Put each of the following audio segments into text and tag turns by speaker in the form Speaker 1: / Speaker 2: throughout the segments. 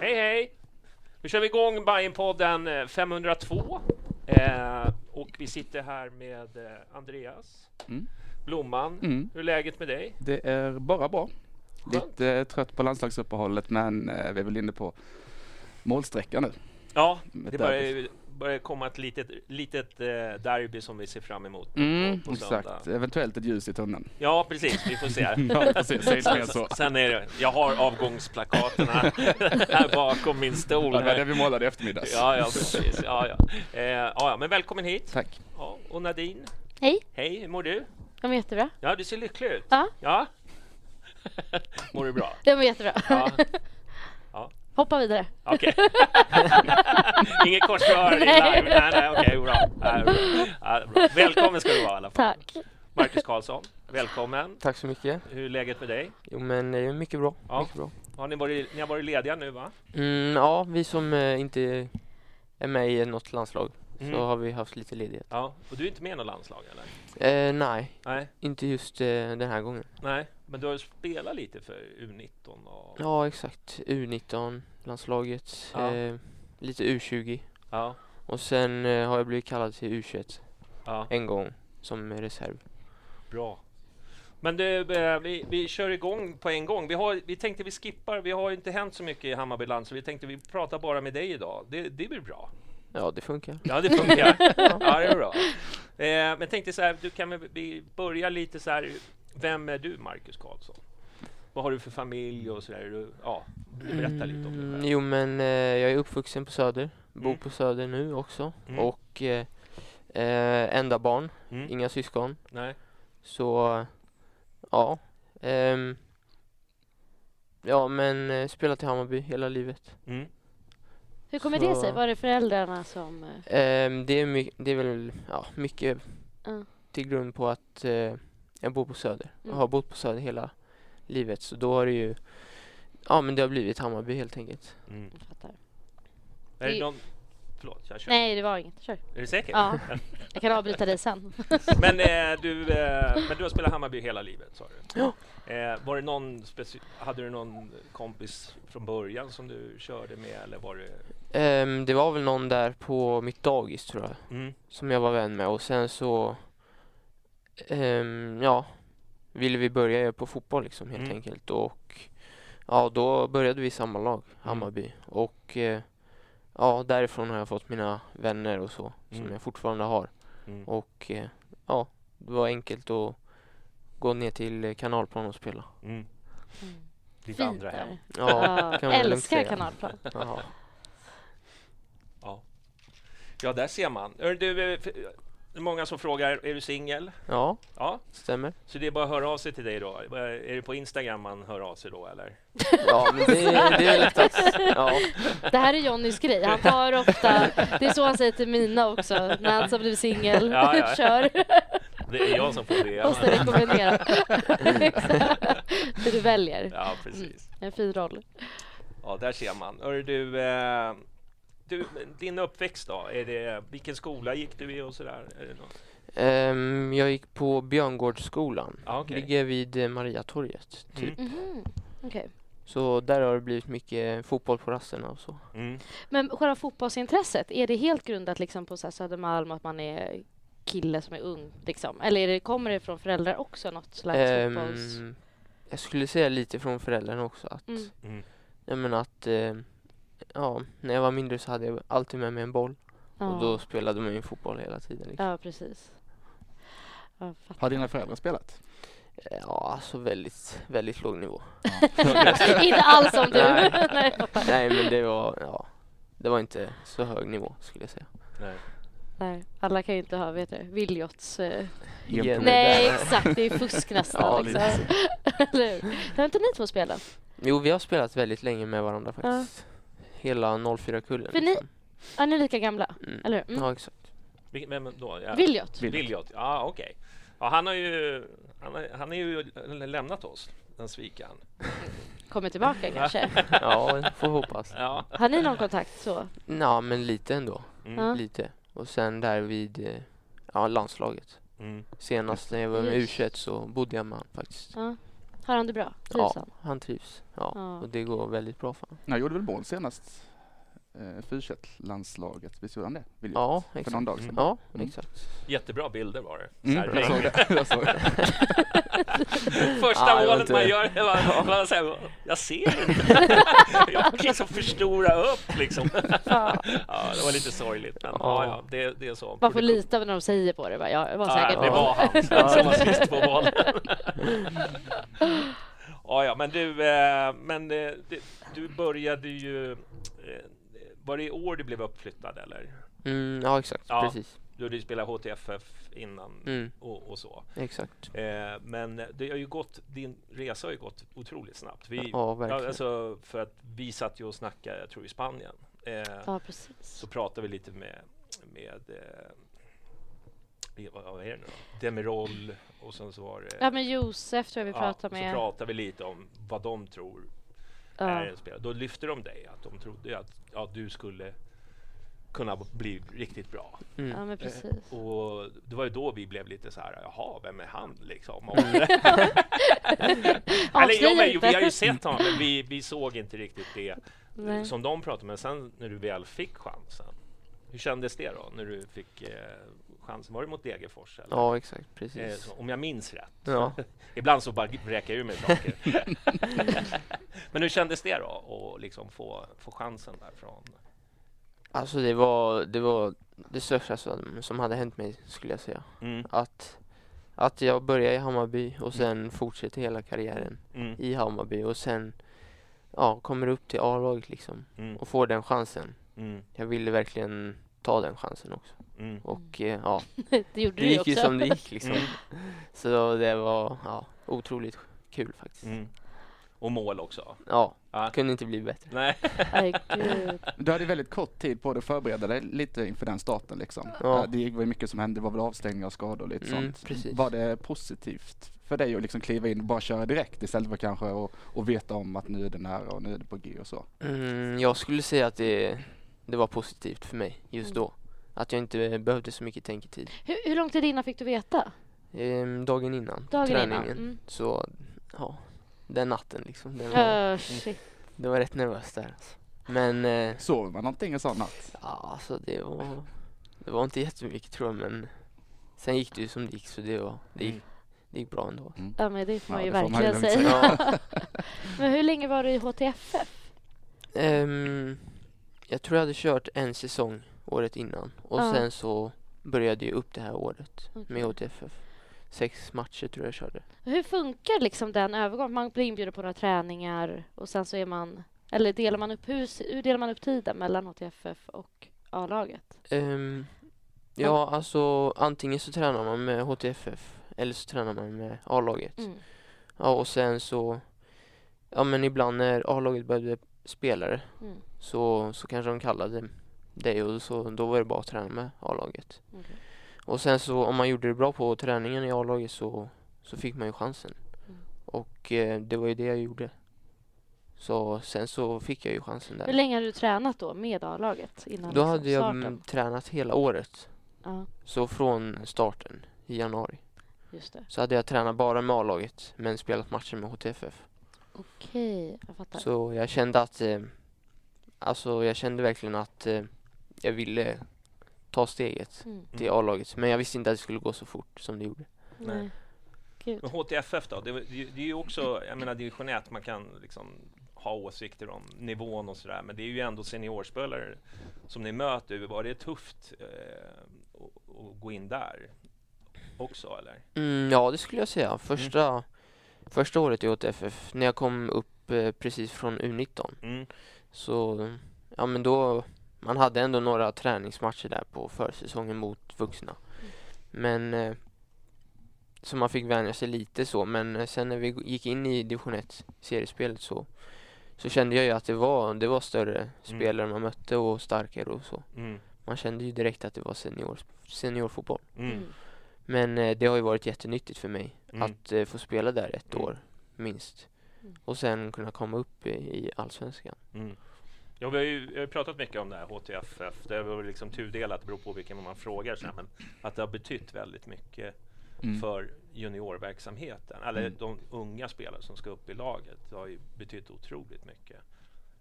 Speaker 1: Hej hej! Nu kör vi igång Bajenpodden eh, 502. Eh, och vi sitter här med eh, Andreas
Speaker 2: Mm.
Speaker 1: Blomman.
Speaker 2: Mm.
Speaker 1: Hur är läget med dig?
Speaker 2: Det är bara bra. Lite eh, trött på landslagsuppehållet men eh, vi är väl inne på målsträckan nu.
Speaker 1: Ja,
Speaker 2: Med
Speaker 1: det börjar, ju- börjar komma ett litet, litet eh, derby som vi ser fram emot på-
Speaker 2: Mm,
Speaker 1: på söndag.
Speaker 2: exakt. Eventuellt ett ljus i tunneln.
Speaker 1: Ja, precis. Vi får se.
Speaker 2: Ja, precis. Säg mer så.
Speaker 1: Sen är det, jag har avgångsplakaten här, här bakom min stol.
Speaker 2: Det var det
Speaker 1: Här.
Speaker 2: vi målade i eftermiddags.
Speaker 1: Ja, ja, precis. Ja, ja. Eh, ja, ja, men välkommen hit.
Speaker 2: Tack.
Speaker 1: Ja, och Nadine,
Speaker 3: Hej,
Speaker 1: hej, hur mår du?
Speaker 3: jag mår jättebra.
Speaker 1: Ja, du ser lycklig ut.
Speaker 3: Ja.
Speaker 1: Ja. Mår du bra?
Speaker 3: Jag mår jättebra.
Speaker 1: Ja.
Speaker 3: Hoppa vidare.
Speaker 1: Okej. Inget korsförhör i live?
Speaker 3: Nej.
Speaker 1: Nej, nej, okej, bra. Nej, bra. Ja, bra. Välkommen ska du vara i alla fall.
Speaker 3: Tack.
Speaker 1: Marcus Karlsson, välkommen.
Speaker 4: Tack så mycket.
Speaker 1: Hur är läget med dig?
Speaker 4: Jo men det är mycket bra.
Speaker 1: Ja.
Speaker 4: Mycket bra.
Speaker 1: Har ni, varit, ni har varit lediga nu, va?
Speaker 4: Mm, ja, vi som eh, inte är med i något landslag
Speaker 1: Mm.
Speaker 4: så har vi haft lite ledighet.
Speaker 1: Ja. Och du är inte med i något landslag, eller?
Speaker 4: Eh, nej,
Speaker 1: Nej.
Speaker 4: inte just eh, den här gången.
Speaker 1: Nej, men du har ju spelat lite för U19 och...
Speaker 4: Ja, exakt. U19, landslaget,
Speaker 1: Ja.
Speaker 4: eh, lite U20
Speaker 1: Ja.
Speaker 4: och sen eh, har jag blivit kallad till U21
Speaker 1: ja.
Speaker 4: en gång som reserv.
Speaker 1: Bra. Men du, eh, vi, vi kör igång på en gång. Vi, har, vi tänkte vi skippar, vi har ju inte hänt så mycket i Hammarby land, så vi tänkte vi pratar bara med dig idag. Det, det blir bra.
Speaker 4: Ja, det funkar.
Speaker 1: Ja, det funkar. ja, det är bra. Eh, men tänkte så här, du kan väl vi börja lite så här. Vem är du, Marcus Karlsson? Vad har du för familj och så där? Du- Ja, berätta lite om dig
Speaker 4: Mm,
Speaker 1: själv.
Speaker 4: Jo men eh, jag är uppvuxen på Söder, bor
Speaker 1: Mm.
Speaker 4: på Söder nu också
Speaker 1: Mm.
Speaker 4: och eh, eh, enda barn,
Speaker 1: Mm.
Speaker 4: inga syskon.
Speaker 1: Nej.
Speaker 4: Så ja. ehm, ja men eh, spelat i Hammarby hela livet.
Speaker 1: Mm.
Speaker 3: Hur kommer
Speaker 4: Så-
Speaker 3: det sig? Var det föräldrarna som... eh,
Speaker 4: Ehm, det, är my- det är väl ja, mycket
Speaker 3: Ja.
Speaker 4: till grund på att eh, jag bor på Söder och
Speaker 3: Mm.
Speaker 4: har bott på Söder hela livet. Så då har det ju Ja men det har blivit Hammarby helt enkelt.
Speaker 1: Mm.
Speaker 3: jag fattar.
Speaker 1: Är det
Speaker 3: Det-
Speaker 1: någon... Förlåt, jag kör.
Speaker 3: Nej, det var inget. Kör.
Speaker 1: Är du säker?
Speaker 3: Ja, jag kan avbryta dig
Speaker 1: Mm.
Speaker 3: sen.
Speaker 1: Men, eh, du, eh, men du har spelat Hammarby hela livet, sa du?
Speaker 4: Ja.
Speaker 1: Eh, var det någon speci- hade du någon kompis från början som du körde med? Eller var det...
Speaker 4: Ehm, det var väl någon där på mitt dagis tror jag.
Speaker 1: Mm.
Speaker 4: som jag var vän med och sen så ehm, ja, ville vi börja på fotboll liksom helt
Speaker 1: Mm.
Speaker 4: enkelt och ja, då började vi i samma lag, Hammarby och eh, ja, därifrån har jag fått mina vänner och så
Speaker 1: Mm.
Speaker 4: som jag fortfarande har
Speaker 1: Mm.
Speaker 4: och eh, ja, det var enkelt att gå ner till eh, kanalplan och spela.
Speaker 1: Mm.
Speaker 3: Mm.
Speaker 1: Ditt
Speaker 3: Fint
Speaker 1: andra hem.
Speaker 3: där.
Speaker 4: Ja,
Speaker 3: Ja,
Speaker 4: kan man lugnt
Speaker 3: älskar
Speaker 4: säga.
Speaker 3: kanalplan.
Speaker 4: jaha.
Speaker 1: Ja, där ser man. Hör Du, eh, f- det är många som frågar, är du singel?
Speaker 4: ja,
Speaker 1: Ja,
Speaker 4: stämmer.
Speaker 1: så det är bara att höra av sig till dig då. Eh, Är det på Instagram man hör av sig då, eller?
Speaker 4: Ja, men det, det är lättast. Ja,
Speaker 3: Det här är Johnnys grej. Han tar ofta... Det är så han säger till Mina också, när han som blivit singel.
Speaker 1: Ja, ja.
Speaker 3: Kör.
Speaker 1: Det är jag som får det.
Speaker 3: Måste rekommendera. Exakt. Så du väljer.
Speaker 1: Ja, precis.
Speaker 3: En fin roll.
Speaker 1: Ja, där ser man. Hör du, eh, du, din uppväxt då? Är det, vilken skola gick du i och sådär? Är det något?
Speaker 4: Ehm, jag gick på Björngårdsskolan.
Speaker 1: Ja, okej.
Speaker 4: Ligger vid eh, Mariatorget. Typ.
Speaker 1: Mm.
Speaker 3: Mhm, Okej.
Speaker 4: Så där har det blivit mycket fotboll på rasterna och så.
Speaker 1: Mm.
Speaker 3: Mhm. Men själva fotbollsintresset, är det helt grundat liksom på så här Södermalm att man är kille som är ung? Liksom? Eller är det, kommer det från föräldrar också något slags
Speaker 4: Ehm,
Speaker 3: fotbolls...
Speaker 4: jag skulle säga lite från föräldrarna också. Att,
Speaker 3: Mm.
Speaker 1: Mm.
Speaker 4: jag menar att eh, ja, när jag var mindre så hade jag alltid med mig en boll.
Speaker 3: Ja,
Speaker 4: Och då spelade man ju fotboll hela tiden. Liksom.
Speaker 3: ja precis. Ja, jag fattar.
Speaker 2: Har dina föräldrar spelat?
Speaker 4: Ja, alltså väldigt, väldigt låg nivå.
Speaker 3: Alltså, Inte alls som du.
Speaker 4: Nej.
Speaker 3: Nej, jag fattar.
Speaker 4: Nej, men det var, ja, det var inte så hög nivå skulle jag säga.
Speaker 1: Nej.
Speaker 3: Nej, alla kan ju inte ha, vet du, Wiljots... Eh...
Speaker 2: Gen-
Speaker 4: Gen-
Speaker 3: Nej,
Speaker 4: där.
Speaker 3: exakt, det är fusk nästan.
Speaker 4: Ja,
Speaker 3: liksom.
Speaker 4: lite
Speaker 3: Eller hur? Har inte ni två spelat?
Speaker 4: Jo, vi har spelat väldigt länge med varandra faktiskt. Hela 04-kullen.
Speaker 3: För ni-
Speaker 4: liksom.
Speaker 3: Ja, ni är lika gamla,
Speaker 4: Mm.
Speaker 3: eller hur? Mm.
Speaker 4: Ja, exakt.
Speaker 1: Vil- Vem då? Ja.
Speaker 3: Viljot?
Speaker 2: Viljot.
Speaker 1: Viljot. Ja, okej. Ja, han har ju... Han, har, han är ju lämnat oss, den svikaren.
Speaker 3: Kommer tillbaka kanske?
Speaker 4: Ja, jag får hoppas.
Speaker 1: Ja.
Speaker 3: Har ni någon kontakt så?
Speaker 4: Ja, men lite ändå.
Speaker 1: Mm.
Speaker 3: Ja.
Speaker 4: Lite. Och sen där vid eh, ja, landslaget.
Speaker 1: Mm.
Speaker 4: Senast när jag var med
Speaker 3: Just.
Speaker 4: U21 så bodde jag med han faktiskt.
Speaker 3: Ja. Har han det bra? Trivs
Speaker 4: Ja,
Speaker 3: han?
Speaker 4: han trivs. Ja,
Speaker 3: Ja.
Speaker 4: och det går väldigt bra för honom.
Speaker 2: Han gjorde väl mål senast? Eh, landslaget visst gjorde han det? Vill jag-
Speaker 4: Ja,
Speaker 2: För någon
Speaker 4: exakt.
Speaker 2: dag sedan.
Speaker 4: Ja,
Speaker 2: Mm.
Speaker 4: exakt.
Speaker 1: Jättebra bilder var det. Så här,
Speaker 2: Mm, jag såg det. Jag såg det.
Speaker 1: Första
Speaker 4: Ja, det var
Speaker 1: målet
Speaker 4: inte-
Speaker 1: man gör, är man, man säger, jag ser inte. jag liksom förstorar upp liksom.
Speaker 3: Ja.
Speaker 1: Ja, det var lite sorgligt, men ja,
Speaker 4: Ja.
Speaker 1: ja, det, det är så.
Speaker 3: Man får lita på när de säger på det. va? Ja, det var säkert
Speaker 1: ja, det
Speaker 3: bra.
Speaker 1: var han som var sist på bollen. ja, ja, men du, eh, men eh, det- du började ju... eh, Var det i år du blev uppflyttad eller?
Speaker 4: Mm, ja, exakt.
Speaker 1: Ja.
Speaker 4: Precis.
Speaker 1: Du hade ju spelat HTFF innan
Speaker 4: Mm,
Speaker 1: och, och så.
Speaker 4: exakt.
Speaker 1: Eh, men det har ju gått, din resa har ju gått otroligt snabbt. Vi,
Speaker 4: Ja, verkligen.
Speaker 1: ja, alltså, för att vi satt ju och snackade, jag tror i Spanien, eh,
Speaker 3: Ja, precis.
Speaker 1: så pratade vi lite med, med eh, i- vad- vad är det nu då? Demirol och sen så var det...
Speaker 3: Ja, men Josef tror jag vi
Speaker 1: och
Speaker 3: pratar
Speaker 1: Så
Speaker 3: med.
Speaker 1: pratade vi lite om vad de tror är
Speaker 3: Ja.
Speaker 1: en spelare. Då lyfte de dig, att de trodde ju att ja, du skulle kunna bli riktigt bra.
Speaker 3: ja,
Speaker 4: Mm.
Speaker 3: men precis.
Speaker 1: Eh, Och det var ju då vi blev lite så här, jaha, vem är han liksom? Och, eller, jo,
Speaker 3: Avslöja
Speaker 1: men, jo, vi har ju
Speaker 3: inte.
Speaker 1: sett honom, men vi, vi såg inte riktigt det
Speaker 3: Nej.
Speaker 1: som de pratade om. Men sen när du väl fick chansen, hur kändes det då? När du fick eh, chansen, var det mot Degerfors? Eller?
Speaker 4: Ja, exakt.
Speaker 1: Eh,
Speaker 4: Precis.
Speaker 1: så, om jag minns rätt.
Speaker 4: Ja.
Speaker 1: Ibland så bara vräker jag ur mig saker. Men hur kändes det då att liksom få, få chansen därifrån?
Speaker 4: Alltså det var, det var det största som, som hade hänt mig skulle jag säga.
Speaker 1: Mm.
Speaker 4: Att, att jag började i Hammarby och sen fortsätter hela karriären
Speaker 1: Mm.
Speaker 4: i Hammarby och sen ja, kommer upp till A-laget liksom
Speaker 1: Mm.
Speaker 4: och får den chansen.
Speaker 1: Mm.
Speaker 4: Jag ville verkligen ta den chansen också.
Speaker 1: Mm.
Speaker 4: Och eh, ja,
Speaker 3: Det gjorde
Speaker 4: det
Speaker 3: du
Speaker 4: gick ju
Speaker 3: också.
Speaker 4: som det gick liksom.
Speaker 1: Mm.
Speaker 4: Så det var ja, otroligt kul faktiskt.
Speaker 1: Mm. Och mål också.
Speaker 4: Ja,
Speaker 1: Ja.
Speaker 4: kunde inte bli bättre.
Speaker 1: Nej.
Speaker 3: Herregud.
Speaker 2: Du hade väldigt kort tid på dig att förbereda dig lite inför den starten liksom.
Speaker 4: Ja.
Speaker 2: Eh, Det var ju mycket som hände, det var väl avstängningar och skador och lite
Speaker 4: Mm,
Speaker 2: sånt.
Speaker 4: precis.
Speaker 2: Var det positivt för dig att liksom kliva in och bara köra direkt istället för kanske och, och veta om att nu är det nära och nu är det på G och så?
Speaker 4: Mm, jag skulle säga att det, det var positivt för mig just
Speaker 3: Mm.
Speaker 4: då. Att jag inte behövde så mycket tänketid.
Speaker 3: hur, hur lång tid innan fick du veta?
Speaker 4: Ehm, dagen innan
Speaker 3: Dagen
Speaker 4: träningen.
Speaker 3: innan? Mm.
Speaker 4: Så ja, den natten liksom. Den var,
Speaker 3: Öh, shit.
Speaker 4: det var rätt nervöst där. Alltså. Men eh,
Speaker 2: Sover man någonting en sån natt?
Speaker 4: ja, alltså det var, det var inte jättemycket tror jag men sen gick det ju som det gick så det, var, det, gick, det gick bra ändå.
Speaker 2: Mm.
Speaker 3: Ja, men det får man
Speaker 2: Ja,
Speaker 3: ju
Speaker 2: det får man ju
Speaker 3: verkligen
Speaker 2: lugnt
Speaker 3: säga.
Speaker 4: säga.
Speaker 3: men hur länge var du i HTFF?
Speaker 4: Ehm, jag tror jag hade kört en säsong året innan och
Speaker 3: Ja.
Speaker 4: sen så började jag upp det här året
Speaker 3: Okej.
Speaker 4: med HTFF. Sex matcher tror jag jag körde.
Speaker 3: Hur funkar liksom den övergången? Man blir inbjuden på några träningar och sen så är man... Eller delar man upp, hur, hur delar man upp tiden mellan HTFF och A-laget?
Speaker 4: Ehm, ja, alltså antingen så tränar man med HTFF eller så tränar man med A-laget.
Speaker 3: Mm.
Speaker 4: Ja, och sen så, ja men ibland när A-laget behövde spelare
Speaker 3: Mm.
Speaker 4: så, så kanske de kallade dig och så, då var det bara att träna med A-laget.
Speaker 3: Okej.
Speaker 4: Och sen så om man gjorde det bra på träningen i A-laget så, så fick man ju chansen.
Speaker 3: Mm.
Speaker 4: Och eh, det var ju det jag gjorde. Så sen så fick jag ju chansen
Speaker 3: Hur
Speaker 4: där.
Speaker 3: länge hade du tränat då med A-laget? Innan
Speaker 4: Då
Speaker 3: liksom
Speaker 4: hade jag
Speaker 3: starten?
Speaker 4: mm, tränat hela året.
Speaker 3: Ja,
Speaker 4: Så från starten i januari
Speaker 3: just det.
Speaker 4: så hade jag tränat bara med A-laget men spelat matcher med HTFF.
Speaker 3: Okej, jag fattar.
Speaker 4: Så jag kände att, eh, alltså jag kände verkligen att eh, jag ville ta steget
Speaker 3: Mm.
Speaker 4: till A-laget. Men jag visste inte att det skulle gå så fort som det gjorde.
Speaker 1: Nej.
Speaker 3: Nej. Gud.
Speaker 1: Men HTFF då? Det, det, det är ju också, jag menar division 1, man kan liksom ha åsikter om nivån och sådär, men det är ju ändå seniorspelare som ni möter. Var det tufft eh, att att gå in där också eller?
Speaker 4: Mm, ja, det skulle jag säga. Första, första året i HTFF, när jag kom upp eh, precis från U19,
Speaker 1: Mm.
Speaker 4: så ja men då, man hade ändå några träningsmatcher där på försäsongen mot vuxna. Men eh, så man fick vänja sig lite så, men eh, sen när vi gick in i division 1 seriespelet så så kände jag ju att det var, det var större spelare man mötte och starkare och så.
Speaker 1: Mm.
Speaker 4: Man kände ju direkt att det var senior, seniorfotboll.
Speaker 1: Mm.
Speaker 3: Mm.
Speaker 4: Men eh, det har ju varit jättenyttigt för mig
Speaker 1: Mm.
Speaker 4: att eh, få spela där ett
Speaker 1: Mm.
Speaker 4: år minst.
Speaker 3: Mm.
Speaker 4: Och sen kunna komma upp i, i Allsvenskan.
Speaker 1: Mm. Ja, vi har ju vi har ju pratat mycket om det här HTFF. Det är väl liksom tudelat, det beror på vilken man frågar. Så här, men att det har betytt väldigt mycket
Speaker 2: Mm.
Speaker 1: för juniorverksamheten. Eller
Speaker 2: Mm.
Speaker 1: de unga spelare som ska upp i laget. Det har ju betytt otroligt mycket.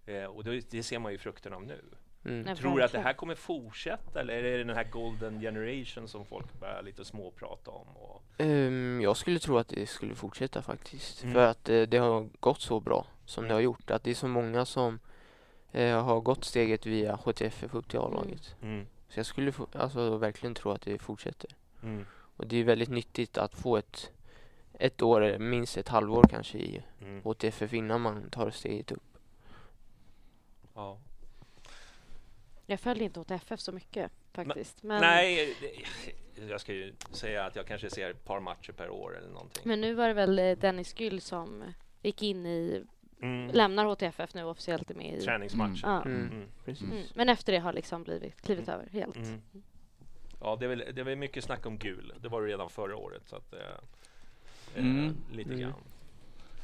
Speaker 1: Eh, och det, det ser man ju frukten av nu.
Speaker 4: Mm.
Speaker 3: Nej,
Speaker 1: Tror du att det
Speaker 3: verkligen.
Speaker 1: här kommer fortsätta eller är det den här golden generation som folk börjar lite småprata om? Och,
Speaker 4: Ehm, jag skulle tro att det skulle fortsätta faktiskt.
Speaker 1: Mm.
Speaker 4: För att eh, det har gått så bra som det har gjort. Att det är så många som eh, har gått steget via HTFF upp till A-laget. Så jag skulle få, alltså, verkligen tro att det fortsätter.
Speaker 1: Mm.
Speaker 4: Och det är väldigt nyttigt att få ett, ett år, eh, minst ett halvår kanske i
Speaker 1: Mm.
Speaker 4: HTFF innan man tar steget upp.
Speaker 1: Ja.
Speaker 3: Jag följer inte åt FF så mycket faktiskt. Men,
Speaker 1: Nej, det, jag ska ju säga att jag kanske ser ett par matcher per år eller någonting.
Speaker 3: men nu var det väl eh, Dennis Gyll som gick in i,
Speaker 1: Mm.
Speaker 3: lämnar HTFF nu och officiellt är med i...
Speaker 1: Träningsmatcher.
Speaker 3: Ja.
Speaker 4: Mm.
Speaker 1: Mm.
Speaker 4: Precis.
Speaker 3: Mm. Men efter det har liksom blivit, klivit över helt.
Speaker 1: Mm. Ja, det är, väl, det är väl mycket snack om gul. Det var det redan förra året. Så att, eh,
Speaker 2: Mm.
Speaker 1: eh, lite
Speaker 4: Mm.
Speaker 1: grann.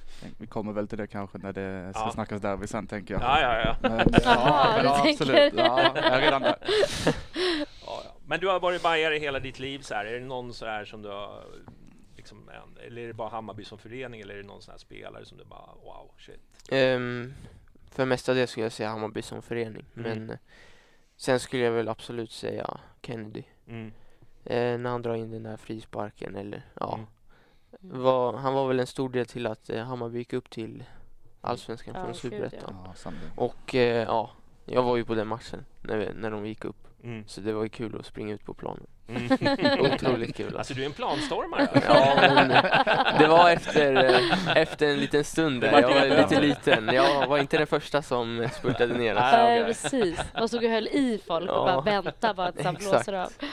Speaker 2: Tänk- Mm. Vi kommer väl till det kanske när det ska
Speaker 1: Ja.
Speaker 2: snackas derby sen tänker jag.
Speaker 1: Ja, ja, ja.
Speaker 2: Men, eh,
Speaker 3: Jaha,
Speaker 2: men
Speaker 3: du tänker.
Speaker 2: absolut. Ja, jag är redan där.
Speaker 1: Ja, ja. Men du har varit bajare hela ditt liv. Så här. Är det någon så här som du har... Liksom, en- eller är det bara Hammarby som förening? Eller är det någon sån här spelare som du bara wow, shit?
Speaker 4: Ehm, för mestadels skulle jag säga Hammarby som förening.
Speaker 1: Mm.
Speaker 4: Men eh, sen skulle jag väl absolut säga Kennedy. Eh, när han drar in den där frisparken eller ja.
Speaker 1: Mm.
Speaker 3: Mm.
Speaker 4: Var, han var väl en stor del till att eh, Hammarby gick upp till Allsvenskan
Speaker 3: Ja,
Speaker 4: från
Speaker 3: gud, ja.
Speaker 4: Superettan.
Speaker 2: Ja, sannolikt.
Speaker 4: Och eh, ja, jag var ju på den matchen när, vi, när de gick upp.
Speaker 1: Mm.
Speaker 4: Så det var ju kul att springa ut på planen.
Speaker 1: Mm.
Speaker 4: Otroligt kul alltså.
Speaker 1: Alltså du är en planstormare. alltså.
Speaker 4: Ja, men det var efter, eh, efter en liten stund
Speaker 1: Det
Speaker 4: där.
Speaker 1: var
Speaker 4: Jag var
Speaker 1: det.
Speaker 4: lite liten. Jag var inte den första som eh, spurtade ner.
Speaker 1: Nej,
Speaker 3: Nej,
Speaker 1: Ah, okej.
Speaker 3: precis. Och så höll i folk och
Speaker 4: Ja.
Speaker 3: bara vänta bara att han
Speaker 4: Exakt.
Speaker 3: blåser av.
Speaker 1: Ja.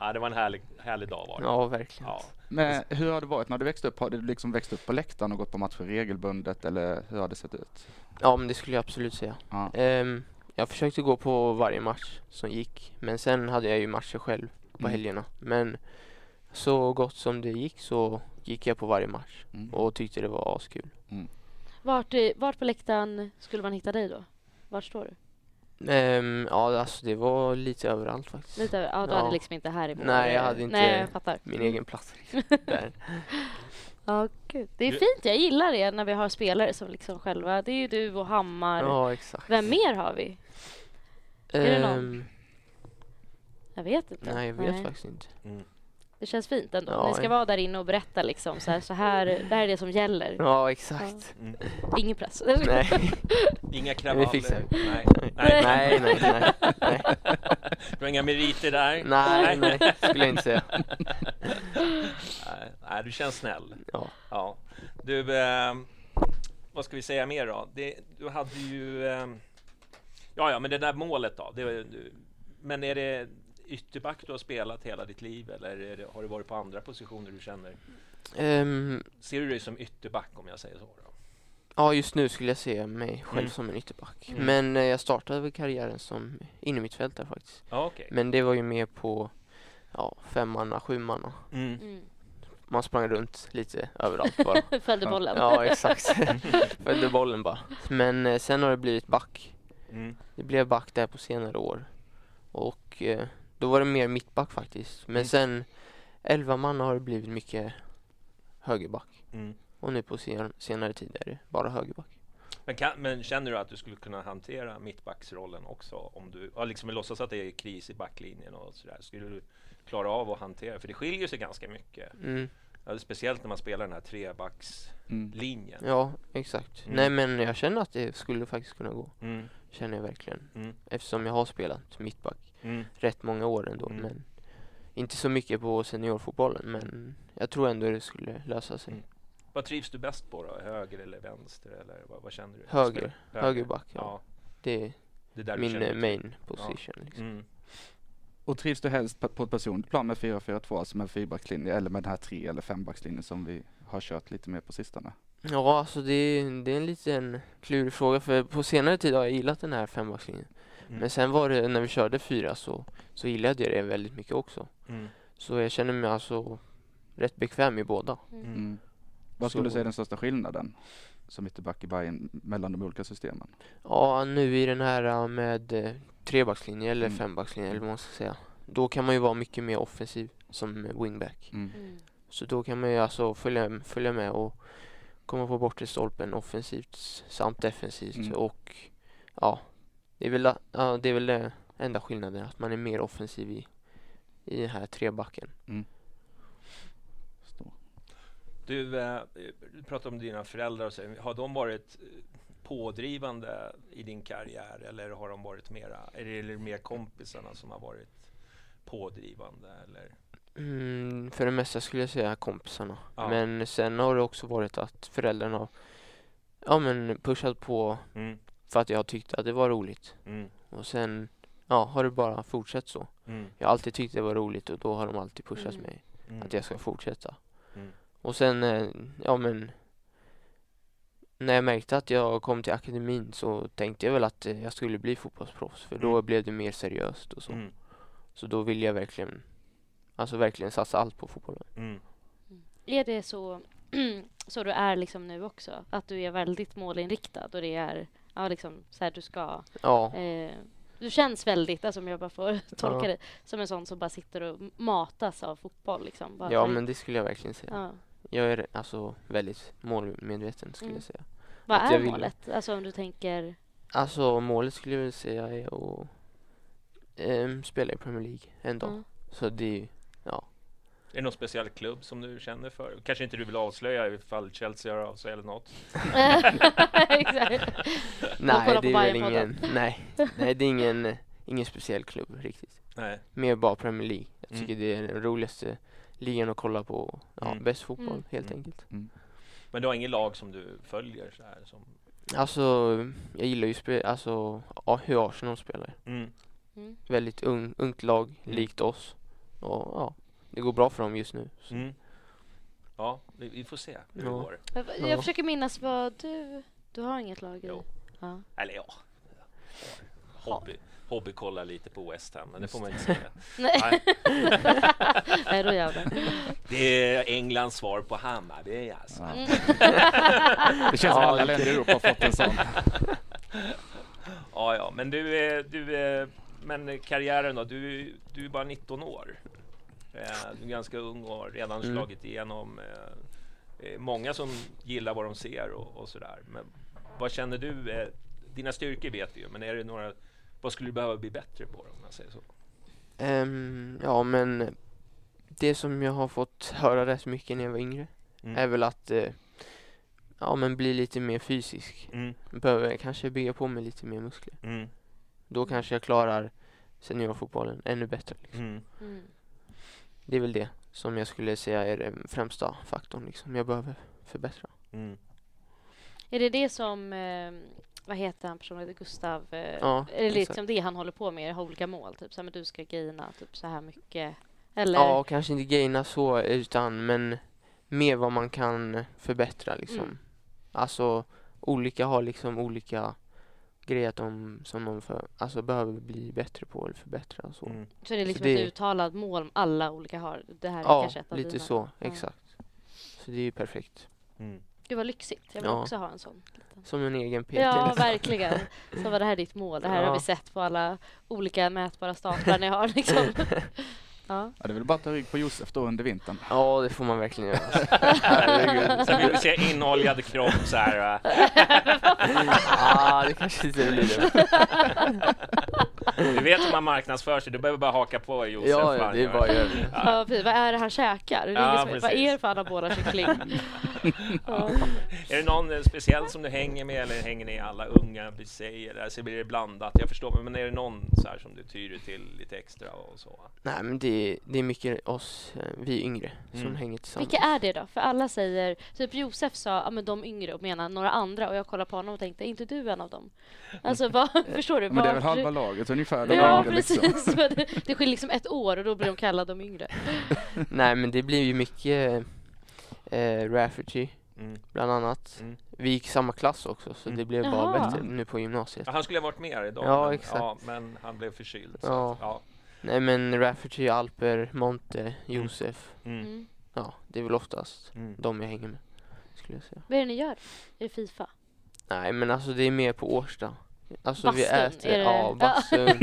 Speaker 1: Ja, det var en härlig, härlig dag var det.
Speaker 4: Ja, verkligen.
Speaker 1: Ja.
Speaker 2: Men hur har det varit när du växte upp? Har du liksom växt upp på läktaren och gått på matcher regelbundet eller hur har det sett ut?
Speaker 4: Ja, men det skulle jag absolut säga.
Speaker 2: Ja.
Speaker 4: Ehm, jag försökte gå på varje match som gick, men sen hade jag ju matcher själv på
Speaker 2: Mm.
Speaker 4: helgerna. Men så gott som det gick så gick jag på varje match
Speaker 2: Mm.
Speaker 4: och tyckte det var askul.
Speaker 3: Vart, i- vart på läktaren skulle man hitta dig då? Vart står du?
Speaker 4: Ehm, ja, alltså det var lite överallt faktiskt.
Speaker 3: Lite, över- ja, du hade
Speaker 4: Ja.
Speaker 3: liksom inte här i vår-
Speaker 4: Nej, jag hade inte-
Speaker 3: Nej, jag fattar.
Speaker 4: Min egen plats. liksom, där.
Speaker 3: Ja, gud. Det är
Speaker 1: Du-
Speaker 3: fint. Jag gillar det när vi har spelare som liksom själva... Det är ju du och Hammar.
Speaker 4: Ja, exakt.
Speaker 3: Vem mer har vi? det någon?
Speaker 4: Ehm,
Speaker 3: Jag vet inte.
Speaker 4: nej, jag vet faktiskt inte.
Speaker 1: Mm.
Speaker 3: Det känns fint ändå.
Speaker 4: Ja,
Speaker 3: Ni ska
Speaker 4: ja.
Speaker 3: vara där inne och berätta liksom så här, så här, det här är det som gäller.
Speaker 4: Ja, exakt.
Speaker 1: Mm.
Speaker 3: Ingen press. Mm.
Speaker 4: Nej.
Speaker 1: Inga
Speaker 4: Vi
Speaker 1: kravaller.
Speaker 4: fixar det.
Speaker 1: Nej.
Speaker 4: Nej, nej, nej. nej.
Speaker 1: Du har inga meriter där?
Speaker 4: Nej, nej, skulle jag inte säga.
Speaker 1: Nej, nej, du känns snäll.
Speaker 4: Ja.
Speaker 1: Ja. Du, eh, vad ska vi säga mer då? Det, du hade ju... Eh, ja, ja, men det där målet då. Det, var ju- du, men är det ytterback du har spelat hela ditt liv eller är det, har du varit på andra positioner du känner?
Speaker 4: Ehm,
Speaker 1: Ser du dig som ytterback om jag säger så? Då?
Speaker 4: Ja, just nu skulle jag se mig själv
Speaker 1: Mm.
Speaker 4: som en ytterback.
Speaker 1: Mm.
Speaker 4: Men eh, jag startade väl karriären som innermittfältare faktiskt.
Speaker 1: Ja, okej.
Speaker 4: Men det var ju mer på ja, femmanna, sjumanna.
Speaker 1: Mm.
Speaker 3: Mm.
Speaker 4: Man sprang runt lite överallt bara.
Speaker 3: Följde
Speaker 2: Ja.
Speaker 3: bollen.
Speaker 4: ja, exakt. Följde bollen bara. Men eh, sen har det blivit back.
Speaker 1: Mm.
Speaker 4: Det blev back där på senare år. Och eh, Då var det mer mittback faktiskt. Men
Speaker 1: Mm.
Speaker 4: sen 11 man har det blivit mycket högerback.
Speaker 1: Mm.
Speaker 4: Och nu på sen, senare tid är det bara högerback.
Speaker 1: Men, kan, men känner du att du skulle kunna hantera mittbacksrollen också? Om du ja, liksom låtsas att det är kris i backlinjen och sådär. Skulle du klara av att hantera? För det skiljer sig ganska mycket.
Speaker 4: Mm.
Speaker 1: Ja, speciellt när man spelar den här trebackslinjen.
Speaker 2: Mm.
Speaker 4: Ja, exakt.
Speaker 1: Mm.
Speaker 4: Nej men jag känner att det skulle faktiskt kunna gå.
Speaker 1: Mm.
Speaker 4: Känner jag verkligen.
Speaker 1: Mm.
Speaker 4: Eftersom jag har spelat mittback
Speaker 1: Mm.
Speaker 4: rätt många år ändå.
Speaker 1: Mm.
Speaker 4: Men inte så mycket på seniorfotbollen. Men jag tror ändå det skulle lösa sig.
Speaker 1: Mm. Vad trivs du bäst på då? Höger eller vänster? Eller vad, vad känner du?
Speaker 4: Höger.
Speaker 1: Spel-
Speaker 4: Högerback,
Speaker 1: Ja.
Speaker 4: ja. Det är
Speaker 1: det är där du
Speaker 4: min
Speaker 1: känner
Speaker 4: eh,
Speaker 1: dig
Speaker 4: main position. Liksom.
Speaker 1: Mm.
Speaker 2: Och trivs du helst på på ett personligt plan med 4-4-2, alltså med fyrbackslinje eller med den här tre eller fembackslinjen som vi har kört lite mer på sistone?
Speaker 4: Ja, alltså det är, det är en liten klurig fråga. För på senare tid har jag gillat den här fembackslinjen.
Speaker 1: Mm.
Speaker 4: Men sen var det när vi körde fyra så, så gillade jag det väldigt mycket också.
Speaker 1: Mm.
Speaker 4: Så jag känner mig alltså rätt bekväm i båda.
Speaker 1: Mm.
Speaker 2: Vad skulle du
Speaker 4: Så-
Speaker 2: säga är den största skillnaden som ytterback i Bayern mellan de olika systemen?
Speaker 4: Ja, nu i den här eh, med eh, trebackslinje eller
Speaker 2: Mm.
Speaker 4: fembackslinje eller vad man ska säga. Då kan man ju vara mycket mer offensiv som wingback.
Speaker 2: Mm.
Speaker 3: Mm.
Speaker 4: Så då kan man ju alltså följa, följa med och komma på bortre stolpen offensivt s- samt defensivt.
Speaker 2: Mm.
Speaker 4: Och ja, det är väl, a- ja, det är väl det enda skillnaden att man är mer offensiv i, i den här trebacken.
Speaker 2: Står.
Speaker 1: Du, eh, du pratar om dina föräldrar. Och så. Har de varit eh, pådrivande i din karriär eller har de varit mera, är det, är det mer kompisarna som har varit pådrivande? Eller?
Speaker 4: Mm, för det mesta skulle jag säga kompisarna.
Speaker 1: Ja.
Speaker 4: Men sen har det också varit att föräldrarna har ja, men pushat på
Speaker 1: Mm.
Speaker 4: för att jag tyckte att det var roligt.
Speaker 1: Mm.
Speaker 4: Och sen ja, har det bara fortsatt så.
Speaker 1: Mm.
Speaker 4: Jag har alltid tyckt det var roligt och då har de alltid pushat
Speaker 3: Mm.
Speaker 4: mig.
Speaker 1: Mm.
Speaker 4: att jag ska fortsätta.
Speaker 1: Mm.
Speaker 4: Och sen, eh, ja men när jag märkte att jag kom till akademin så tänkte jag väl att eh, jag skulle bli fotbollsproffs för då
Speaker 1: Mm.
Speaker 4: blev det mer seriöst och så.
Speaker 1: Mm.
Speaker 4: Så då ville jag verkligen, alltså verkligen satsa allt på fotbollen.
Speaker 1: Mm.
Speaker 3: Är det så, så du är liksom nu också? Att du är väldigt målinriktad och det är ja, liksom, så här du ska...
Speaker 4: Ja,
Speaker 3: Eh, du känns väldigt, alltså, om jag bara får tolka
Speaker 4: Ja.
Speaker 3: dig, som en sån som bara sitter och matas av fotboll. Liksom, bara
Speaker 4: ja
Speaker 3: för-
Speaker 4: men det skulle jag verkligen säga.
Speaker 3: ja.
Speaker 4: Jag är alltså väldigt målmedveten skulle
Speaker 3: Mm.
Speaker 4: jag säga.
Speaker 3: Vad
Speaker 4: att jag
Speaker 3: är
Speaker 4: vill-
Speaker 3: målet? Alltså om du tänker...
Speaker 4: Alltså målet skulle jag väl säga är att ehm, spela i Premier League en dag.
Speaker 3: Ja.
Speaker 4: Så det är ju
Speaker 1: Är det någon speciell klubb som du känner för? Kanske inte du vill avslöja ifall Chelsea hör av sig eller något?
Speaker 3: Exakt. Och
Speaker 4: Nej,
Speaker 3: kolla
Speaker 4: det
Speaker 3: på
Speaker 4: är väl
Speaker 3: Bayern-podden.
Speaker 4: ingen, nej, nej, det är ingen, eh, ingen speciell klubb riktigt.
Speaker 1: Nej.
Speaker 4: Mer bara Premier League. Jag
Speaker 1: Mm.
Speaker 4: tycker det är den roligaste ligan att kolla på. och, Ja,
Speaker 1: Mm.
Speaker 4: Bäst fotboll
Speaker 3: Mm.
Speaker 4: helt
Speaker 1: Mm.
Speaker 4: enkelt.
Speaker 1: Men du har inget lag som du följer? Så här, som...
Speaker 4: Alltså, jag gillar ju spe, alltså, ja, hur Arsenal spelar.
Speaker 1: Mm.
Speaker 3: Mm.
Speaker 4: Väldigt ung, ungt lag,
Speaker 1: Mm.
Speaker 4: likt oss. Och ja, det går bra för dem just nu. Så.
Speaker 1: Mm. Ja, vi, vi får se hur det
Speaker 4: Ja.
Speaker 1: går.
Speaker 3: Jag, jag
Speaker 4: Ja.
Speaker 3: försöker minnas vad du... Du har inget lag i?
Speaker 1: Jo.
Speaker 3: Ja.
Speaker 1: Eller ja, hobby. Hobby kollar lite på West Ham, men det får man inte säga.
Speaker 3: Nej.
Speaker 1: Nej.
Speaker 3: Nej, då jävlar.
Speaker 1: Det är Englands svar på Hammarby alltså.
Speaker 2: Ja.
Speaker 3: Mm.
Speaker 2: Det känns som
Speaker 4: Ja,
Speaker 2: alla
Speaker 4: det-
Speaker 2: länder i Europa har fått en sån.
Speaker 1: Ja, ja, men du, är- du är- men karriären då? Du, du är bara 19 år. Eh, Du är ganska ung och har redan
Speaker 4: Mm.
Speaker 1: slagit igenom. eh, eh, Många som gillar vad de ser och, och sådär. Men vad känner du? eh, Dina styrkor vet vi ju, men är det några, vad skulle du behöva bli bättre på om man säger så?
Speaker 4: Ehm, ja, men det som jag har fått höra rätt mycket när jag var yngre
Speaker 1: Mm.
Speaker 4: är väl att eh, ja, men bli lite mer fysisk.
Speaker 1: Mm,
Speaker 4: Behöver kanske bygga på mig lite mer muskler.
Speaker 1: mm,
Speaker 4: Då kanske jag klarar seniorfotbollen ännu bättre. Liksom.
Speaker 1: mm.
Speaker 3: Mm.
Speaker 4: Det är väl det som jag skulle säga är den främsta faktorn liksom, jag behöver förbättra.
Speaker 1: Mm.
Speaker 3: Är det det som... Eh, vad heter han personen? Gustav? Eh,
Speaker 4: Ja,
Speaker 3: är det
Speaker 4: exakt.
Speaker 3: liksom det han håller på med? Har olika mål? Typ så här, men du ska gaina typ så här mycket? Eller?
Speaker 4: Ja, kanske inte gaina så utan men mer vad man kan förbättra liksom.
Speaker 3: Mm.
Speaker 4: Alltså olika har liksom olika grejer att de, som de för, alltså, behöver bli bättre på eller förbättra och så.
Speaker 1: Mm.
Speaker 3: Så det är liksom
Speaker 4: det-
Speaker 3: ett uttalat mål alla olika har? Det här är
Speaker 4: Ja,
Speaker 3: kanske ett av
Speaker 4: lite
Speaker 3: dina.
Speaker 4: så,
Speaker 3: Ja.
Speaker 4: exakt. Så det är ju perfekt.
Speaker 1: Mm.
Speaker 3: Gud vad lyxigt. Jag vill
Speaker 4: Ja.
Speaker 3: också ha en sån. Liten.
Speaker 4: Som en egen PT.
Speaker 3: Ja,
Speaker 4: liksom.
Speaker 3: verkligen. Så var det här ditt mål. Det här har
Speaker 4: Ja.
Speaker 3: vi sett på alla olika mätbara staplar ni har liksom. Ja.
Speaker 2: Ja, det är väl bara att ta rygg på Josef då under vintern.
Speaker 4: Ja, det får man verkligen göra. alltså. Herregud.
Speaker 1: Sen vill vi se inoljad kropp så här. va?
Speaker 4: ah, det kanske inte blir det.
Speaker 1: Du vet hur man marknadsför sig, du behöver bara haka på Josef.
Speaker 4: Ja,
Speaker 1: va?
Speaker 4: ja, det är bara att göra det.
Speaker 3: Ja, precis. Vad är det han käkar? Det är
Speaker 1: Ja,
Speaker 3: ingen som- Vad
Speaker 1: precis.
Speaker 3: är det för anabola kyckling? Ja.
Speaker 1: Är det någon eh, speciell som du hänger med eller hänger ni alla unga tjejer? Där? Så blir det blandat, jag förstår. Men är det någon så här som du tyr dig till lite extra och så?
Speaker 4: Nej, men det, det är mycket oss, eh, vi yngre, som
Speaker 1: Mm.
Speaker 4: hänger tillsammans.
Speaker 3: Vilka är det då? För alla säger, typ Josef sa, ja men de yngre och menar några andra och jag kollade på honom och tänkte, är inte du en av dem? Alltså vad, förstår du?
Speaker 2: Men det är väl
Speaker 3: Vart-
Speaker 2: halva laget ungefär. de
Speaker 3: Ja,
Speaker 2: yngre, liksom.
Speaker 3: precis. Men det- Det skiljer liksom ett år och då blir de kallade de yngre.
Speaker 4: Nej, men det blir ju mycket eh, Rafferty,
Speaker 1: Mm.
Speaker 4: bland annat.
Speaker 1: Mm.
Speaker 4: Vi gick i samma klass också, så
Speaker 1: Mm.
Speaker 4: det blev bara
Speaker 3: Jaha.
Speaker 4: bättre nu på gymnasiet.
Speaker 1: Ja, han skulle ha varit med här idag.
Speaker 4: Ja,
Speaker 1: men,
Speaker 4: exakt.
Speaker 1: Ja, men han blev förkyld. Så
Speaker 4: Ja.
Speaker 1: att, ja.
Speaker 4: Nej, men Rafferty, Alper, Monte, Josef.
Speaker 1: Mm.
Speaker 3: Mm.
Speaker 4: Ja, det är väl oftast
Speaker 1: Mm.
Speaker 4: de jag hänger med, skulle jag säga.
Speaker 3: Vad är det ni gör i Fifa?
Speaker 4: Nej, men alltså det är mer på Årsta. Alltså vi
Speaker 3: Bastun,
Speaker 4: äter,
Speaker 3: är det-
Speaker 4: ja, bastun,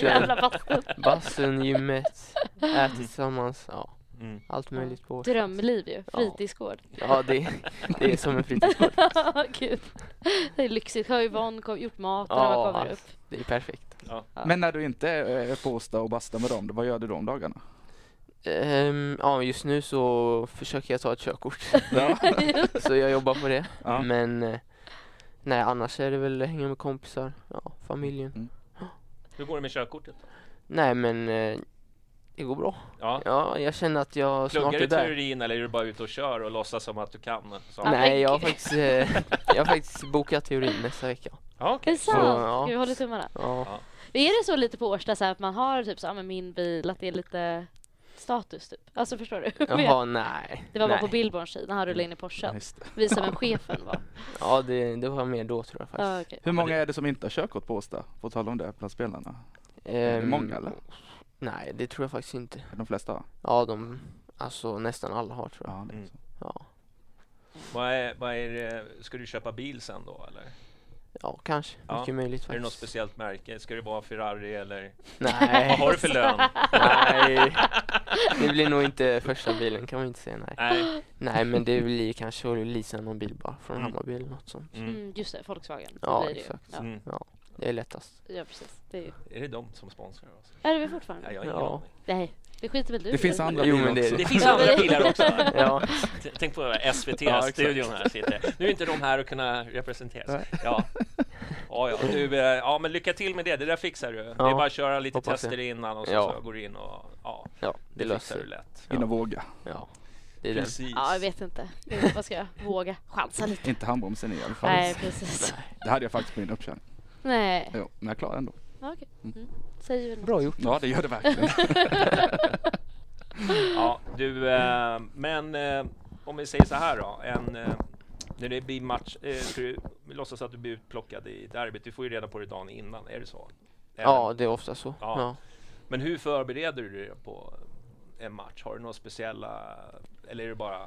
Speaker 3: Jävla
Speaker 4: duschen,
Speaker 3: bastun.
Speaker 4: bastun, gymmet, äter tillsammans, ja,
Speaker 1: Mm.
Speaker 4: allt möjligt på Årsta.
Speaker 3: Drömliv ju.
Speaker 4: Ja.
Speaker 3: Fritidsgård.
Speaker 4: Ja, det, det är som en fritidsgård.
Speaker 3: Gud. Det är lyxigt. Hör Yvonne kom, gjort mat när
Speaker 4: Ja,
Speaker 3: man kommer upp.
Speaker 4: allt. Det är perfekt.
Speaker 2: Men när du inte är eh, på Åsta och bastar med dem, vad gör du de dagarna?
Speaker 4: Ehm, ja, just nu så försöker jag ta ett körkort,
Speaker 2: Ja.
Speaker 4: så jag jobbar på det.
Speaker 2: Ja.
Speaker 4: Men eh, nej, annars är det väl hänga med kompisar, ja, familjen.
Speaker 2: Mm.
Speaker 1: Hur går det med körkortet? då?
Speaker 4: Nej, men eh, det går bra.
Speaker 1: Ja.
Speaker 4: Ja, jag känner att jag snart
Speaker 1: Pluggar
Speaker 4: är
Speaker 1: du
Speaker 4: där.
Speaker 1: teorin eller är du bara ute och kör och låtsas som att du kan? Så.
Speaker 3: Ja, men
Speaker 4: Nej, jag har,
Speaker 3: gud.
Speaker 4: faktiskt, eh, jag har faktiskt bokat teorin nästa vecka.
Speaker 1: Ja,
Speaker 3: Det
Speaker 1: okej.
Speaker 3: är sant.
Speaker 4: ja.
Speaker 3: Gud, vi håller tummarna.
Speaker 4: Ja,
Speaker 3: Är det så lite på Årsta så här, att man har typ så, ja, men min bil, att det är lite status typ? Alltså förstår du?
Speaker 4: jaha, nej.
Speaker 3: det var
Speaker 4: nej. Mm.
Speaker 3: bara på Billborns tid när han rullade in i Porschen.
Speaker 2: Just det.
Speaker 3: Visa vem chefen var.
Speaker 4: Ja, det, det var mer då tror jag
Speaker 3: Ja,
Speaker 4: faktiskt.
Speaker 3: okej.
Speaker 2: Hur många är det som inte har körkort på Åsta? På tal om det, bland spelarna? Är det
Speaker 4: Ehm,
Speaker 2: många eller?
Speaker 4: Nej, det tror jag faktiskt inte.
Speaker 2: De flesta har?
Speaker 4: Ja, de, alltså nästan alla har tror jag.
Speaker 2: Ja, det är
Speaker 1: Mm.
Speaker 2: så.
Speaker 4: Ja,
Speaker 1: Vad är, vad är det, ska du köpa bil sen då eller?
Speaker 4: ja kanske.
Speaker 1: Ja.
Speaker 4: Mycket möjligt
Speaker 1: Är det något
Speaker 4: faktiskt.
Speaker 1: speciellt märke? Ska det vara Ferrari eller? Vad
Speaker 4: Nej,
Speaker 1: har du för lön?
Speaker 4: nej. Det blir nog inte första bilen kan man inte säga nej.
Speaker 1: Nej.
Speaker 4: Nej, men det blir kanske att leasa någon bil bara från
Speaker 1: Mm.
Speaker 4: Hammarby eller något sånt.
Speaker 1: Mm.
Speaker 3: Mm, just det, Volkswagen.
Speaker 4: Ja,
Speaker 3: blir det ju.
Speaker 4: exakt.
Speaker 3: Ja,
Speaker 1: Mm.
Speaker 4: Det är lättast.
Speaker 3: ja, precis. Det är, ju-
Speaker 1: Är det de som sponsrar oss?
Speaker 3: är det vi fortfarande?
Speaker 1: Nej, jag har ingen
Speaker 4: Ja.
Speaker 1: aning.
Speaker 3: Nej, det skiter väl du
Speaker 2: Det
Speaker 3: i?
Speaker 2: finns andra
Speaker 4: Jo,
Speaker 2: bilar
Speaker 4: men det är
Speaker 2: också.
Speaker 1: Mm. Det finns andra bilar också.
Speaker 4: Ja,
Speaker 1: T- Tänk på
Speaker 4: Ja, exakt.
Speaker 1: SVT-studion här sitter. Nu är inte de här och kunna representeras.
Speaker 2: Nej.
Speaker 1: Ja. Ja, ja. Du, eh, ja, men lycka till med det. Det där fixar du. Det är bara att köra lite
Speaker 4: hoppas
Speaker 1: tester innan och så,
Speaker 4: Ja.
Speaker 1: så går du in och ja,
Speaker 4: ja
Speaker 1: det fixar
Speaker 4: det löser
Speaker 1: du
Speaker 4: sig.
Speaker 1: lätt.
Speaker 2: In och våga.
Speaker 4: Ja, det är den.
Speaker 1: Precis.
Speaker 3: Ja, jag vet inte. Gud, Vad ska jag våga? Chansa lite.
Speaker 2: Inte handbromsen i alla fall.
Speaker 3: Nej, precis.
Speaker 2: Det hade jag faktiskt på min uppkörning.
Speaker 3: Nej.
Speaker 2: Jo, men jag klarade ändå.
Speaker 3: Ja, Okej. Mm. Säger väl något.
Speaker 4: Bra gjort.
Speaker 2: Ja, det gör det verkligen.
Speaker 1: Ja, du, eh, men eh, om vi säger så här då. En, eh, när det blir match, eh, ska du låtsas att du blir utplockad i derbyt. Du får ju reda på det dagen innan, är det så? Eller-
Speaker 4: Ja, det är ofta så.
Speaker 1: Ja.
Speaker 4: Ja.
Speaker 1: Men hur förbereder du dig på en match? Har du några speciella, eller är det bara,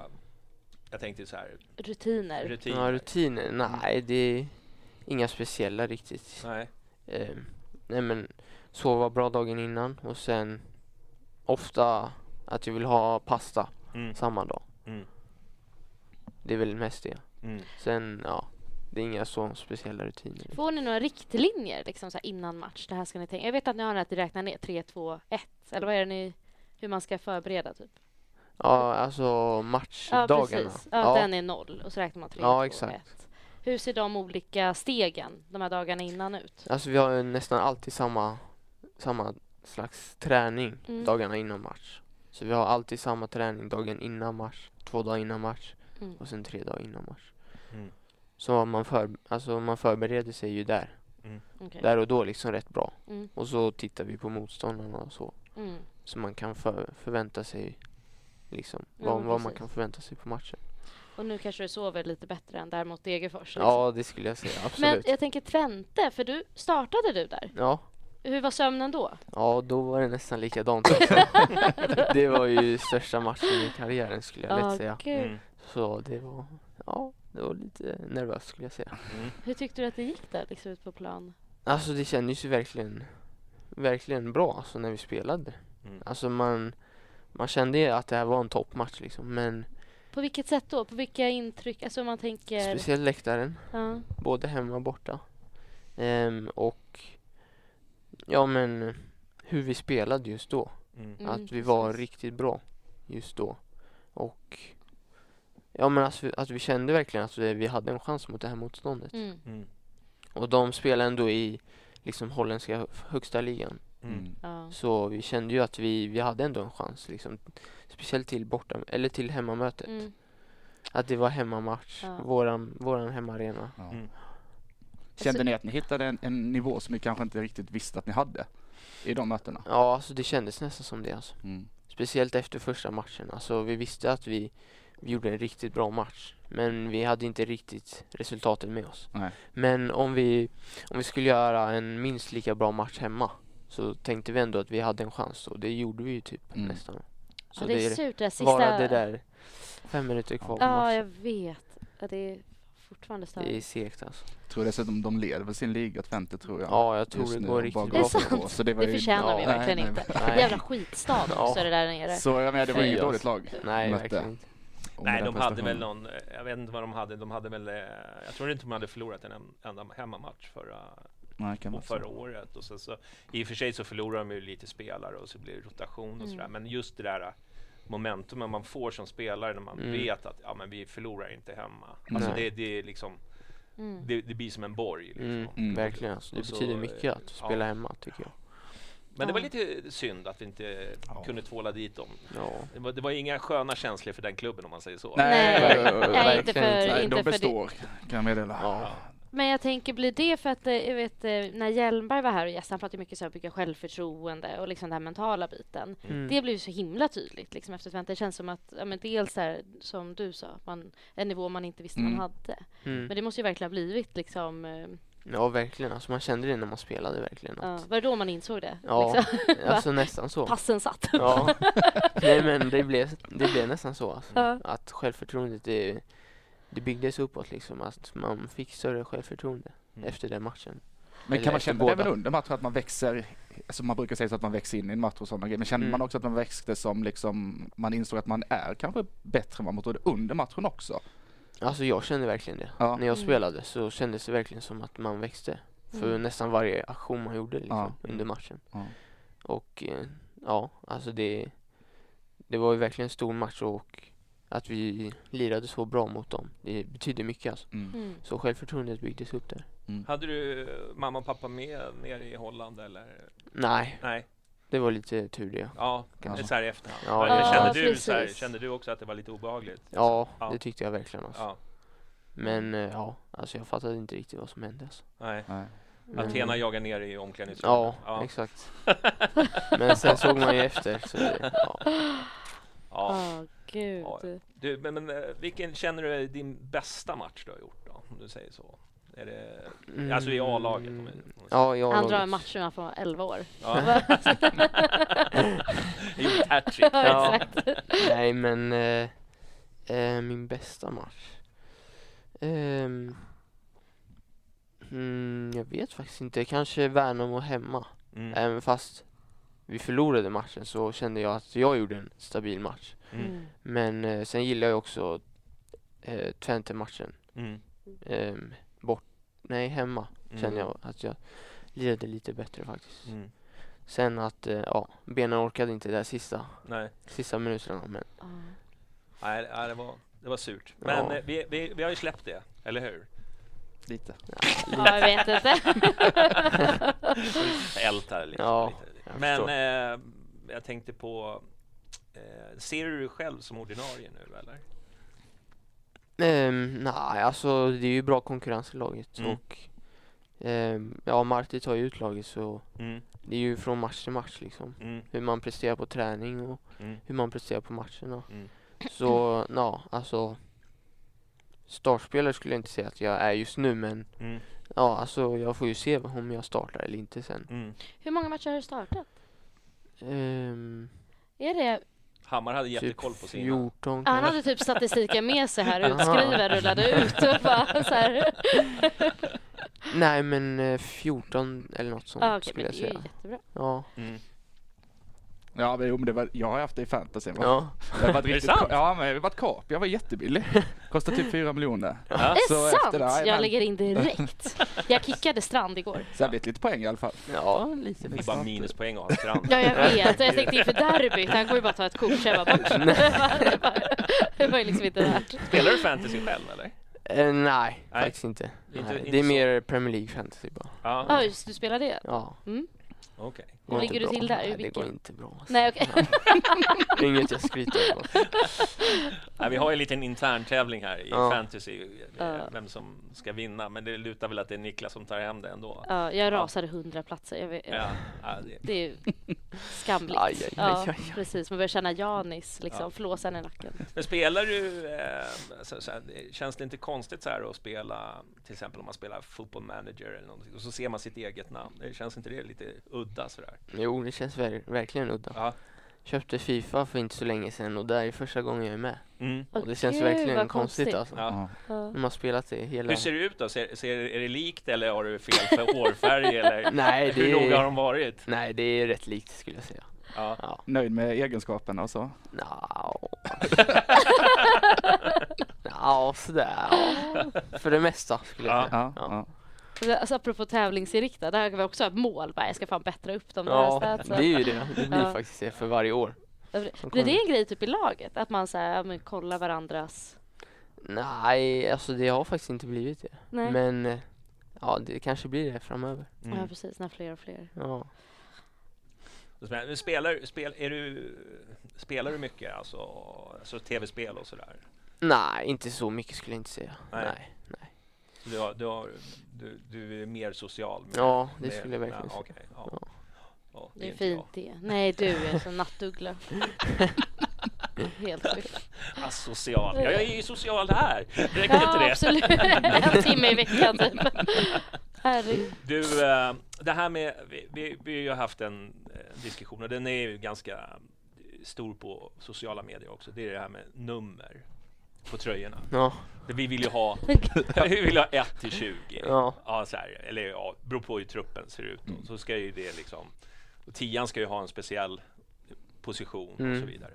Speaker 1: jag tänkte så här,
Speaker 3: Rutiner.
Speaker 1: rutiner?
Speaker 4: Ja, rutiner?
Speaker 1: Mm.
Speaker 4: Nej, det är inga speciella riktigt.
Speaker 1: Nej.
Speaker 4: Eh, nej men sova bra dagen innan och sen ofta att jag vill ha pasta
Speaker 1: Mm.
Speaker 4: samma dag.
Speaker 1: Mm.
Speaker 4: Det är väl mest det.
Speaker 1: Mm.
Speaker 4: Sen, ja, det är inga så speciella rutiner.
Speaker 3: Får ni några riktlinjer liksom, så här, innan match? Det här ska ni tänka. Jag vet att ni har den att ni räknar ner 3, 2, 1. Eller vad är det ni, hur man ska förbereda? Typ?
Speaker 4: Ja, alltså matchdagarna.
Speaker 3: precis. Ja, Den är noll och så räknar man 3,
Speaker 4: Ja,
Speaker 3: 2,
Speaker 4: exakt.
Speaker 3: 1. Hur ser de olika stegen de här dagarna innan ut?
Speaker 4: Alltså vi har ju nästan alltid samma, samma slags träning
Speaker 3: Mm.
Speaker 4: dagarna innan match. Så vi har alltid samma träning dagen innan match, två dagar innan match
Speaker 3: Mm.
Speaker 4: och sen tre dagar innan match.
Speaker 1: Mm.
Speaker 4: Så man, för, alltså man förbereder sig ju där,
Speaker 3: Okej.
Speaker 4: där och då liksom rätt bra.
Speaker 3: Mm.
Speaker 4: Och så tittar vi på motståndarna och så.
Speaker 3: Mm.
Speaker 4: Så man kan för, förvänta sig liksom
Speaker 3: Ja,
Speaker 4: vad,
Speaker 3: men
Speaker 4: vad man
Speaker 3: precis.
Speaker 4: kan förvänta sig på matchen.
Speaker 3: Och nu kanske du sover lite bättre än där mot Degerfors? liksom.
Speaker 4: Ja, det skulle jag säga,
Speaker 3: Men
Speaker 4: absolut.
Speaker 3: jag tänker Twente, för du startade du där.
Speaker 4: Ja.
Speaker 3: Hur var sömnen då?
Speaker 4: Ja, då var det nästan likadant också. Det var ju största matchen i karriären skulle jag lätt
Speaker 3: Ah,
Speaker 4: säga.
Speaker 3: gud.
Speaker 1: Mm.
Speaker 4: Så det var, ja, Det var lite nervöst skulle jag säga.
Speaker 1: Mm.
Speaker 3: Hur tyckte du att det gick där liksom ut på plan?
Speaker 4: Alltså det kändes ju verkligen, verkligen bra alltså, när vi spelade.
Speaker 1: Mm.
Speaker 4: Alltså man, man kände ju att det här var en toppmatch liksom. Men
Speaker 3: På vilket sätt då? På vilka intryck? Alltså om man tänker...
Speaker 4: speciellt läktaren.
Speaker 3: Ja.
Speaker 4: både hemma och borta. Ehm, och ja men hur vi spelade just då.
Speaker 1: Mm.
Speaker 3: Mm,
Speaker 4: att vi var
Speaker 3: precis.
Speaker 4: riktigt bra just då. Och ja men alltså, att vi kände verkligen att vi vi hade en chans mot det här motståndet.
Speaker 3: Mm.
Speaker 1: Mm.
Speaker 4: Och de spelar ändå i liksom holländska högsta ligan.
Speaker 1: Mm.
Speaker 2: Mm.
Speaker 3: Ja.
Speaker 4: Så vi kände ju att vi, vi hade ändå en chans liksom. Speciellt till borta, eller till hemmamötet.
Speaker 3: Mm.
Speaker 4: Att det var hemmamatch,
Speaker 3: Ja.
Speaker 4: våran, våran hemmaarena.
Speaker 2: Ja.
Speaker 1: Mm.
Speaker 2: Kände
Speaker 3: Alltså-
Speaker 2: ni att ni hittade en, en nivå som ni kanske inte riktigt visste att ni hade i de mötena?
Speaker 4: Ja alltså det kändes nästan som det alltså.
Speaker 2: Mm.
Speaker 4: Speciellt efter första matchen. Alltså vi visste att vi, vi gjorde en riktigt bra match. Men vi hade inte riktigt resultatet med oss.
Speaker 2: Nej.
Speaker 4: Men om vi, om vi skulle göra en minst lika bra match hemma så tänkte vi ändå att vi hade en chans och det gjorde vi ju typ
Speaker 2: Mm.
Speaker 4: nästan. Så
Speaker 3: ja,
Speaker 4: det
Speaker 3: det är
Speaker 4: är
Speaker 3: surt det där sista...
Speaker 4: bara det där fem minuter kvar på
Speaker 3: Ja, jag
Speaker 4: matchen.
Speaker 3: vet. Ja, det är fortfarande
Speaker 4: Det
Speaker 3: störande.
Speaker 4: är segt alltså.
Speaker 2: Tror dessutom de leder väl sin ligatvente tror jag.
Speaker 4: Ja, jag tror
Speaker 2: Just
Speaker 4: det
Speaker 2: nu,
Speaker 4: går
Speaker 2: och
Speaker 4: riktigt
Speaker 2: bara
Speaker 4: bra.
Speaker 3: Det är
Speaker 2: gasar
Speaker 3: sant.
Speaker 2: på. Så det, var
Speaker 3: Det
Speaker 2: ju-
Speaker 3: förstände vi
Speaker 2: Ja,
Speaker 3: verkligen
Speaker 2: nej,
Speaker 3: inte.
Speaker 4: nej.
Speaker 3: Jävla skitstad
Speaker 4: Ja.
Speaker 3: också det där nere.
Speaker 2: Så jag menar, det var ju
Speaker 4: Fy,
Speaker 2: inget
Speaker 4: alltså.
Speaker 2: dåligt lag.
Speaker 4: Nej,
Speaker 2: Mötte.
Speaker 4: verkligen inte.
Speaker 2: Och med
Speaker 1: Nej,
Speaker 2: den
Speaker 1: de hade väl
Speaker 2: prestationen.
Speaker 1: någon, eh, jag vet inte vad de hade, de hade väl, eh, jag tror inte de hade förlorat en en- enda hemmamatch förra,
Speaker 2: Nej, kan
Speaker 1: och
Speaker 2: vara så.
Speaker 1: förra året. Och sen så, I och för sig så förlorar de ju lite spelare och så blir det rotation och sådär. Men just det där eh, momentumet man får som spelare när man
Speaker 4: Mm.
Speaker 1: vet att ja, men vi förlorar inte hemma. Alltså
Speaker 4: Nej.
Speaker 1: det, det, är liksom,
Speaker 3: Mm.
Speaker 1: det, det blir som en borg. Liksom.
Speaker 4: Mm,
Speaker 2: Mm.
Speaker 4: Verkligen alltså. Det
Speaker 1: Och så,
Speaker 4: betyder
Speaker 1: eh,
Speaker 4: mycket att
Speaker 1: ja.
Speaker 4: spela hemma tycker jag.
Speaker 1: Men det var
Speaker 3: Ja.
Speaker 1: lite synd att vi inte
Speaker 2: Ja.
Speaker 1: kunde tvåla dit dem.
Speaker 4: Ja.
Speaker 1: Det var, det var inga sköna känslor för den klubben om man säger så.
Speaker 3: Nej,
Speaker 2: eh, verkligen
Speaker 3: nej, inte för-
Speaker 2: Nej,
Speaker 3: inte
Speaker 2: de
Speaker 3: för det.
Speaker 2: består, kan jag meddela.
Speaker 4: Ja.
Speaker 3: Men jag tänker, blir det för att eh, jag vet, eh, när Hjelmberg var här och gästade, han pratade mycket så här om att bygga självförtroende och liksom den här mentala biten.
Speaker 4: Mm.
Speaker 3: Det blev ju så himla tydligt liksom, efter ett vänta. Det känns som att, ja, men dels så här, som du sa, att man, en nivå man inte visste man
Speaker 2: Mm.
Speaker 3: hade.
Speaker 4: Mm.
Speaker 3: Men det måste ju verkligen ha blivit liksom, eh,
Speaker 4: Ja, verkligen. Alltså, man kände det när man spelade verkligen.
Speaker 3: ja,
Speaker 4: Att,
Speaker 3: var det då man insåg det?
Speaker 4: ja,
Speaker 3: Liksom,
Speaker 4: alltså nästan så.
Speaker 3: passen satt.
Speaker 4: Ja. Nej, men det blev, det blev nästan så. Alltså.
Speaker 3: Ja.
Speaker 4: Att självförtroendet, det, det byggdes uppåt liksom. Att man fick större självförtroende
Speaker 1: Mm.
Speaker 4: efter den matchen.
Speaker 2: Men
Speaker 4: Eller
Speaker 2: kan man känna det
Speaker 4: båda.
Speaker 2: även under matchen att man växer, som man brukar säga så att man växer in i en match och sådana grejer. Men känner
Speaker 4: Mm.
Speaker 2: man också att man växte som liksom, man insåg att man är kanske bättre än vad man trodde under matchen också?
Speaker 4: Alltså jag kände verkligen det.
Speaker 2: Ja.
Speaker 4: När jag
Speaker 3: Mm.
Speaker 4: spelade så kändes det verkligen som att man växte. För
Speaker 3: Mm.
Speaker 4: nästan varje aktion man gjorde liksom,
Speaker 2: Ja. Mm.
Speaker 4: under matchen.
Speaker 2: Ja.
Speaker 4: Och eh, ja, alltså det, det var ju verkligen en stor match och att vi lirade så bra mot dem. Det betyder mycket alltså.
Speaker 2: Mm.
Speaker 3: Mm.
Speaker 4: Så självförtroendet byggdes upp där.
Speaker 1: Hade du eh, mamma och pappa med nere i Holland eller?
Speaker 4: Nej,
Speaker 1: Nej,
Speaker 4: det var lite tur det.
Speaker 1: ja,
Speaker 2: Ja.
Speaker 1: så här i efterhand.
Speaker 4: Ja,
Speaker 1: Men
Speaker 4: ja.
Speaker 1: kände,
Speaker 3: Ja,
Speaker 1: du, så här,
Speaker 3: precis.
Speaker 1: kände du också att det var lite obehagligt?
Speaker 4: Ja,
Speaker 1: Ja.
Speaker 4: det tyckte jag verkligen alltså.
Speaker 1: Ja,
Speaker 4: Men eh, ja, alltså jag fattade inte riktigt vad som hände alltså.
Speaker 1: nej.
Speaker 2: Nej.
Speaker 4: Men-
Speaker 1: Athena jagar ner i omklädningsrummet.
Speaker 4: Ja, exakt. Men sen såg man ju efter. Så det, ja.
Speaker 1: ja.
Speaker 3: Ja, gud.
Speaker 1: Du, men, men eh, vilken känner du är din bästa match du har gjort då? Om du säger så. Är det,
Speaker 4: Mm.
Speaker 1: Alltså i A-laget? Om, vi- om vi säger.
Speaker 4: Ja, jag
Speaker 3: Han drar en match när han var 11 år.
Speaker 1: ja. Jag gjorde ett hattrick.
Speaker 4: Ja.
Speaker 3: exakt.
Speaker 4: Nej men, eh, eh, min bästa match. Ehm, mm, jag vet faktiskt inte. Kanske Värnamo hemma.
Speaker 1: Mm.
Speaker 4: Även fast vi förlorade matchen så kände jag att jag gjorde en stabil match.
Speaker 1: Mm.
Speaker 4: Men eh, sen gillar jag också eh, Twente-matchen.
Speaker 1: Mm.
Speaker 4: Ehm, bort, nej hemma
Speaker 1: Mm.
Speaker 4: känner jag att jag lirade lite bättre faktiskt.
Speaker 1: Mm.
Speaker 4: Sen att, eh, ja, benen orkade inte där sista,
Speaker 1: Nej,
Speaker 4: sista minuterna men
Speaker 3: Ja.
Speaker 1: nej, nej det, var, det var surt. Men
Speaker 4: Ja.
Speaker 1: eh, vi, vi, vi har ju släppt det, eller hur?
Speaker 2: Lite.
Speaker 3: Ja, jag vet inte.
Speaker 1: Ält här liksom.
Speaker 4: Ja,
Speaker 1: lite.
Speaker 4: jag
Speaker 1: Men
Speaker 4: förstår.
Speaker 1: eh, jag tänkte på, eh, ser du dig själv som ordinarie nu eller?
Speaker 4: Ehm, nej, alltså det är ju bra konkurrens i laget
Speaker 1: Mm.
Speaker 4: och ehm, ja, Marti tar ju ut laget så
Speaker 1: Mm.
Speaker 4: det är ju från match till match liksom.
Speaker 1: Mm.
Speaker 4: Hur man presterar på träning och
Speaker 1: Mm.
Speaker 4: hur man presterar på matcherna.
Speaker 1: Mm.
Speaker 4: Så, ja, alltså startspelare skulle jag inte säga att jag är just nu men
Speaker 1: Mm.
Speaker 4: ja, alltså jag får ju se om jag startar eller inte sen.
Speaker 1: Mm.
Speaker 3: Hur många matcher har du startat?
Speaker 4: Ehm,
Speaker 3: Är det
Speaker 1: Hammar hade
Speaker 4: Typ
Speaker 1: jättekoll på sina.
Speaker 4: 14
Speaker 3: Han
Speaker 4: kanske.
Speaker 3: hade typ statistiken med sig här
Speaker 4: Jaha.
Speaker 3: utskriven rullade ut och bara så här.
Speaker 4: Nej men eh, 14 eller något sånt
Speaker 3: Ah, okej,
Speaker 4: skulle
Speaker 3: men
Speaker 4: jag
Speaker 3: det är ju
Speaker 4: säga.
Speaker 3: jättebra.
Speaker 4: Ja.
Speaker 1: Mm.
Speaker 2: Ja, men, jo, men det var, jag har haft det i fantasy. va?
Speaker 4: ja.
Speaker 2: Jag har varit
Speaker 1: det
Speaker 2: riktigt
Speaker 1: sant?
Speaker 2: ko- ja, men jag har varit kap. Jag var jättebillig. Kostade typ 4 miljoner.
Speaker 1: Ja.
Speaker 3: Är
Speaker 2: Så
Speaker 3: det
Speaker 2: efter
Speaker 3: sant?
Speaker 2: det här, men-
Speaker 3: jag lägger in direkt. Jag kickade Strand igår.
Speaker 2: Så jag vet lite poäng i alla fall.
Speaker 4: ja, lite.
Speaker 1: Det är bara minuspoäng att ha strand.
Speaker 3: Ja, jag vet. Jag tänkte inför derbyt, han kommer ju bara ta ett kort, så jag bara bort. Det var- det var- Det var ju liksom inte värt.
Speaker 1: Spelar du fantasy själv eller?
Speaker 4: Eh, nej, faktiskt inte.
Speaker 1: Inte-
Speaker 4: nej.
Speaker 1: inte
Speaker 4: det är
Speaker 1: så.
Speaker 4: mer Premier League fantasy bara.
Speaker 1: Ja,
Speaker 3: Ja, Ah, just du spelar det.
Speaker 4: Ja.
Speaker 3: Mm.
Speaker 1: okej.
Speaker 4: går
Speaker 3: Hur
Speaker 4: inte
Speaker 3: ligger du
Speaker 4: bra.
Speaker 3: till där?
Speaker 4: Nej, det
Speaker 3: Vilken?
Speaker 4: går inte bra. alltså.
Speaker 3: Nej, okej.
Speaker 4: Det är inget jag skryter om. alltså.
Speaker 1: Nej, vi har ju en liten intern tävling här i
Speaker 4: Ja.
Speaker 1: fantasy, eh,
Speaker 3: Ja.
Speaker 1: vem som ska vinna. Men det lutar väl att det är Niklas som tar hem det ändå.
Speaker 3: Ja, Ah, jag rasade hundra platser. Jag vet.
Speaker 1: Ja, ja, det,
Speaker 3: Det är ju skamligt.
Speaker 4: Aj, aj, aj,
Speaker 3: ja,
Speaker 4: aj, aj.
Speaker 3: precis. Man börjar känna Janis, liksom,
Speaker 1: Ja.
Speaker 3: flåsan i nacken.
Speaker 1: Men spelar du... Eh, så, så, här, känns det inte konstigt så här att spela, till exempel om man spelar football manager eller någonting, och så ser man sitt eget namn? Det känns inte det lite udda sådär?
Speaker 4: Jo, det känns ver- verkligen udda.
Speaker 1: Ja.
Speaker 4: Köpte Fifa för inte så länge sedan och det här är första gången jag är med.
Speaker 1: Mm.
Speaker 4: Och det känns
Speaker 3: Gud,
Speaker 4: verkligen
Speaker 3: vad
Speaker 4: konstigt,
Speaker 3: konstigt.
Speaker 4: alltså.
Speaker 1: Ja.
Speaker 3: Ja.
Speaker 4: De har spelat det hela...
Speaker 1: Hur ser det ut då? Ser, ser, är det likt eller har du fel för hårfärg? Eller?
Speaker 4: Nej, det
Speaker 1: Hur noga har
Speaker 4: är...
Speaker 1: de varit?
Speaker 4: Nej, det är rätt likt skulle jag säga.
Speaker 1: Ja.
Speaker 4: Ja.
Speaker 2: Nöjd med egenskaperna och så.
Speaker 4: Nja... Nja, sådär. ja. För det mesta skulle jag
Speaker 2: Ja,
Speaker 4: säga. Ja.
Speaker 2: ja.
Speaker 3: Alltså, apropå tävlingsinriktad, där har vi också ett mål. Bara, jag ska fan bättra upp de där
Speaker 4: Ja, det
Speaker 3: statsen.
Speaker 4: är ju det. Det blir
Speaker 3: alltså. Ja.
Speaker 4: faktiskt det för varje år.
Speaker 3: Blir det en grej typ i laget? Att man så här, ja, men, kollar varandras...
Speaker 4: Nej, alltså det har faktiskt inte blivit det.
Speaker 3: Nej.
Speaker 4: Men eh, ja, det kanske blir det framöver.
Speaker 3: Ja,
Speaker 1: Mm.
Speaker 3: precis. När fler och fler.
Speaker 4: Ja.
Speaker 1: Men Spelar, spel, är du, spelar du mycket? Alltså, alltså tv-spel och sådär?
Speaker 4: Nej, inte så mycket skulle jag inte säga.
Speaker 1: Nej.
Speaker 4: Nej. Nej.
Speaker 1: Du, har, du, har, du, du är mer social? Med,
Speaker 4: Ja, det skulle jag verkligen
Speaker 1: ja,
Speaker 4: säga.
Speaker 1: okej, ja.
Speaker 4: Ja.
Speaker 1: Ja,
Speaker 3: Det är
Speaker 1: inte jag.
Speaker 3: fint det. Nej, du är som nattuggla. Helt sjukt.
Speaker 1: Asocial. Ja, jag är ju social här. Räcker inte
Speaker 3: Ja,
Speaker 1: det?
Speaker 3: absolut. En timme i veckan typ. Herregud.
Speaker 1: Du, eh, det här med... Vi, vi, vi har ju haft en eh, diskussion och den är ju ganska stor på sociala medier också. Det är det här med nummer på tröjorna.
Speaker 4: Ja,
Speaker 1: Vi vill ju ha, vi vill ha 1 till 20.
Speaker 4: Ja.
Speaker 1: Ja, så här, eller ja, beror på hur truppen ser ut.
Speaker 4: Mm.
Speaker 1: Då. Så ska ju det liksom... Och tian ska ju ha en speciell position och
Speaker 4: Mm.
Speaker 1: så vidare.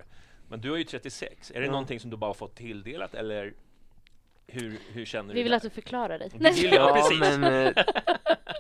Speaker 1: Men du har ju 36. Är det
Speaker 4: Ja.
Speaker 1: någonting som du bara fått tilldelat eller hur, hur känner du?
Speaker 3: Vi vill
Speaker 1: där?
Speaker 3: att du förklarar dig.
Speaker 1: Vi vill ju- Ja,
Speaker 4: ja
Speaker 1: precis.
Speaker 4: men eh,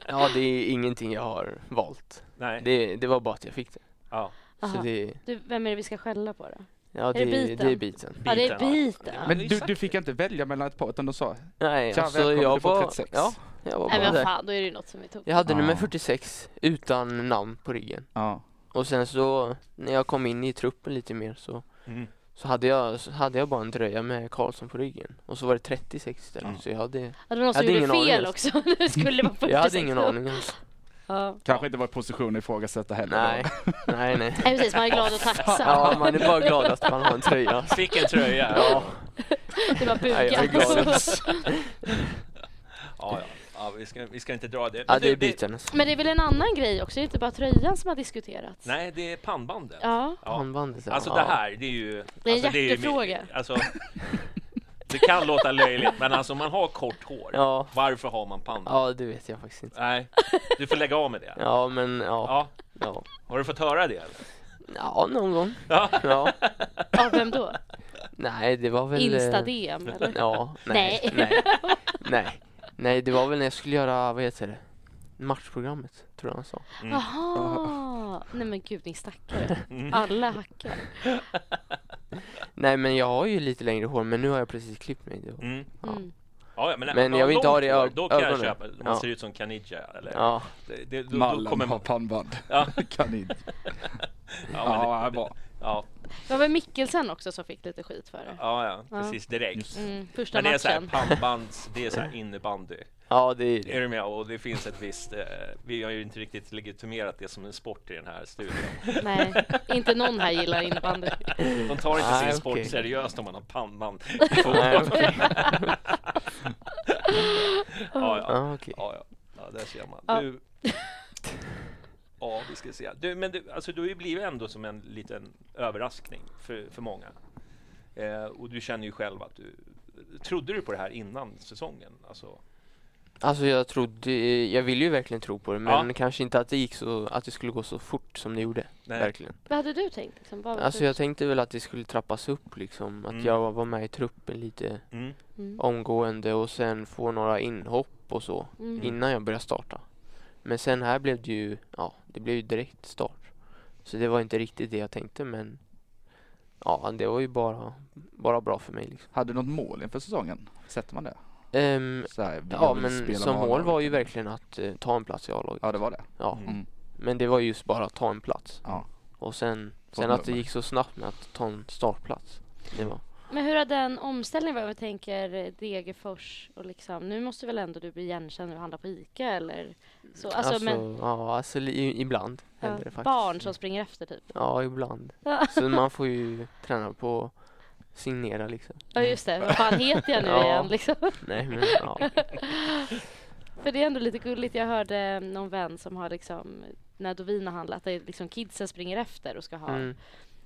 Speaker 4: ja, det är ingenting jag har valt.
Speaker 1: Nej.
Speaker 4: Det, det var bara att jag fick det.
Speaker 1: Ja.
Speaker 4: Så
Speaker 3: Aha.
Speaker 4: det,
Speaker 3: Du, vem är det vi ska skälla på då?
Speaker 4: ja,
Speaker 3: det
Speaker 4: det, det,
Speaker 3: biten?
Speaker 4: är biten.
Speaker 3: Ja, det är
Speaker 1: Biten, ja.
Speaker 3: biten.
Speaker 2: Men
Speaker 1: det är
Speaker 2: du,
Speaker 1: exakt
Speaker 2: du fick inte välja mellan ett par utan de sa
Speaker 4: Nej,
Speaker 2: Tja,
Speaker 4: alltså
Speaker 2: välkommen,
Speaker 4: jag
Speaker 2: du får
Speaker 4: var,
Speaker 2: 36.
Speaker 4: ja, jag var
Speaker 3: Nej
Speaker 4: bara
Speaker 3: men
Speaker 4: där.
Speaker 3: fan, då är det ju något som är tokigt.
Speaker 4: Jag hade
Speaker 2: Ja.
Speaker 4: nummer 46 utan namn på ryggen.
Speaker 2: ja.
Speaker 4: Och sen så när jag kom in i truppen lite mer så
Speaker 1: Mm.
Speaker 4: så hade jag, så hade jag bara en dröja med Karlsson på ryggen. Och så var det 36 istället.
Speaker 2: Mm.
Speaker 4: Så jag hade,
Speaker 3: Ja, det var någon
Speaker 4: Jag
Speaker 3: som
Speaker 4: hade
Speaker 3: gjorde
Speaker 4: ingen aning
Speaker 3: fel
Speaker 4: ens.
Speaker 3: också. Nu skulle det vara 46.
Speaker 4: jag hade ingen aning.
Speaker 3: Ja.
Speaker 2: Kanske inte var i position att ifrågasätta heller.
Speaker 4: Nej, nej, nej.
Speaker 3: Nej precis, man är glad och
Speaker 4: Ja,
Speaker 3: tacksam.
Speaker 4: man är bara glad att man har en tröja.
Speaker 1: Fick en tröja.
Speaker 4: Ja,
Speaker 3: Det var
Speaker 4: nej, jag är glad.
Speaker 3: bugat.
Speaker 1: Ja, ja. ja vi, ska, vi ska inte dra det.
Speaker 4: Ja,
Speaker 1: Men
Speaker 4: det är
Speaker 1: du,
Speaker 4: biten. alltså.
Speaker 3: Men det är väl en annan grej också? Det är inte bara tröjan som har diskuterats?
Speaker 1: Nej, det är pannbandet.
Speaker 3: Ja.
Speaker 1: Ja.
Speaker 4: Handbandet. ja.
Speaker 1: Alltså
Speaker 4: Ja.
Speaker 1: det här, det är ju...
Speaker 3: Det är en
Speaker 1: alltså, ju min-
Speaker 3: hjärtefråga.
Speaker 1: Alltså, det kan låta löjligt, men alltså man har kort hår.
Speaker 4: Ja,
Speaker 1: Varför har man pannband?
Speaker 4: ja, det vet jag faktiskt inte.
Speaker 1: Nej, du får lägga av med det.
Speaker 4: Ja, men ja.
Speaker 1: Ja.
Speaker 4: Ja,
Speaker 1: Har du fått höra det? Eller?
Speaker 4: ja någon gång.
Speaker 1: Ja.
Speaker 4: Ja.
Speaker 3: Av vem då?
Speaker 4: Nej, det var väl... eh,
Speaker 3: Insta-DM eller?
Speaker 4: Ja, nej.
Speaker 3: Nej.
Speaker 4: Nej. nej. Nej, det var väl när jag skulle göra, vad heter det? Matchprogrammet, tror jag han sa.
Speaker 1: Mm.
Speaker 3: Ah. Jaha! Nej men gud, ni stackare. Alla hackar.
Speaker 4: Nej, men jag har ju lite längre hår, men nu har jag precis klippt mig. Det var-
Speaker 1: Mm.
Speaker 3: Mm.
Speaker 1: Ja, ja, men när
Speaker 4: Men
Speaker 1: man har
Speaker 4: jag vill inte ha
Speaker 1: långt
Speaker 4: det i
Speaker 1: hår,
Speaker 4: ög-
Speaker 1: Då kan jag
Speaker 4: ögonen.
Speaker 1: köpa det. Man
Speaker 4: Ja.
Speaker 1: ser ut som Kanidja. Eller?
Speaker 4: Ja,
Speaker 1: Det, det, då, då
Speaker 2: Mallen
Speaker 1: kommer
Speaker 2: har
Speaker 1: man...
Speaker 2: pannband.
Speaker 1: Ja.
Speaker 2: Kanin.
Speaker 1: Ja,
Speaker 2: Ja,
Speaker 1: men
Speaker 2: ja,
Speaker 1: det,
Speaker 2: bra.
Speaker 1: ja,
Speaker 3: Det var Mikkelsen också som fick lite skit för det.
Speaker 1: ja, ja,
Speaker 3: Ja.
Speaker 1: precis direkt.
Speaker 3: Mm, första
Speaker 1: Men det är så här
Speaker 3: matchen.
Speaker 1: pannbands, det är så här innebandy.
Speaker 4: ja det är ju det.
Speaker 1: Är du med? Och det finns ett visst, eh, vi har ju inte riktigt legitimerat det som en sport i den här studion.
Speaker 3: Nej, inte någon här gillar innebandy.
Speaker 1: De tar inte
Speaker 4: Ah,
Speaker 1: sin
Speaker 4: okej.
Speaker 1: sport seriöst om man har pannband.
Speaker 4: Nej,
Speaker 1: ja,
Speaker 4: okej.
Speaker 1: ja, ja,
Speaker 4: Ja, okej.
Speaker 1: ja, ja, där ser man.
Speaker 3: Ja.
Speaker 1: Du, ja, vi ska se. Du, men du, alltså, du har ju blivit ändå som en liten överraskning för, för många. Eh, och du känner ju själv att du... Trodde du på det här innan säsongen? Alltså,
Speaker 4: Alltså jag trodde, jag ville ju verkligen tro på det men
Speaker 1: Ja.
Speaker 4: kanske inte att det gick så, att det skulle gå så fort som det gjorde.
Speaker 1: nej.
Speaker 4: Verkligen.
Speaker 3: Vad hade du tänkt? Liksom? Vad var
Speaker 4: Alltså
Speaker 3: du-
Speaker 4: jag tänkte väl att det skulle trappas upp liksom. Att
Speaker 1: Mm.
Speaker 4: jag var med i truppen lite
Speaker 1: Mm.
Speaker 3: Mm.
Speaker 4: omgående och sen få några inhopp och så
Speaker 3: Mm.
Speaker 4: innan jag började starta. Men sen här blev det ju, ja det blev ju direkt start. Så det var inte riktigt det jag tänkte men ja det var ju bara, bara bra för mig liksom.
Speaker 2: Hade du något mål inför säsongen? Sätter man det?
Speaker 4: Ehm,
Speaker 2: Så här, jag
Speaker 4: ja
Speaker 2: vill
Speaker 4: men
Speaker 2: spela
Speaker 4: som
Speaker 2: med
Speaker 4: mål var
Speaker 2: A-laget.
Speaker 4: ju verkligen att eh, ta en plats i A-laget.
Speaker 2: Ja det var det.
Speaker 4: Ja.
Speaker 1: Mm.
Speaker 2: Mm.
Speaker 4: Men det var just bara att ta en plats.
Speaker 2: Ja.
Speaker 4: Och sen,
Speaker 2: Få
Speaker 4: sen att det
Speaker 2: nummer.
Speaker 4: gick så snabbt med att ta en startplats. Det var.
Speaker 3: Men hur har den omställningen varit? Jag tänker Degerfors och liksom, nu måste väl ändå du bli igenkänd när du handlar på ICA eller så? Alltså, men,
Speaker 4: ja, alltså li- ibland händer det
Speaker 3: ja,
Speaker 4: faktiskt.
Speaker 3: barn som springer efter typ.
Speaker 4: Ja, ibland.
Speaker 3: Ja.
Speaker 4: Så man får ju träna på att signera liksom.
Speaker 3: Ja just det, vad fan heter jag nu
Speaker 4: Ja.
Speaker 3: igen liksom?
Speaker 4: Nej men ja.
Speaker 3: För det är ändå lite gulligt, jag hörde eh, någon vän som har liksom när Dovin har handlat, där liksom kidsen springer efter och ska ha.
Speaker 4: Mm.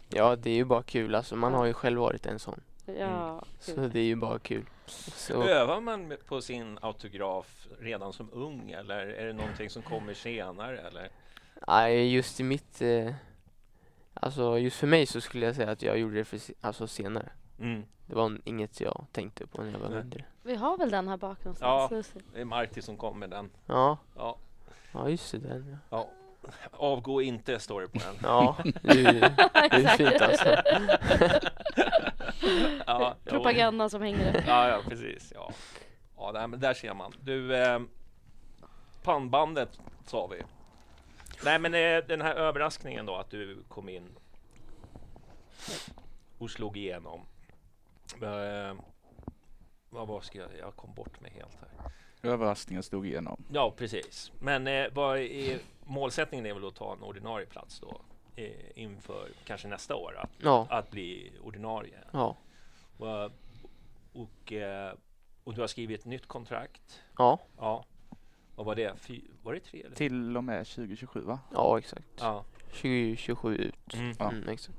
Speaker 4: Ja, det är ju bara kul alltså. Man har ju själv varit en sån.
Speaker 3: Ja,
Speaker 4: Mm. Så
Speaker 3: gud.
Speaker 4: det är ju bara kul. Så,
Speaker 1: Övar man med- på sin autograf redan som ung eller är det någonting som kommer senare? Eller?
Speaker 4: nej, just i mitt... Eh, alltså just för mig så skulle jag säga att jag gjorde det för, se- alltså senare.
Speaker 1: Mm.
Speaker 4: Det var inget jag tänkte på när jag var
Speaker 1: Nej.
Speaker 4: mindre.
Speaker 3: Vi har väl den här bak någonstans? Lucy?
Speaker 1: Det är Marti som kom med den.
Speaker 4: Ja.
Speaker 1: Ja,
Speaker 4: Ja just det, den ja.
Speaker 1: ja. Avgå inte, står det på den.
Speaker 4: Ja, det är, ju- det är
Speaker 3: Exakt.
Speaker 4: fint alltså.
Speaker 1: Ja, jo.
Speaker 3: Propagandan som hänger upp.
Speaker 1: Ja, ja precis. Ja. Ja, där, men där ser man. Du, eh, pannbandet sa vi. Nej, men eh, den här överraskningen då att du kom in och slog igenom. Eh, vad var ska jag? Jag kom bort mig helt här.
Speaker 2: Överraskningen slog igenom.
Speaker 1: Ja, precis. Men eh, vad är, målsättningen är väl att ta en ordinarie plats då eh, inför kanske nästa år att,
Speaker 4: Ja,
Speaker 1: att bli ordinarie.
Speaker 4: ja,
Speaker 1: Och, och, eh, och du har skrivit ett nytt kontrakt.
Speaker 4: ja,
Speaker 1: Ja. Vad var det? Fy, var det tre? Eller?
Speaker 2: Till och med 2027 va?
Speaker 4: ja exakt.
Speaker 1: Ja.
Speaker 4: 2027 ut.
Speaker 1: Mm.
Speaker 2: Ja.
Speaker 4: Mm, exakt.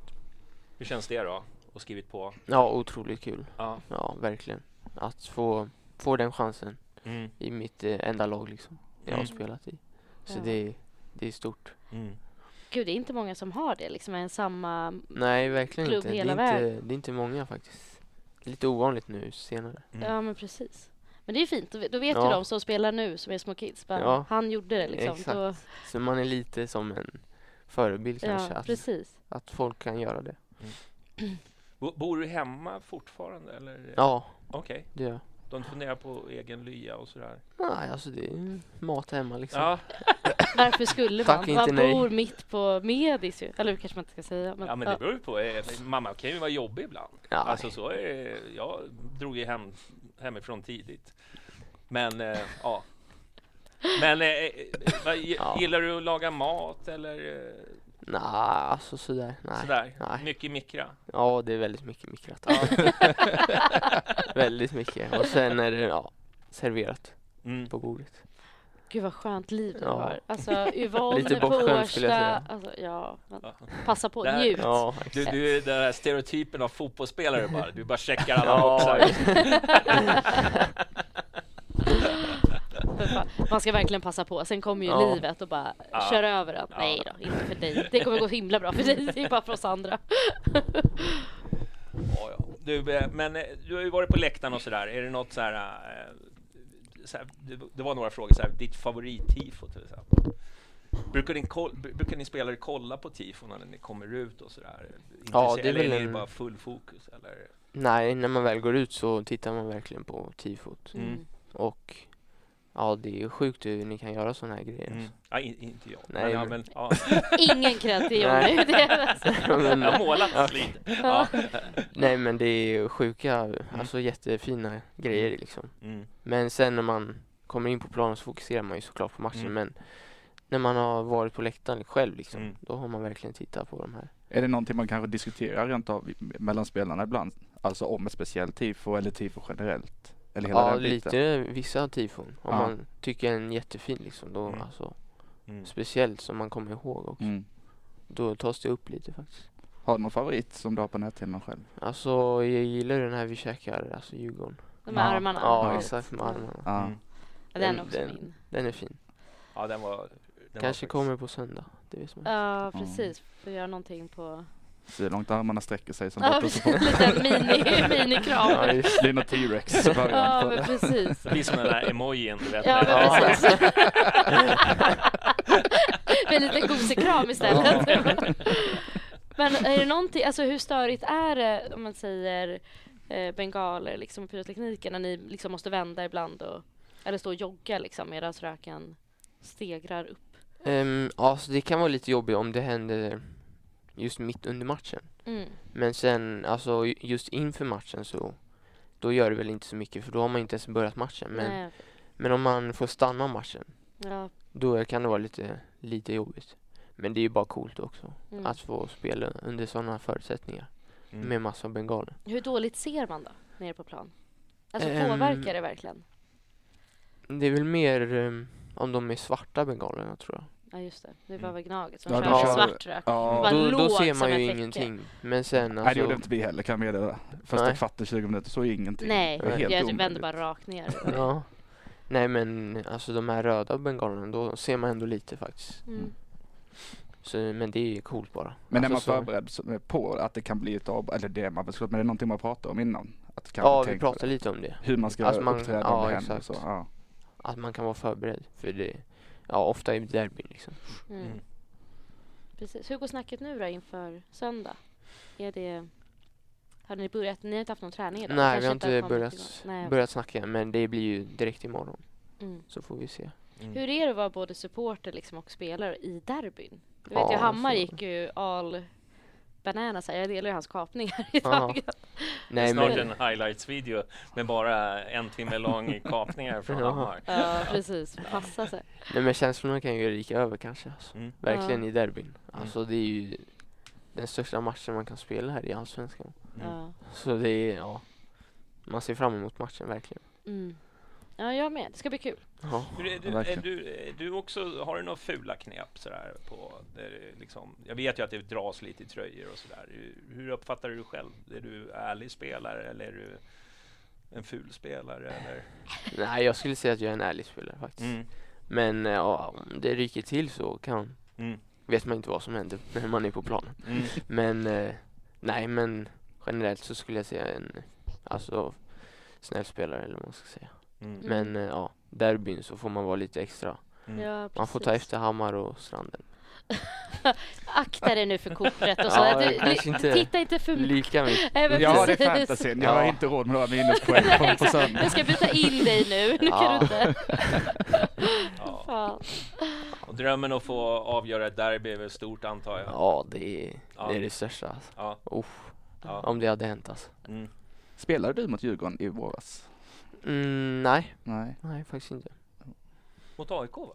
Speaker 1: Hur känns det då? Och skrivit på?
Speaker 4: Ja, otroligt kul.
Speaker 1: Ja.
Speaker 4: Ja, verkligen. Att få, få den chansen
Speaker 1: Mm.
Speaker 4: i mitt eh, enda lag liksom. Jag har
Speaker 1: Mm.
Speaker 4: spelat i. Så
Speaker 3: Ja.
Speaker 4: det, är- det är stort.
Speaker 1: Mm.
Speaker 3: Gud, det är inte många som har det liksom, är en
Speaker 4: Mm.
Speaker 3: samma...
Speaker 4: Nej, verkligen
Speaker 3: Klubb
Speaker 4: inte. Det är
Speaker 3: hela
Speaker 4: inte, det är inte många faktiskt. Lite ovanligt nu senare.
Speaker 1: Mm.
Speaker 3: Ja men precis. Men det är ju fint, då vet- då vet ju
Speaker 4: Ja.
Speaker 3: de som spelar nu som är små kids, bara,
Speaker 4: Ja.
Speaker 3: han gjorde det liksom.
Speaker 4: Exakt.
Speaker 3: Då,
Speaker 4: Så man är lite som en förebild kanske.
Speaker 3: ja,
Speaker 4: att,
Speaker 3: precis.
Speaker 4: att folk kan göra det.
Speaker 1: Bo- Bor du hemma fortfarande? Eller?
Speaker 4: Ja,
Speaker 1: Okej.
Speaker 4: det gör jag.
Speaker 1: De funderar på egen lya och sådär?
Speaker 4: Nej, alltså det är mat hemma liksom.
Speaker 1: Ja.
Speaker 3: Varför skulle
Speaker 4: Tack,
Speaker 3: man?
Speaker 4: inte
Speaker 3: man
Speaker 4: nej.
Speaker 3: bor mitt på Medis ju. Eller kanske man inte ska säga. Men,
Speaker 1: ja, men det beror ju på. Eh, Mamma kan ju vara jobbig ibland.
Speaker 4: Ja,
Speaker 1: Alltså så är det. Jag drog ju hem, hemifrån tidigt. Men eh, ja. Men eh, eh, vad, gi-
Speaker 4: Ja.
Speaker 1: gillar du att laga mat eller eh,
Speaker 4: Nej, alltså sådär. Nej.
Speaker 1: sådär?
Speaker 4: Nej.
Speaker 1: Mycket mikra?
Speaker 4: Ja, det är väldigt mycket mikrat. väldigt mycket. Och sen är det ja, serverat
Speaker 1: Mm.
Speaker 4: på bordet.
Speaker 3: Gud vad skönt liv du
Speaker 4: Ja.
Speaker 3: har. Alltså Yvonne
Speaker 4: Lite
Speaker 3: på
Speaker 4: bortskämd skulle jag
Speaker 3: Årsta.
Speaker 4: säga.
Speaker 3: Alltså, ja, men
Speaker 1: Ja.
Speaker 3: passa på,
Speaker 1: Det här-
Speaker 3: njut.
Speaker 4: Ja,
Speaker 1: Du, du är den här stereotypen av fotbollsspelare bara. Du bara checkar alla
Speaker 4: Ja.
Speaker 1: boxar.
Speaker 3: För fan. Man ska verkligen passa på. Sen kommer ju
Speaker 4: Ja.
Speaker 3: livet och bara
Speaker 1: Ja.
Speaker 3: kör över allt.
Speaker 1: Ja.
Speaker 3: Nej då, inte för dig. Det kommer gå himla bra för dig. Det är bara för oss andra.
Speaker 1: Ja, ja. Du, eh, men eh, du har ju varit på läktaren och sådär. Är det något så här... eh, Så här det, det var några frågor. Så här, ditt favorittifo till exempel. Brukar, din koll, br- brukar ni spelare kolla på tifona när ni kommer ut och sådär?
Speaker 4: Ja,
Speaker 1: Intresse-
Speaker 4: det är
Speaker 1: eller
Speaker 4: väl
Speaker 1: är det
Speaker 4: en-
Speaker 1: bara full fokus? Eller?
Speaker 4: Nej, när man väl går ut så tittar man verkligen på tifot.
Speaker 1: Mm.
Speaker 3: Mm.
Speaker 4: Och ja, det är ju sjukt hur ni kan göra sådana här grejer.
Speaker 1: Mm. Ja, in, inte jag.
Speaker 4: Nej,
Speaker 1: men, ja,
Speaker 4: men-
Speaker 1: men, ja.
Speaker 3: Ingen cred till
Speaker 4: Nej.
Speaker 3: Johnny. Det är alltså.
Speaker 4: Men,
Speaker 1: Jag har målat lite. Ja.
Speaker 4: nej, men det är ju sjuka, alltså jättefina grejer liksom.
Speaker 1: Mm.
Speaker 4: Men sen när man kommer in på planen så fokuserar man ju såklart på matchen
Speaker 1: Mm.
Speaker 4: men när man har varit på läktaren själv liksom,
Speaker 1: Mm.
Speaker 4: då har man verkligen tittat på de här.
Speaker 2: Är det någonting man kanske diskuterar rent av i- mellan spelarna ibland? Alltså om ett speciellt tifo eller tifo generellt? Eller hela
Speaker 4: ja,
Speaker 2: den biten?
Speaker 4: lite vissa tifon. Om
Speaker 2: Ja.
Speaker 4: man tycker en är jättefin liksom, då
Speaker 1: Mm.
Speaker 4: alltså,
Speaker 1: Mm.
Speaker 4: speciellt som man kommer ihåg också.
Speaker 2: Mm.
Speaker 4: Då tas det upp lite faktiskt.
Speaker 2: Har du någon favorit som du har på näthinnan själv?
Speaker 4: Alltså jag gillar den här vi käkar, alltså Djurgården.
Speaker 3: De här
Speaker 2: Ja.
Speaker 3: armarna.
Speaker 4: Ja,
Speaker 2: Ja.
Speaker 4: exakt med armarna.
Speaker 2: Ja.
Speaker 1: Mm.
Speaker 3: Ja, Den är
Speaker 4: Den-
Speaker 3: också
Speaker 4: den-
Speaker 3: min.
Speaker 4: Den är fin.
Speaker 1: Ja, den var... Den var
Speaker 4: Kanske
Speaker 1: faktiskt-
Speaker 4: kommer på söndag. Det vet man inte.
Speaker 3: Ja, precis. Får göra någonting på...
Speaker 2: Så långt armarna sträcker sig som
Speaker 3: Ja,
Speaker 2: Dr.
Speaker 3: precis.
Speaker 2: Spock.
Speaker 3: Lite mini- minikram.
Speaker 4: Ja, just
Speaker 2: Det är någon T-Rex i början.
Speaker 3: Ja,
Speaker 2: på
Speaker 3: men
Speaker 2: det.
Speaker 3: precis.
Speaker 1: Det blir som den där emojin, du vet. Mm.
Speaker 3: Ja,
Speaker 1: när-
Speaker 3: men precis. Med lite gosekram istället. Men är det någonting, alltså hur störigt är det om man säger eh, bengaler liksom och pyrotekniken när ni liksom måste vända ibland och eller stå och jogga liksom medan röken stegrar upp?
Speaker 4: Ehm, ja, så det kan vara lite jobbigt om det händer just mitt under matchen.
Speaker 3: Mm.
Speaker 4: Men sen, alltså ju- just inför matchen så då gör det väl inte så mycket för då har man inte ens börjat matchen. Men,
Speaker 3: Nej.
Speaker 4: men om man får stanna matchen
Speaker 3: Ja,
Speaker 4: då kan det vara lite, lite jobbigt. Men det är ju bara coolt också
Speaker 3: mm.
Speaker 2: Alltså-
Speaker 4: att få spela under sådana förutsättningar
Speaker 1: Mm.
Speaker 4: med massa bengaler.
Speaker 3: Hur dåligt ser man då nere på plan? Alltså
Speaker 4: Ehm.
Speaker 3: påverkar det verkligen?
Speaker 4: Det är väl mer ehm, om de är svarta bengalerna tror jag.
Speaker 3: Ja just det, det var väl gnaget som
Speaker 2: Mm. Ja, de
Speaker 3: ja, körde
Speaker 4: kör-
Speaker 3: svart rök.
Speaker 2: Ja.
Speaker 3: Bara
Speaker 4: Då, då
Speaker 3: låg
Speaker 4: ser
Speaker 3: som
Speaker 4: man
Speaker 3: ett
Speaker 4: ju
Speaker 3: täcke.
Speaker 4: ingenting. Men sen
Speaker 2: Nej det
Speaker 4: alltså,
Speaker 2: gjorde inte vi heller kan jag meddela. Första
Speaker 4: Nej. typ
Speaker 2: kvarten, 20 minuter, så ingenting.
Speaker 3: Nej,
Speaker 2: det var helt
Speaker 3: jag vänder
Speaker 2: omöjligt.
Speaker 3: bara rakt ner.
Speaker 4: Ja. Nej men alltså de här röda bengalerna, då ser man ändå lite faktiskt.
Speaker 3: Mm.
Speaker 4: Så, men det är ju coolt bara.
Speaker 2: Men är man
Speaker 4: Alltså, så-
Speaker 2: förberedd så- på att det kan bli ett avbrott? Eller det är man väl såklart, men det är någonting man pratar om innan? Att kanske
Speaker 4: Ja, vi
Speaker 2: tänka på
Speaker 4: pratade lite om det.
Speaker 2: Hur man ska
Speaker 4: Alltså, man-
Speaker 2: uppträda
Speaker 4: ja,
Speaker 2: om det händer och
Speaker 4: exakt.
Speaker 2: så. Ja.
Speaker 4: Att man kan vara förberedd. För det, ja ofta är det derby liksom.
Speaker 3: Mm.
Speaker 1: Mm.
Speaker 3: Precis. Hur går snacket nu då inför söndag? Är det... Har ni börjat? Ni har inte haft någon träning idag?
Speaker 4: Nej,
Speaker 3: Kanske
Speaker 4: vi har inte
Speaker 3: kommit igång.
Speaker 4: börjat,
Speaker 3: Nej.
Speaker 4: börjat snacka än, men det blir ju direkt imorgon.
Speaker 3: Mm.
Speaker 4: Så får vi se.
Speaker 1: Mm.
Speaker 3: Hur är det att vara både supporter liksom och spelare i derbyn? Du vet
Speaker 4: Ja,
Speaker 3: ju Hammar
Speaker 4: så-
Speaker 3: gick ju all bananas här. Jag delar ju hans kapningar i dagen.
Speaker 4: Nej,
Speaker 1: Snart
Speaker 4: men,
Speaker 1: en highlights-video med bara en timme lång kapningar från
Speaker 4: Ja.
Speaker 1: Hammar.
Speaker 3: Ja, precis. Passa sig.
Speaker 4: nej men känslorna kan ju rika över kanske. Alltså.
Speaker 1: Mm.
Speaker 4: Verkligen i derbyn. Alltså det är ju den största matchen man kan spela här i Allsvenskan.
Speaker 1: Mm.
Speaker 3: Ja.
Speaker 4: Så det är, ja. Man ser fram emot matchen verkligen.
Speaker 3: Mm. ja, jag med. Det ska bli kul.
Speaker 4: Ja.
Speaker 1: Hur är du, är
Speaker 2: Verkligen.
Speaker 1: du, är du också, har du några fula knep sådär på, där, det liksom, jag vet ju att det dras lite i tröjor och sådär. Hur- Hur uppfattar du dig själv? Är du ärlig spelare eller är du en ful spelare? Eller?
Speaker 4: Nej, jag skulle säga att jag är en ärlig spelare faktiskt.
Speaker 1: Mm.
Speaker 4: Men eh, ja, om det ryker till så kan
Speaker 1: Mm.
Speaker 4: vet man inte vad som händer när man är på planen.
Speaker 1: Mm.
Speaker 4: Men eh, nej, men generellt så skulle jag säga en alltså snäll spelare eller vad man ska säga.
Speaker 1: Mm.
Speaker 3: Mm.
Speaker 4: Men eh, ja, derbyn så får man vara lite extra.
Speaker 1: Mm.
Speaker 3: Ja, precis.
Speaker 4: Man får ta efter Hammar och Stranden.
Speaker 3: Akta dig nu för kortet och så.
Speaker 4: Ja,
Speaker 3: du,
Speaker 4: jag kanske
Speaker 3: li-
Speaker 4: inte-
Speaker 3: Titta inte för mycket.
Speaker 4: Lika mycket.
Speaker 3: Nej, men
Speaker 2: ja, det
Speaker 3: precis.
Speaker 2: är fantasyn. Jag har
Speaker 4: Ja.
Speaker 2: inte råd med några minuspoäng på, på söndag.
Speaker 3: Jag ska byta in dig nu. Nu kan
Speaker 4: Ja.
Speaker 3: du inte.
Speaker 1: Ja.
Speaker 3: Fan.
Speaker 1: Och drömmen att få avgöra ett derby är väl stort antar jag?
Speaker 4: Ja, det är det,
Speaker 1: Ja.
Speaker 4: är det största alltså.
Speaker 1: Ja.
Speaker 4: Uff,
Speaker 1: Ja.
Speaker 4: om det hade hänt alltså.
Speaker 1: Mm.
Speaker 2: Spelade du mot Djurgården i våras?
Speaker 4: Mm, nej,
Speaker 2: Nej.
Speaker 4: nej faktiskt inte.
Speaker 1: Mot AIK va?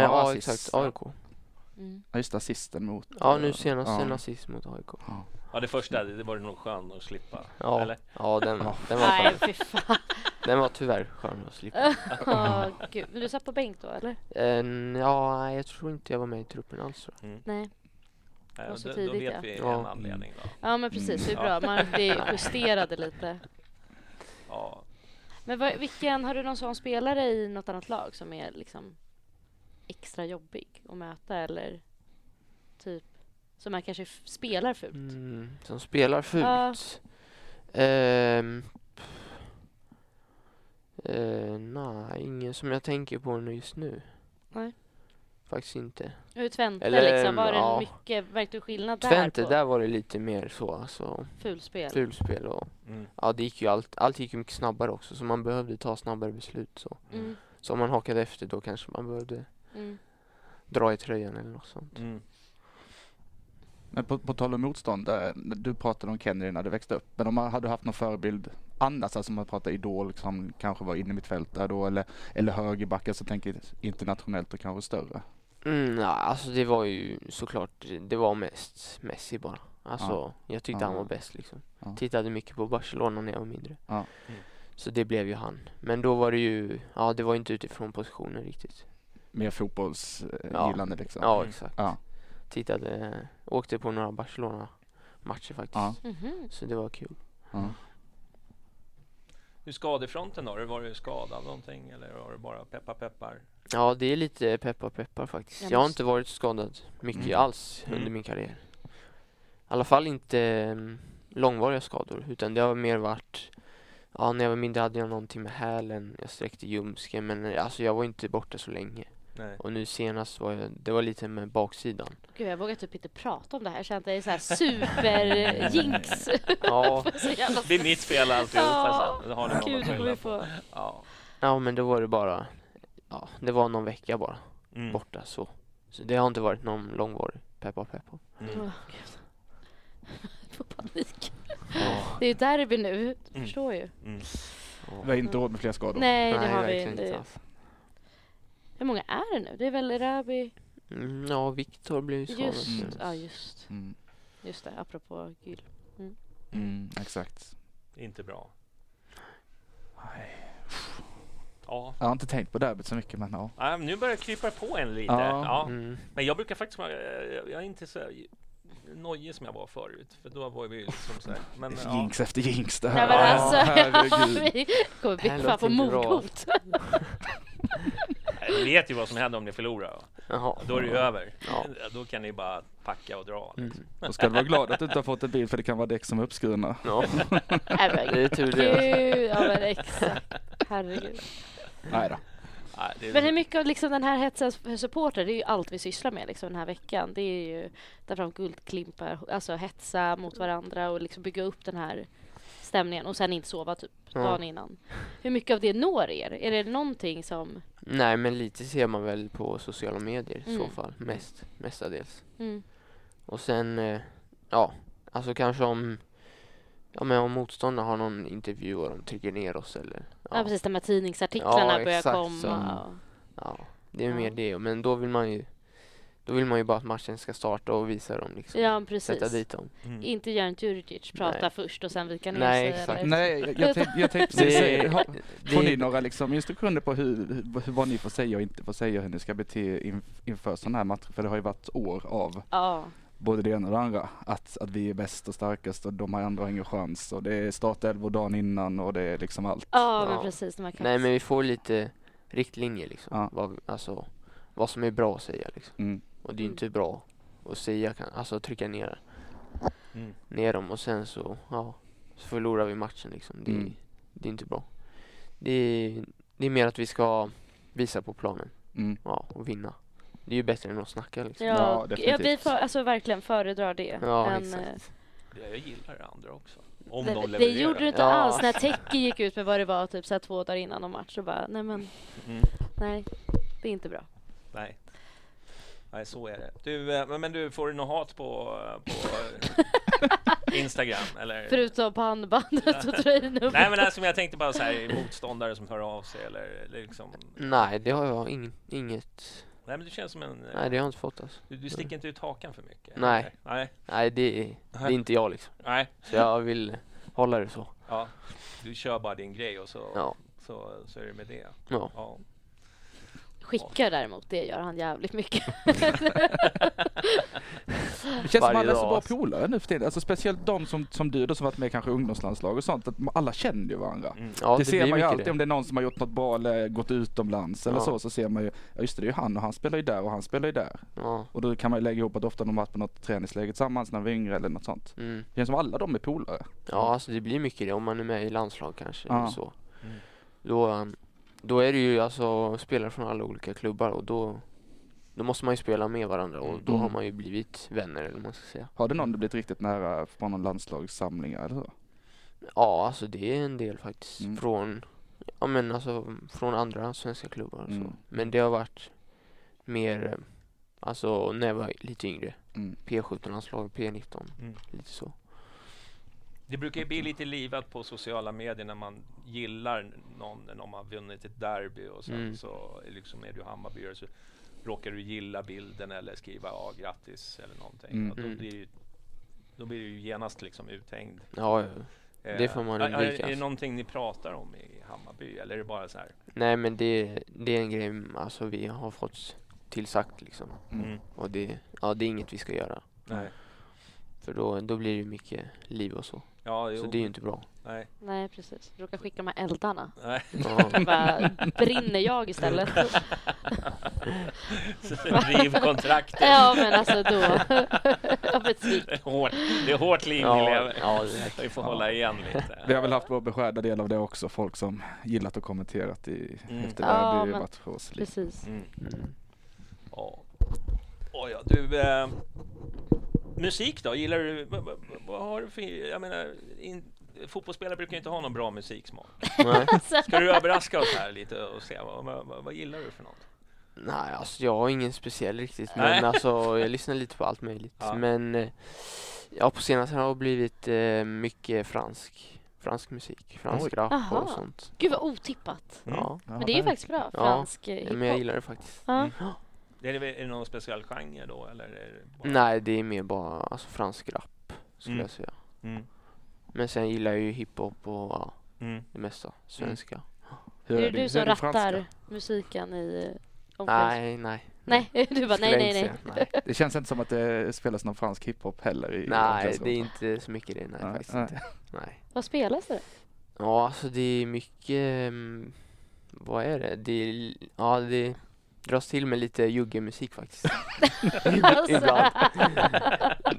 Speaker 2: Ja,
Speaker 4: ja
Speaker 2: assist.
Speaker 4: exakt, AIK.
Speaker 3: Mm.
Speaker 2: Ja, just assisten mot... eh,
Speaker 4: Ja, nu senast
Speaker 2: Ja.
Speaker 4: en assist mot AIK.
Speaker 1: Ja, det första, det det var nog skönt att slippa.
Speaker 4: Ja,
Speaker 1: Eller?
Speaker 4: ja den,
Speaker 2: Ja.
Speaker 4: den var
Speaker 3: Nej,
Speaker 4: skön.
Speaker 3: fy fan.
Speaker 4: Den var tyvärr skön att slippa.
Speaker 3: Åh, Gud. Men du satt på bänk då, eller?
Speaker 4: En, ja, nej, jag tror inte jag var med i truppen alls. tror
Speaker 3: Nej.
Speaker 1: Ja,
Speaker 3: Och så
Speaker 1: Mm. då, då
Speaker 3: tidigt,
Speaker 1: vet
Speaker 3: ja.
Speaker 1: vi
Speaker 4: Ja. Mm.
Speaker 1: en anledning då.
Speaker 3: Ja, men precis. Det är bra. Man det justerade lite.
Speaker 1: Ja.
Speaker 3: Men vad, vilken, har du någon sån spelare i något annat lag som är liksom extra jobbig att möta eller typ som man kanske f- spelar
Speaker 4: jag.
Speaker 3: fult?
Speaker 4: Mm, som spelar fult.
Speaker 3: Ja.
Speaker 4: Ehm, pff. Eh, nej, ingen som jag tänker på nu just nu.
Speaker 3: Nej.
Speaker 4: Faktiskt inte.
Speaker 3: Hur Twente
Speaker 4: Eller,
Speaker 3: liksom, var det
Speaker 4: ja.
Speaker 3: mycket, märkte du skillnad där
Speaker 4: Twente,
Speaker 3: på
Speaker 4: där var det lite mer så alltså.
Speaker 3: fulspel?
Speaker 4: Fulspel och
Speaker 1: Mm.
Speaker 4: ja, det gick ju allt, allt gick ju mycket snabbare också så man behövde ta snabbare beslut så.
Speaker 3: Mm,
Speaker 4: Så om man hakade efter då kanske man behövde
Speaker 3: mm.
Speaker 4: dra i tröjan eller något sånt.
Speaker 1: Mm.
Speaker 2: Men på, på tal om motståndare, du pratade om Kennedy när du växte upp. Men om man hade haft någon förebild annars, alltså om man pratar idol som kanske var inne i mitt fält där då eller, eller högerbackar som tänker internationellt och kanske större.
Speaker 4: Mm, ja, alltså det var ju såklart, det var mest Messi bara. Alltså jag tyckte
Speaker 2: Ja.
Speaker 4: han var bäst liksom.
Speaker 2: Ja.
Speaker 4: Tittade mycket på Barcelona när jag var mindre.
Speaker 2: Ja.
Speaker 1: Mm.
Speaker 4: Så det blev ju han. Men då var det ju, ja det var ju inte utifrån positionen riktigt.
Speaker 2: mer fotbollsgillande liksom.
Speaker 4: Ja,
Speaker 1: Mm.
Speaker 4: exakt.
Speaker 2: Ja.
Speaker 4: Tittade, åkte på några Barcelona-matcher faktiskt.
Speaker 2: Ja.
Speaker 3: Mhm.
Speaker 4: Så det var kul.
Speaker 2: Ja.
Speaker 1: Hur skadefronten då? Har du varit skadad någonting eller har du bara peppa peppar?
Speaker 4: Ja, det är lite peppar peppar faktiskt.
Speaker 3: Jag
Speaker 4: Jag, har
Speaker 3: måste-
Speaker 4: inte varit skadad mycket
Speaker 2: Mm.
Speaker 4: alls
Speaker 1: Mm.
Speaker 4: under min karriär. I alla fall inte mm, långvariga skador, utan det har mer varit Ja, när jag var mindre hade jag någonting med hälen, jag sträckte ljumsken men eh, alltså jag var inte borta så länge.
Speaker 1: Nej.
Speaker 4: Och nu senast var jag, det var lite med baksidan.
Speaker 3: Gud, jag vågar typ inte prata om det här. Jag känner att det är så här super-jinx.
Speaker 4: Ja,
Speaker 3: så jävla...
Speaker 1: Det är mitt fel alltihopa
Speaker 3: Ja.
Speaker 1: sen. Då har ni någon att
Speaker 3: Gud, det kommer
Speaker 1: skylla
Speaker 3: vi
Speaker 1: på.
Speaker 3: få.
Speaker 1: Ja.
Speaker 4: ja men då var det bara, ja det var någon vecka bara
Speaker 1: Mm.
Speaker 4: borta så. Så det har inte varit någon långvarig peppar peppar.
Speaker 1: Mm.
Speaker 3: Åh, Gud. Jag får panik. Det är ju derby nu. Du
Speaker 1: Mm.
Speaker 3: förstår ju.
Speaker 1: Mm.
Speaker 2: Vi har inte råd med fler skador.
Speaker 3: Nej, det har vi
Speaker 4: verkligen
Speaker 3: inte.
Speaker 4: inte. alls.
Speaker 3: Hur många är det nu? Det är väl Rabi?
Speaker 4: Mm, ja, Viktor blev ju skadad.
Speaker 3: Just,
Speaker 2: Mm.
Speaker 4: senast.
Speaker 3: ja just.
Speaker 2: Mm.
Speaker 3: Just det, apropå Gül.
Speaker 2: Mm, exakt.
Speaker 1: Inte bra. Ja.
Speaker 2: Jag har inte tänkt på derbyt så mycket men ja.
Speaker 1: Ja, men nu börjar jag krypa på en lite.
Speaker 2: Ja.
Speaker 1: Ja.
Speaker 4: Mm.
Speaker 1: Men jag brukar faktiskt vara, eh, jag är inte så nojig som jag var förut, för då var vi liksom så här. Men,
Speaker 2: Det är
Speaker 1: ja.
Speaker 2: Jinx efter jinx det
Speaker 3: Nej
Speaker 2: här.
Speaker 3: men
Speaker 1: Ja,
Speaker 3: alltså,
Speaker 2: herregud.
Speaker 3: vi kommer bli
Speaker 4: Det här
Speaker 3: fan på
Speaker 4: låter inte bra.
Speaker 3: mordhot.
Speaker 1: Ni vet ju vad som händer om ni förlorar.
Speaker 4: Jaha.
Speaker 1: Då är det ju över.
Speaker 4: Ja.
Speaker 1: Då kan ni bara packa och dra.
Speaker 4: Mm.
Speaker 2: Då ska du vara glad att du inte har fått en bil för det kan vara däck som är uppskurna.
Speaker 4: Ja,
Speaker 3: Nej men
Speaker 4: det är tur det.
Speaker 3: gud, ja men exakt. Herregud.
Speaker 2: Nej då.
Speaker 1: Nej, det är- Mm.
Speaker 3: Men hur mycket av liksom den här hetsen för supporter, det är ju allt vi sysslar med liksom den här veckan. Det är ju ta fram guldklimpar, alltså hetsa mot varandra och liksom bygga upp den här stämningen och sen inte sova typ
Speaker 4: Ja.
Speaker 3: dagen innan. Hur mycket av det når er? Är det någonting som...
Speaker 4: Nej, men lite ser man väl på sociala medier i så
Speaker 3: Mm.
Speaker 4: fall. Mest, mestadels.
Speaker 3: Mm.
Speaker 4: Och sen, eh, ja, alltså kanske om Ja men om motståndarna har någon intervju och de trycker ner oss eller
Speaker 3: Ja. precis, de här tidningsartiklarna
Speaker 4: Ja,
Speaker 3: börjar
Speaker 4: exakt
Speaker 3: komma.
Speaker 4: så.
Speaker 3: och-
Speaker 4: ja, det är
Speaker 3: Ja.
Speaker 4: mer det men då vill man ju Då vill man ju bara att matchen ska starta och visa dem liksom
Speaker 3: Ja, precis.
Speaker 4: Sätta dit dem
Speaker 1: Mm.
Speaker 3: Inte Göran Djurdjic prata
Speaker 4: Nej.
Speaker 3: först och sen vika ner
Speaker 4: Nej,
Speaker 3: sig.
Speaker 4: exakt.
Speaker 3: Eller...
Speaker 2: Nej, jag- jag tänkte jag tänkte precis säga det. Får ni
Speaker 4: det,
Speaker 2: några liksom instruktioner på hur, hur, vad ni får säga och inte får säga, hur ni ska bete in, inför sådana här matcher? För det har ju varit år av
Speaker 3: Ja,
Speaker 2: både det ena och det andra. Att, att vi är bäst och starkast och de här andra har ingen chans. Och det är startelvor dagen innan och det är liksom allt.
Speaker 3: ja,
Speaker 4: Ja.
Speaker 3: men precis. De här
Speaker 4: Nej men vi får lite riktlinjer liksom
Speaker 2: Ja.
Speaker 4: vad, alltså, vad som är bra att säga liksom
Speaker 2: Mm.
Speaker 4: Och det är ju inte bra att säga, kan- alltså trycka ner,
Speaker 1: Mm.
Speaker 4: ner dem och sen så, ja, så förlorar vi matchen liksom. Det,
Speaker 2: Mm.
Speaker 4: det är inte bra. Det är, det är mer att vi ska visa på planen,
Speaker 2: Mm.
Speaker 4: ja, och vinna. Det är ju bättre än att snacka liksom.
Speaker 2: Ja,
Speaker 3: Ja, ja, vi
Speaker 2: definitivt.
Speaker 3: får alltså verkligen föredrar det.
Speaker 4: Ja,
Speaker 3: än,
Speaker 4: exakt.
Speaker 3: eh,
Speaker 1: Jag gillar det andra också. Om
Speaker 3: det,
Speaker 1: de
Speaker 3: det
Speaker 1: levererar.
Speaker 3: gjorde du inte
Speaker 4: Ja.
Speaker 3: alls när Teki gick ut med vad det var typ så här två dagar innan någon match så bara nej men
Speaker 1: Mm.
Speaker 3: nej det är inte bra.
Speaker 1: Nej. Nej, så är det. Du, eh, men- men du, får du något hat på, på eh, Instagram? Eller?
Speaker 3: Förutom på handbandet och tröjnumret.
Speaker 1: Nej, men alltså, men jag tänkte bara så här, motståndare som hör av sig eller, eller liksom.
Speaker 4: Nej, det har jag ing, inget,
Speaker 1: Nej, men du känns som en... eh,
Speaker 4: nej det har jag inte fått alltså.
Speaker 1: Du, du sticker inte ut hakan för mycket?
Speaker 4: Nej.
Speaker 1: eller? Nej.
Speaker 4: Nej, det, är- det är inte jag liksom.
Speaker 1: Nej.
Speaker 4: Så jag vill hålla det så.
Speaker 1: Ja. Du kör bara din grej och så,
Speaker 4: Ja,
Speaker 1: så, så är det med det.
Speaker 4: ja.
Speaker 1: Ja.
Speaker 3: Skickar däremot, det gör han jävligt mycket.
Speaker 2: Det känns som
Speaker 4: Varje
Speaker 2: alla är så
Speaker 4: dag,
Speaker 2: bra
Speaker 4: alltså.
Speaker 2: polare nu för tiden. Alltså speciellt de som, som du då som varit med i kanske ungdomslandslag och sånt. Att alla känner ju varandra.
Speaker 1: Mm.
Speaker 4: ja
Speaker 2: det, ser
Speaker 4: blir
Speaker 2: man ju
Speaker 4: mycket
Speaker 2: alltid om det är någon som har gjort något bra eller gått utomlands eller
Speaker 4: Ja.
Speaker 2: så. Så ser man ju, ja just det, det är ju han och han spelar ju där och han spelar ju där.
Speaker 4: Ja,
Speaker 2: Och då kan man ju lägga ihop att ofta de har varit på något träningsläger tillsammans när de var yngre eller något sånt.
Speaker 4: mm.
Speaker 2: Det känns som alla de är polare.
Speaker 4: Ja, alltså det blir mycket det om man är med i landslag kanske.
Speaker 2: Mm. Ja.
Speaker 4: Eller så.
Speaker 1: Mm.
Speaker 4: Då, um, då är det ju alltså spelare från alla olika klubbar och då, då måste man ju spela med varandra och då har
Speaker 2: Mm.
Speaker 4: man ju blivit vänner eller vad man ska säga.
Speaker 2: Har du någon du blivit riktigt nära på någon landslagssamlingar eller så?
Speaker 4: Ja, alltså det är en del faktiskt
Speaker 2: Mm.
Speaker 4: från, ja men alltså från andra svenska klubbar och så.
Speaker 2: Mm.
Speaker 4: Men det har varit mer, eh, alltså när jag var lite yngre.
Speaker 2: Mm.
Speaker 4: P17-landslag, P19,
Speaker 1: Mm.
Speaker 4: lite så.
Speaker 1: Det brukar ju bli lite livat på sociala medier när man gillar någon, när man har vunnit ett derby och sen
Speaker 4: Mm.
Speaker 1: så liksom är du Hammarbyare så råkar du gilla bilden eller skriva ja, grattis eller någonting.
Speaker 2: Mm.
Speaker 1: Och Då,
Speaker 4: Mm.
Speaker 1: blir ju, då blir du ju genast liksom uthängd.
Speaker 4: Ja, ja. Det
Speaker 1: Eh,
Speaker 4: får man
Speaker 1: är,
Speaker 4: undvika,
Speaker 1: är, är det
Speaker 4: alltså.
Speaker 1: någonting ni pratar om i Hammarby? Eller är det bara så här?
Speaker 4: Nej men det, det är en grej alltså, vi har fått tillsagt liksom.
Speaker 2: Mm.
Speaker 4: Och det, ja, det är inget vi ska göra.
Speaker 1: Nej.
Speaker 4: För då, då blir det ju mycket liv och så.
Speaker 1: Ja, jo.
Speaker 4: Så det är ju inte bra.
Speaker 1: Nej.
Speaker 3: Nej, precis. Råkar skicka de här eldarna.
Speaker 1: Nej.
Speaker 4: Ja.
Speaker 3: Bara brinner jag istället.
Speaker 1: Så Riv kontraktet.
Speaker 3: Ja, men alltså då. typ. Jag blir besviken.
Speaker 1: Det är hårt, det är hårt liv vi
Speaker 4: Ja,
Speaker 1: lever.
Speaker 4: ja, det är-
Speaker 1: Vi får hålla igen lite.
Speaker 2: Vi har väl haft vår beskärda del av det också, folk som gillat och kommenterat i,
Speaker 1: Mm.
Speaker 2: efter
Speaker 3: Ja, men-
Speaker 2: derbymatcher och så vidare.
Speaker 3: Precis.
Speaker 1: Mm.
Speaker 4: Mm.
Speaker 1: Ja. Oh, ja, du, eh, musik då? Gillar du, vad, vad, vad har du för, jag menar, in, fotbollsspelare brukar ju inte ha någon bra musiksmak.
Speaker 4: Nej.
Speaker 1: Ska du överraska oss här lite och se, vad, vad, vad, vad gillar du för något?
Speaker 4: Nej, alltså jag har ingen speciell riktigt,
Speaker 1: Nej.
Speaker 4: men alltså jag lyssnar lite på allt möjligt.
Speaker 1: Ja.
Speaker 4: Men eh, ja, på senaste har det blivit eh, mycket fransk, fransk musik, fransk rap
Speaker 3: Aha.
Speaker 4: och sånt.
Speaker 3: Gud vad otippat.
Speaker 1: Mm.
Speaker 4: Ja,
Speaker 2: Ja,
Speaker 3: Men det är ju
Speaker 2: där-
Speaker 3: faktiskt bra.
Speaker 4: Ja,
Speaker 3: Fransk eh,
Speaker 4: men jag
Speaker 3: hiphop.
Speaker 4: gillar Mm. det faktiskt.
Speaker 3: Ja.
Speaker 1: Är det, är det någon speciell genre då, eller? Är det bara...
Speaker 4: Nej, det är mer bara alltså, fransk rap skulle
Speaker 1: Mm.
Speaker 4: jag säga.
Speaker 1: Mm.
Speaker 4: Men sen gillar jag ju hiphop och ja,
Speaker 1: Mm.
Speaker 4: det mesta, svenska.
Speaker 2: Hur
Speaker 3: Är det du
Speaker 2: hur
Speaker 3: som
Speaker 2: din franska?
Speaker 3: rattar musiken i eh, omklädningsrummet?
Speaker 4: Nej, nej.
Speaker 3: Nej, du bara nej,
Speaker 4: skulle jag
Speaker 3: nej,
Speaker 4: inte
Speaker 3: nej.
Speaker 4: säga. nej.
Speaker 2: Det känns inte som att det spelas någon fransk hiphop heller i
Speaker 4: Nej, det
Speaker 2: omklädningsrummet.
Speaker 4: är inte så mycket det, nej
Speaker 2: Nej,
Speaker 4: faktiskt
Speaker 2: nej.
Speaker 4: inte. Nej.
Speaker 3: Vad spelas det?
Speaker 4: Ja, alltså det är mycket, mm, vad är det? Det, är, ja, det dras till med lite juggemusik faktiskt.
Speaker 3: Alltså.
Speaker 4: Ibland.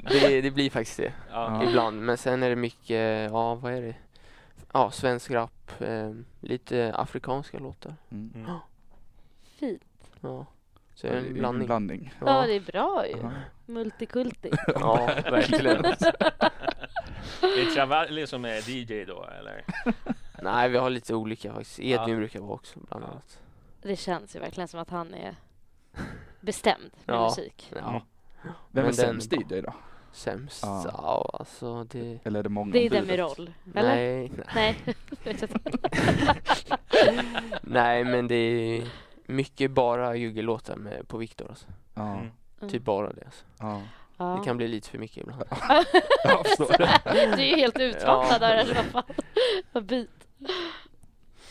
Speaker 4: Det, det blir faktiskt det,
Speaker 1: Ja.
Speaker 2: Ja.
Speaker 4: ibland. Men sen är det mycket, ja vad är det? Ja, svensk rap, eh, lite afrikanska låtar.
Speaker 2: Mm.
Speaker 1: Mm.
Speaker 3: Fint.
Speaker 4: Ja. Så
Speaker 2: Ja,
Speaker 4: är
Speaker 2: det
Speaker 4: det
Speaker 2: är
Speaker 4: en
Speaker 2: ju
Speaker 4: blandning.
Speaker 2: blandning.
Speaker 3: Ja,
Speaker 4: Ja,
Speaker 3: det är bra ju.
Speaker 2: Aha.
Speaker 3: Multikulti.
Speaker 4: ja, verkligen.
Speaker 1: Det är Travalli som är DJ då, eller?
Speaker 4: Nej, vi har lite olika faktiskt. Edvin
Speaker 1: Ja.
Speaker 4: brukar vara också bland
Speaker 1: Ja.
Speaker 4: annat.
Speaker 3: Det känns ju verkligen som att han är bestämd med
Speaker 4: Ja.
Speaker 3: musik.
Speaker 4: Ja,
Speaker 2: Vem är
Speaker 4: Men den-
Speaker 2: sämst DJ då?
Speaker 4: sämst.
Speaker 2: Ja.
Speaker 4: Ja, alltså det...
Speaker 2: Eller är det många?
Speaker 3: Det är
Speaker 2: budet?
Speaker 3: Demirol, eller?
Speaker 4: Nej, Typ, nej.
Speaker 3: Nej.
Speaker 4: Nej men det är mycket bara juggellåtar med på Viktor alltså.
Speaker 2: Ja,
Speaker 1: Mm.
Speaker 4: Typ bara det alltså.
Speaker 2: ja.
Speaker 3: Ja.
Speaker 4: Det kan bli lite för mycket ibland.
Speaker 2: Jag förstår det.
Speaker 3: Du är ju helt utmattad
Speaker 4: Ja.
Speaker 3: där eller vad fan. Vad bit. Ja,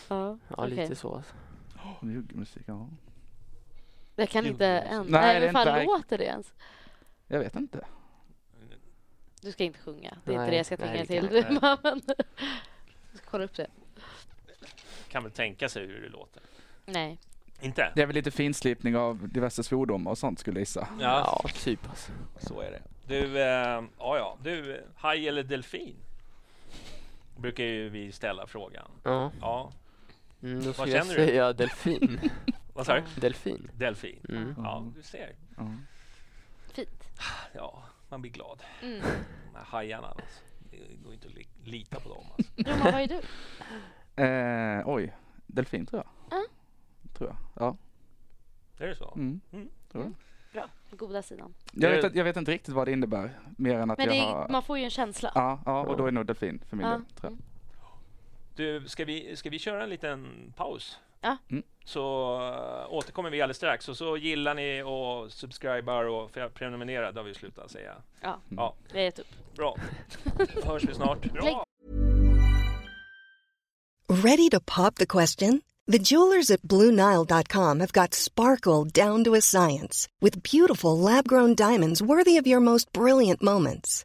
Speaker 4: Ja
Speaker 3: okej.
Speaker 4: lite så alltså.
Speaker 2: Juggemusik, ja.
Speaker 3: Jag kan inte
Speaker 1: Juggemusik.
Speaker 3: ens.
Speaker 2: Nej,
Speaker 3: Nej,
Speaker 2: det
Speaker 3: hur
Speaker 2: är
Speaker 3: fan
Speaker 2: inte-
Speaker 3: låter det ens?
Speaker 2: Jag vet inte.
Speaker 3: Du ska inte sjunga. Det är
Speaker 4: Nej,
Speaker 3: inte det jag ska
Speaker 4: nej,
Speaker 3: tvinga
Speaker 4: det kan
Speaker 3: till.
Speaker 1: jag inte.
Speaker 3: Men... Jag ska kolla upp det.
Speaker 1: Kan väl tänka sig hur det låter.
Speaker 3: Nej.
Speaker 1: Inte?
Speaker 2: Det är väl lite finslipning av diverse svordomar och sånt skulle jag gissa.
Speaker 1: Ja,
Speaker 4: Ja typ alltså.
Speaker 1: så är det. Du, eh, ja, ja. du, eh, haj eller delfin? Brukar ju vi ställa frågan.
Speaker 4: Ja.
Speaker 1: Ja,
Speaker 4: Mm, då
Speaker 1: Vad
Speaker 4: skulle jag
Speaker 1: känner du?
Speaker 4: säga delfin.
Speaker 1: vad sa du?
Speaker 4: delfin.
Speaker 1: Delfin.
Speaker 4: Mm.
Speaker 1: Ja, du ser.
Speaker 2: Ja.
Speaker 3: Fint.
Speaker 1: Ja, man blir glad.
Speaker 3: Mm.
Speaker 1: De här hajarna alltså. Det går inte att li- lita på dem alltså.
Speaker 3: Bromma, vad är du?
Speaker 2: Eh, oj, delfin tror jag.
Speaker 3: Ja.
Speaker 2: Tror jag. Ja.
Speaker 1: Är det så?
Speaker 2: Mm.
Speaker 1: Mm.
Speaker 2: Tror jag.
Speaker 3: Bra. Den goda sidan.
Speaker 2: Jag,
Speaker 1: Det-
Speaker 2: vet, inte- jag vet inte riktigt vad det innebär. Mer än att
Speaker 3: Men
Speaker 2: jag
Speaker 3: det
Speaker 2: har...
Speaker 3: är, man får ju en känsla.
Speaker 2: Ja, ja, och då är nog delfin för min
Speaker 3: Ja.
Speaker 2: del. Tror jag.
Speaker 1: Du, ska vi, ska vi köra en liten paus?
Speaker 3: Ja.
Speaker 2: Mm.
Speaker 1: Så eh, återkommer vi alldeles strax. Och så gillar ni och subscribar och för jag prenumererar, det har vi slutat
Speaker 2: Mm.
Speaker 1: säga.
Speaker 3: Ja. typ-
Speaker 1: Ja,
Speaker 3: Vi har gett upp.
Speaker 1: bra. Hörs vi snart.
Speaker 3: Lägg-
Speaker 1: Bra.
Speaker 5: Ready to pop the question? The jewelers at BlueNile.com have got sparkle down to a science with beautiful lab grown diamonds worthy of your most brilliant moments.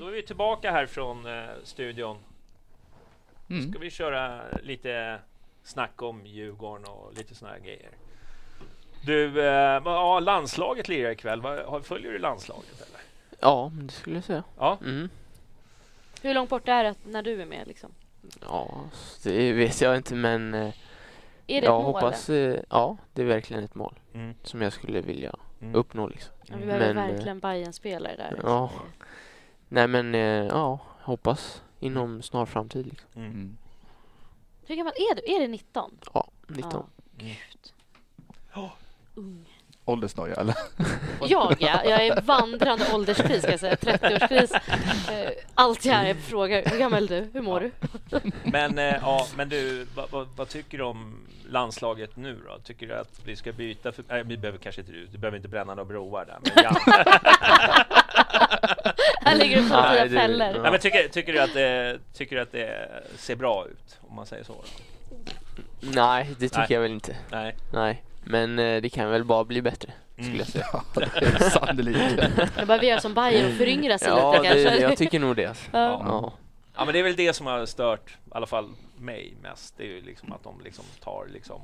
Speaker 1: Då är vi tillbaka här från eh, studion.
Speaker 2: Mm.
Speaker 1: Ska vi köra lite snack om Djurgården och lite såna här grejer. Du, eh, vad- ja, landslaget lirar ikväll. Vad- har- Följer du landslaget eller?
Speaker 4: Ja, det skulle jag säga.
Speaker 1: Ja,
Speaker 4: Mm.
Speaker 3: Hur långt bort är det att- när du är med liksom?
Speaker 4: Ja, så det vet jag inte men eh,
Speaker 3: Är det
Speaker 4: jag
Speaker 3: ett mål?
Speaker 4: hoppas... eh, Ja, det är verkligen ett mål
Speaker 1: Mm.
Speaker 4: som jag skulle vilja
Speaker 1: Mm.
Speaker 4: uppnå liksom.
Speaker 3: Ja, vi behöver
Speaker 4: men, eh,
Speaker 3: verkligen bayern spelare där. liksom.
Speaker 4: ja. Nej men eh, ja, hoppas inom snar framtid liksom.
Speaker 2: Mm.
Speaker 3: Hur gammal är du? Är det 19?
Speaker 4: Ja, 19.
Speaker 3: Ja, gud.
Speaker 1: Ja.
Speaker 3: Ung.
Speaker 2: Åldersnoja eller?
Speaker 3: Jag ja, jag är vandrande ålderskris ska jag säga. 30-årskris. Eh, Allt jag är frågar, hur gammal är du? Hur mår du?
Speaker 1: Men, eh, ja, men du, vad, vad, vad tycker du om landslaget nu då? Tycker du att vi ska byta? För, nej, vi behöver kanske inte, du behöver inte bränna några broar där. Men, ja.
Speaker 3: Här ligger du på
Speaker 4: Nej,
Speaker 3: dina
Speaker 4: det-
Speaker 3: fällor.
Speaker 1: nej, men tycker, tycker, du att det, tycker du att det ser bra ut? Om man säger så? Då?
Speaker 4: Nej, det tycker
Speaker 1: Nej.
Speaker 4: jag väl inte.
Speaker 1: Nej. Mm.
Speaker 4: Nej, men eh, det kan väl bara bli bättre skulle jag säga.
Speaker 2: Ja, det är Sannolikt.
Speaker 3: Då behöver vi göra som Bayern och föryngra sig
Speaker 4: Ja,
Speaker 3: lite kanske.
Speaker 4: det, jag tycker nog det. Alltså.
Speaker 3: Ja.
Speaker 4: Ja.
Speaker 1: Ja men det är väl det som har stört, i alla fall mig mest. Det är ju liksom att de liksom tar liksom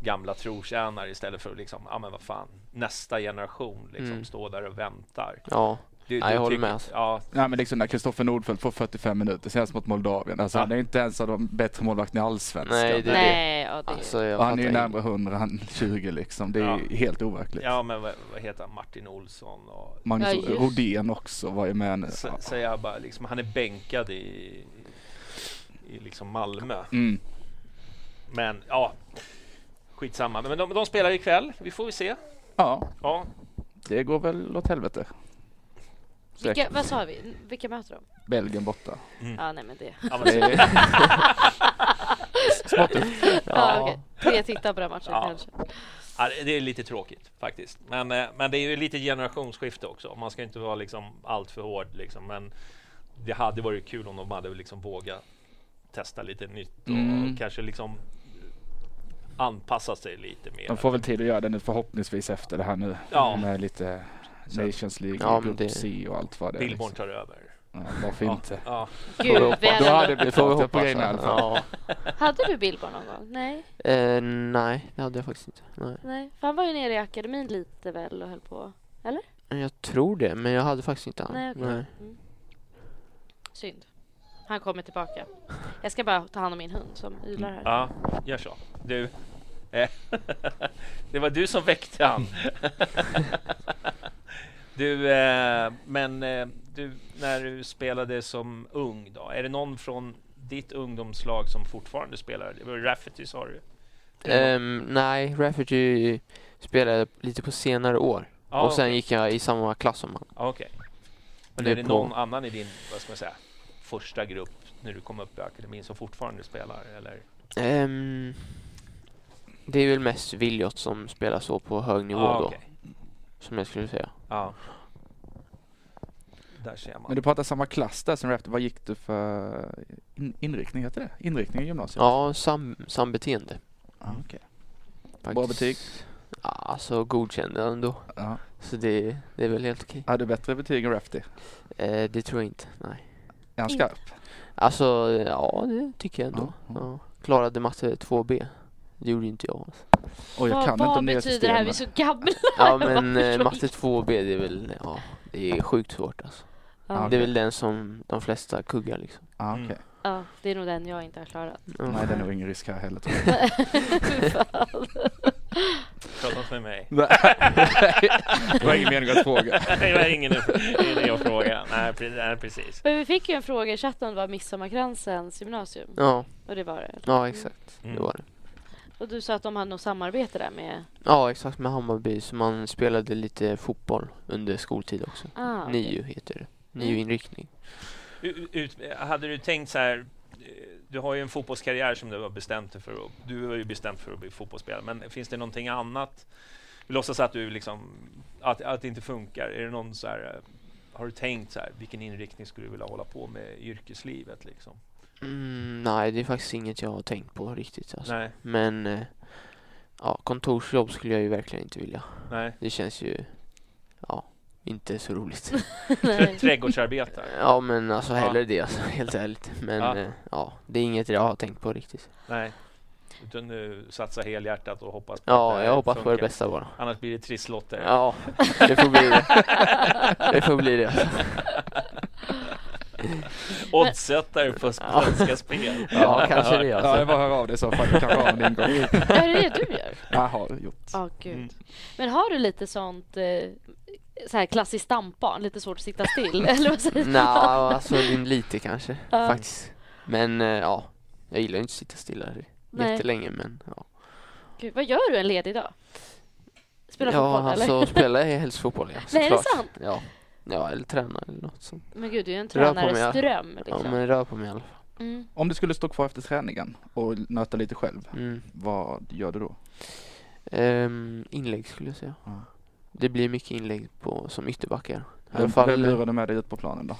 Speaker 1: gamla trotjänare istället för att liksom, ja ah, men vad fan, nästa generation liksom
Speaker 4: Mm.
Speaker 1: står där och väntar.
Speaker 4: ja.
Speaker 1: Du,
Speaker 4: Ja, jag håller
Speaker 1: tycker-
Speaker 4: med, alltså.
Speaker 1: Ja,
Speaker 2: Nej men liksom när Kristoffer Nordfeldt får 45 minuter senast mot Moldavien. Alltså
Speaker 1: Ja.
Speaker 2: han är inte ens av de bättre målvakterna i Allsvenskan.
Speaker 4: Nej, det är det.
Speaker 3: Nej, ja, det
Speaker 4: Alltså, jag
Speaker 2: Och han är ju
Speaker 4: fattar
Speaker 2: närmare 100 än 20 liksom. Det är ju
Speaker 1: Ja.
Speaker 2: helt overkligt.
Speaker 1: ja men vad, vad heter han, Martin Olsson och
Speaker 2: Magnus
Speaker 3: Ja, just.
Speaker 2: Rodén också var ju med nu.
Speaker 1: S-
Speaker 2: Ja.
Speaker 1: säger jag bara liksom, han är bänkad i, i liksom Malmö.
Speaker 2: Mm.
Speaker 1: Men ja, skitsamma. Men de, de spelar ikväll, vi får ju se.
Speaker 2: ja,
Speaker 1: Ja,
Speaker 2: det går väl åt helvete.
Speaker 3: Vilka,
Speaker 2: Säkert.
Speaker 3: vad sa vi? Vilka möter de?
Speaker 2: Belgien borta.
Speaker 4: Mm.
Speaker 3: Ja, nej men det.
Speaker 1: ja, men,
Speaker 4: Det är-
Speaker 2: Smart ut.
Speaker 3: Ja, okej. Tre tittar på den matchen
Speaker 1: Ja.
Speaker 3: kanske.
Speaker 1: Ja, det- det är lite tråkigt faktiskt. Men, eh, men det är ju lite generationsskifte också. Man ska inte vara liksom allt för hård. Liksom. Men det hade varit kul om de hade liksom vågat testa lite nytt och
Speaker 2: Mm.
Speaker 1: kanske liksom anpassa sig lite mer.
Speaker 2: De får väl tid att göra det nu förhoppningsvis efter det här nu.
Speaker 1: Ja.
Speaker 2: Med lite
Speaker 1: Så-
Speaker 2: Nations League,
Speaker 4: Ja,
Speaker 2: ja,
Speaker 4: men
Speaker 2: Group
Speaker 4: det-
Speaker 2: C och allt vad det är.
Speaker 1: Billborn
Speaker 2: Liksom.
Speaker 1: tar över.
Speaker 2: Ja, varför inte?
Speaker 1: Ja,
Speaker 3: Gud,
Speaker 4: Då
Speaker 3: vi hade,
Speaker 2: blivit
Speaker 4: får vi
Speaker 2: fart på
Speaker 4: hoppas,
Speaker 2: grejerna i alla fall.
Speaker 4: Ja.
Speaker 3: hade du Billborn någon gång? Nej,
Speaker 4: Eh, nej, det hade jag faktiskt inte. Nej.
Speaker 3: nej. För han var ju nere i akademin lite väl och höll på.
Speaker 4: Jag tror det, men jag hade faktiskt inte han.
Speaker 3: Nej, okej. Mm. Synd. Han kommer tillbaka. Jag ska bara ta hand om min hund som ylar här.
Speaker 1: ja gör så. Du. eh, det var du som väckte han. Du, eh, men eh, du, när du spelade som ung då, är det någon från ditt ungdomslag som fortfarande spelar? Det var ju Rafferty sa du?
Speaker 4: Ehm, nej, Refugee spelade lite på senare år.
Speaker 1: Ja,
Speaker 4: och sen
Speaker 1: okej.
Speaker 4: gick jag i samma klass som han.
Speaker 1: Ja, okej. Men
Speaker 4: Det
Speaker 1: är
Speaker 4: är
Speaker 1: det
Speaker 4: på-
Speaker 1: någon annan i din, vad ska man säga, första grupp när du kom upp i akademin som fortfarande spelar? Eller?
Speaker 4: Ehm, det är väl mest Williot som spelar så på hög nivå
Speaker 1: Ja,
Speaker 4: då,
Speaker 1: okej.
Speaker 4: som jag skulle säga.
Speaker 1: Ja. Där ser man.
Speaker 2: Men du pratar samma klass där som Raptor. Vad gick du för in, inriktning? Heter det? Inriktning i gymnasiet?
Speaker 4: Ja, sam, sambeteende.
Speaker 2: Ah, okej.
Speaker 4: Faktiskt.
Speaker 2: Bra betyg?
Speaker 4: Ja, alltså godkända ändå.
Speaker 2: Ja.
Speaker 4: Så det, det är väl helt okej.
Speaker 2: Hade du bättre betyg än Rafty?
Speaker 4: Eh, det tror jag inte, nej.
Speaker 2: Är han
Speaker 3: Inte.
Speaker 2: skarp?
Speaker 4: Alltså, ja det tycker jag ändå.
Speaker 2: Ja,
Speaker 4: Ja, Klarade matte 2B. Det gjorde inte jag. Alltså.
Speaker 2: Och jag kan inte
Speaker 3: vad
Speaker 2: om nya
Speaker 3: betyder det här? Vi är
Speaker 2: systemet.
Speaker 3: så gamla.
Speaker 4: Ja
Speaker 3: Vad
Speaker 4: men eh,
Speaker 3: förstår
Speaker 4: matte 2B det är väl, ja det är sjukt svårt alltså.
Speaker 3: Ja.
Speaker 4: Det är väl den som de flesta kuggar liksom.
Speaker 2: Ah, okej.
Speaker 3: Ja, det är nog den jag inte har klarat.
Speaker 4: Mm.
Speaker 2: Nej, det är nog ingen risk här heller tror jag.
Speaker 3: Fy fan.
Speaker 1: Prata inte med mig.
Speaker 2: Det var ingen mening att fråga.
Speaker 1: Det var ingen idé att fråga. Nej, pre- nej, precis.
Speaker 3: Men vi fick ju en fråga i chatten om det var Midsommarkransens gymnasium.
Speaker 4: Ja,
Speaker 3: Och det var det.
Speaker 4: ja exakt.
Speaker 1: Mm.
Speaker 4: Det var det.
Speaker 3: Och du sa att de hade något samarbete där med...
Speaker 4: Ja exakt med Hammarby så man spelade lite fotboll under skoltid också.
Speaker 3: Ah, okej. Mm.
Speaker 4: Nio heter det. Nio inriktning.
Speaker 1: U- Ut, hade du tänkt så här, eh, du har ju en fotbollskarriär som du har bestämt dig för, att- du har ju bestämt för att bli fotbollsspelare, men finns det någonting annat Vi låtsas att du liksom, att, att det inte funkar. Är det någon så här, eh, har du tänkt så här, vilken inriktning skulle du vilja hålla på med i yrkeslivet liksom?
Speaker 4: Mm, nej, det är faktiskt inget jag har tänkt på riktigt. Alltså.
Speaker 1: Nej,
Speaker 4: Men eh, ja, kontorsjobb skulle jag ju verkligen inte vilja.
Speaker 1: nej.
Speaker 4: Det känns ju ja, inte så roligt.
Speaker 3: Nej.
Speaker 1: Trädgårdsarbetare?
Speaker 4: ja, men alltså
Speaker 1: Ja.
Speaker 4: hellre det alltså, helt ärligt. Men
Speaker 1: Ja.
Speaker 4: ja. Eh, ja, det är inget jag har tänkt på riktigt.
Speaker 1: Nej. Utan nu satsa helhjärtat och hoppas på att
Speaker 4: Ja,
Speaker 1: här
Speaker 4: jag hoppas på det
Speaker 1: funkar.
Speaker 4: bästa bara.
Speaker 1: Annars blir det trisslotter.
Speaker 4: Ja, det får bli det. Det får bli det. Alltså.
Speaker 1: Oddsättare på svenska spel.
Speaker 4: Ja, kanske det.
Speaker 2: Ja, jag
Speaker 4: Alltså.
Speaker 2: bara hör av dig i så fall. Du kanske har en ingång.
Speaker 3: Är det det du gör?
Speaker 2: Jag har gjort.
Speaker 3: Ja,
Speaker 1: Mm.
Speaker 3: gud. Men har du lite sånt eh, så här klassiskt stampan, lite svårt att sitta still? Eller vad säger
Speaker 4: Nej, alltså lite kanske
Speaker 3: Ja.
Speaker 4: faktiskt. Men eh, ja, jag gillar ju inte att sitta stilla
Speaker 3: Nej.
Speaker 4: jättelänge. Men ja,
Speaker 3: Gud, vad gör du en ledig dag? Spelar
Speaker 4: ja
Speaker 3: fotboll
Speaker 4: alltså
Speaker 3: eller?
Speaker 4: spela är helst fotboll. Ja,
Speaker 3: Nej, är det
Speaker 4: såklart.
Speaker 3: sant?
Speaker 4: Ja. ja, eller träna eller något sånt.
Speaker 3: Men gud, du är ju en
Speaker 4: Rör på mig,
Speaker 3: tränares
Speaker 4: ja.
Speaker 3: dröm.
Speaker 4: Ja,
Speaker 3: Liksom.
Speaker 4: men rör på mig i alla fall.
Speaker 3: Mm.
Speaker 2: Om du skulle stå kvar efter träningen och nöta lite själv,
Speaker 4: Mm.
Speaker 2: vad gör du då?
Speaker 4: Ehm, inlägg skulle jag säga.
Speaker 2: Ja.
Speaker 4: Det blir mycket inlägg på, som ytterbackar. I alla
Speaker 2: Vem,
Speaker 4: fall,
Speaker 2: vem lurar du med dig ut på planen då?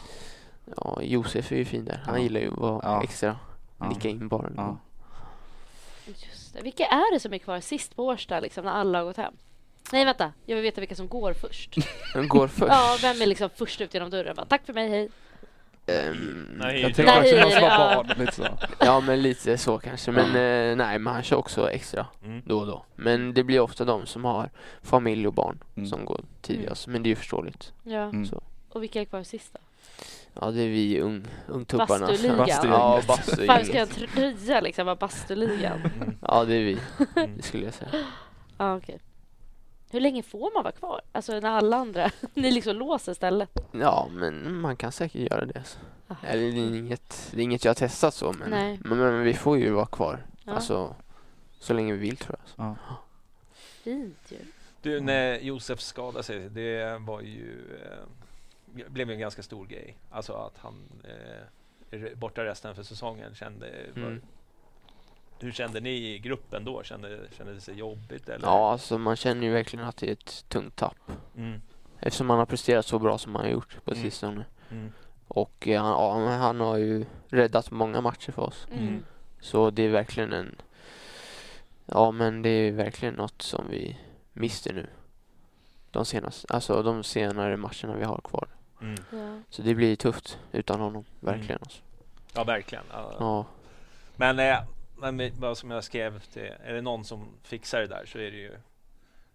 Speaker 4: ja, Josef är ju fin där. Han
Speaker 2: Ja.
Speaker 4: gillar ju att vara
Speaker 2: Ja.
Speaker 4: extra.
Speaker 2: Ja.
Speaker 4: Nicka in bollen.
Speaker 2: Ja.
Speaker 3: Just det. Vilka är det som är kvar sist på Årsta liksom, när alla har gått hem? Nej, vänta. Jag vill veta vilka som går först.
Speaker 4: Den går först.
Speaker 3: ja, vem är liksom först ut genom dörren? Bara, Tack för mig, hej.
Speaker 4: Ehm,
Speaker 1: Nej,
Speaker 2: Jag tänkte också
Speaker 3: Nej,
Speaker 2: någon som var
Speaker 3: ja.
Speaker 2: barn. Lite så.
Speaker 4: Ja men lite så kanske. Men eh, nej men han kör också extra
Speaker 1: Mm.
Speaker 4: då och då. Men det blir ofta de som har familj och barn
Speaker 2: Mm.
Speaker 4: som går tidigast.
Speaker 3: Mm.
Speaker 4: Men det är ju förståligt.
Speaker 3: Ja.
Speaker 2: Mm.
Speaker 4: Så.
Speaker 3: Och vilka är kvar sist då?
Speaker 4: Ja det är vi ung, ungtupparna.
Speaker 3: Bastuligan.
Speaker 4: Ja
Speaker 2: Bastugänget.
Speaker 3: Fan, vi ska göra
Speaker 4: bastugänget.
Speaker 3: en trea liksom, bara bastuligan.
Speaker 4: Ja det är vi.
Speaker 1: Mm.
Speaker 4: Det skulle jag säga.
Speaker 3: Ja, okej. Hur länge får man vara kvar? Alltså när alla andra, ni liksom låser stället.
Speaker 4: Ja men man kan säkert göra det. Alltså.
Speaker 3: Ah.
Speaker 4: Eller det är, inget, det är inget jag har testat så men,
Speaker 3: Nej.
Speaker 4: men, men vi får ju vara kvar.
Speaker 3: Ja,
Speaker 4: Alltså så länge vi vill tror jag. Alltså.
Speaker 2: Ja.
Speaker 3: fint ju.
Speaker 4: Mm.
Speaker 1: Du, när Josef skadade sig, det var ju... Eh, blev ju en ganska stor grej. Alltså att han eh, är re- borta resten för säsongen. Kände,
Speaker 4: Mm.
Speaker 1: Hur kände ni i gruppen då? Kände, kände det sig jobbigt? Eller?
Speaker 4: Ja alltså man känner ju verkligen att det är ett tungt tapp.
Speaker 1: Mm,
Speaker 4: Eftersom han har presterat så bra som han har gjort på
Speaker 1: Mm.
Speaker 4: sistone.
Speaker 1: mm,
Speaker 4: Och eh, han, ja, men han har ju räddat många matcher för oss.
Speaker 1: Mm.
Speaker 3: Mm.
Speaker 4: Så det är verkligen en... Ja men det är verkligen något som vi mister nu. De senaste, alltså de senare matcherna vi har kvar.
Speaker 1: mm.
Speaker 3: Ja.
Speaker 4: Så det blir tufft utan honom, verkligen. Alltså.
Speaker 1: Ja, verkligen. Mm. Ja.
Speaker 4: Ja,
Speaker 1: Men, eh, men med- vad som jag skrev till, är det någon som fixar det där så är det ju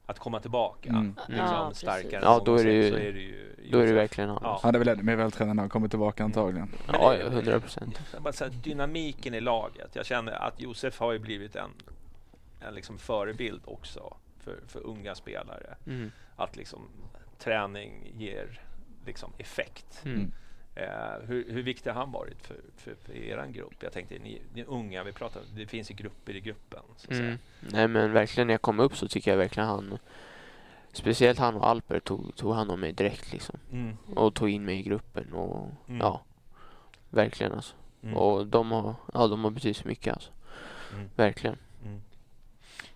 Speaker 1: att komma tillbaka.
Speaker 2: Mm.
Speaker 1: Liksom,
Speaker 3: Ja, precis.
Speaker 1: starkare än
Speaker 4: Ja, då
Speaker 1: någonsin,
Speaker 4: är det ju-
Speaker 1: så är det ju
Speaker 4: då är det
Speaker 1: Josef.
Speaker 4: verkligen han.
Speaker 1: Ja.
Speaker 4: alltså.
Speaker 2: Han är väl ännu mer vältränad när han kommer tillbaka
Speaker 4: Mm.
Speaker 2: antagligen.
Speaker 4: Ja, ja, 100 procent.
Speaker 1: Jag bara säger, dynamiken i laget. Jag känner att Josef har ju blivit en, en liksom förebild också för, för unga spelare.
Speaker 4: Mm.
Speaker 1: Att liksom träning ger liksom effekt.
Speaker 4: Mm.
Speaker 1: Eh, hur, hur viktig har han varit för, för, för er grupp? Jag tänkte, ni, ni är unga, vi pratar, det finns ju grupper i gruppen. Så att
Speaker 4: Mm.
Speaker 1: säga.
Speaker 4: Nej men verkligen när jag kom upp så tycker jag verkligen han Speciellt han och Alper tog, tog hand om mig direkt liksom
Speaker 1: Mm,
Speaker 4: och tog in mig i gruppen och
Speaker 1: mm,
Speaker 4: ja Verkligen alltså
Speaker 1: mm,
Speaker 4: och de har, ja de har betytt så mycket alltså
Speaker 1: Mm.
Speaker 4: Verkligen
Speaker 1: mm.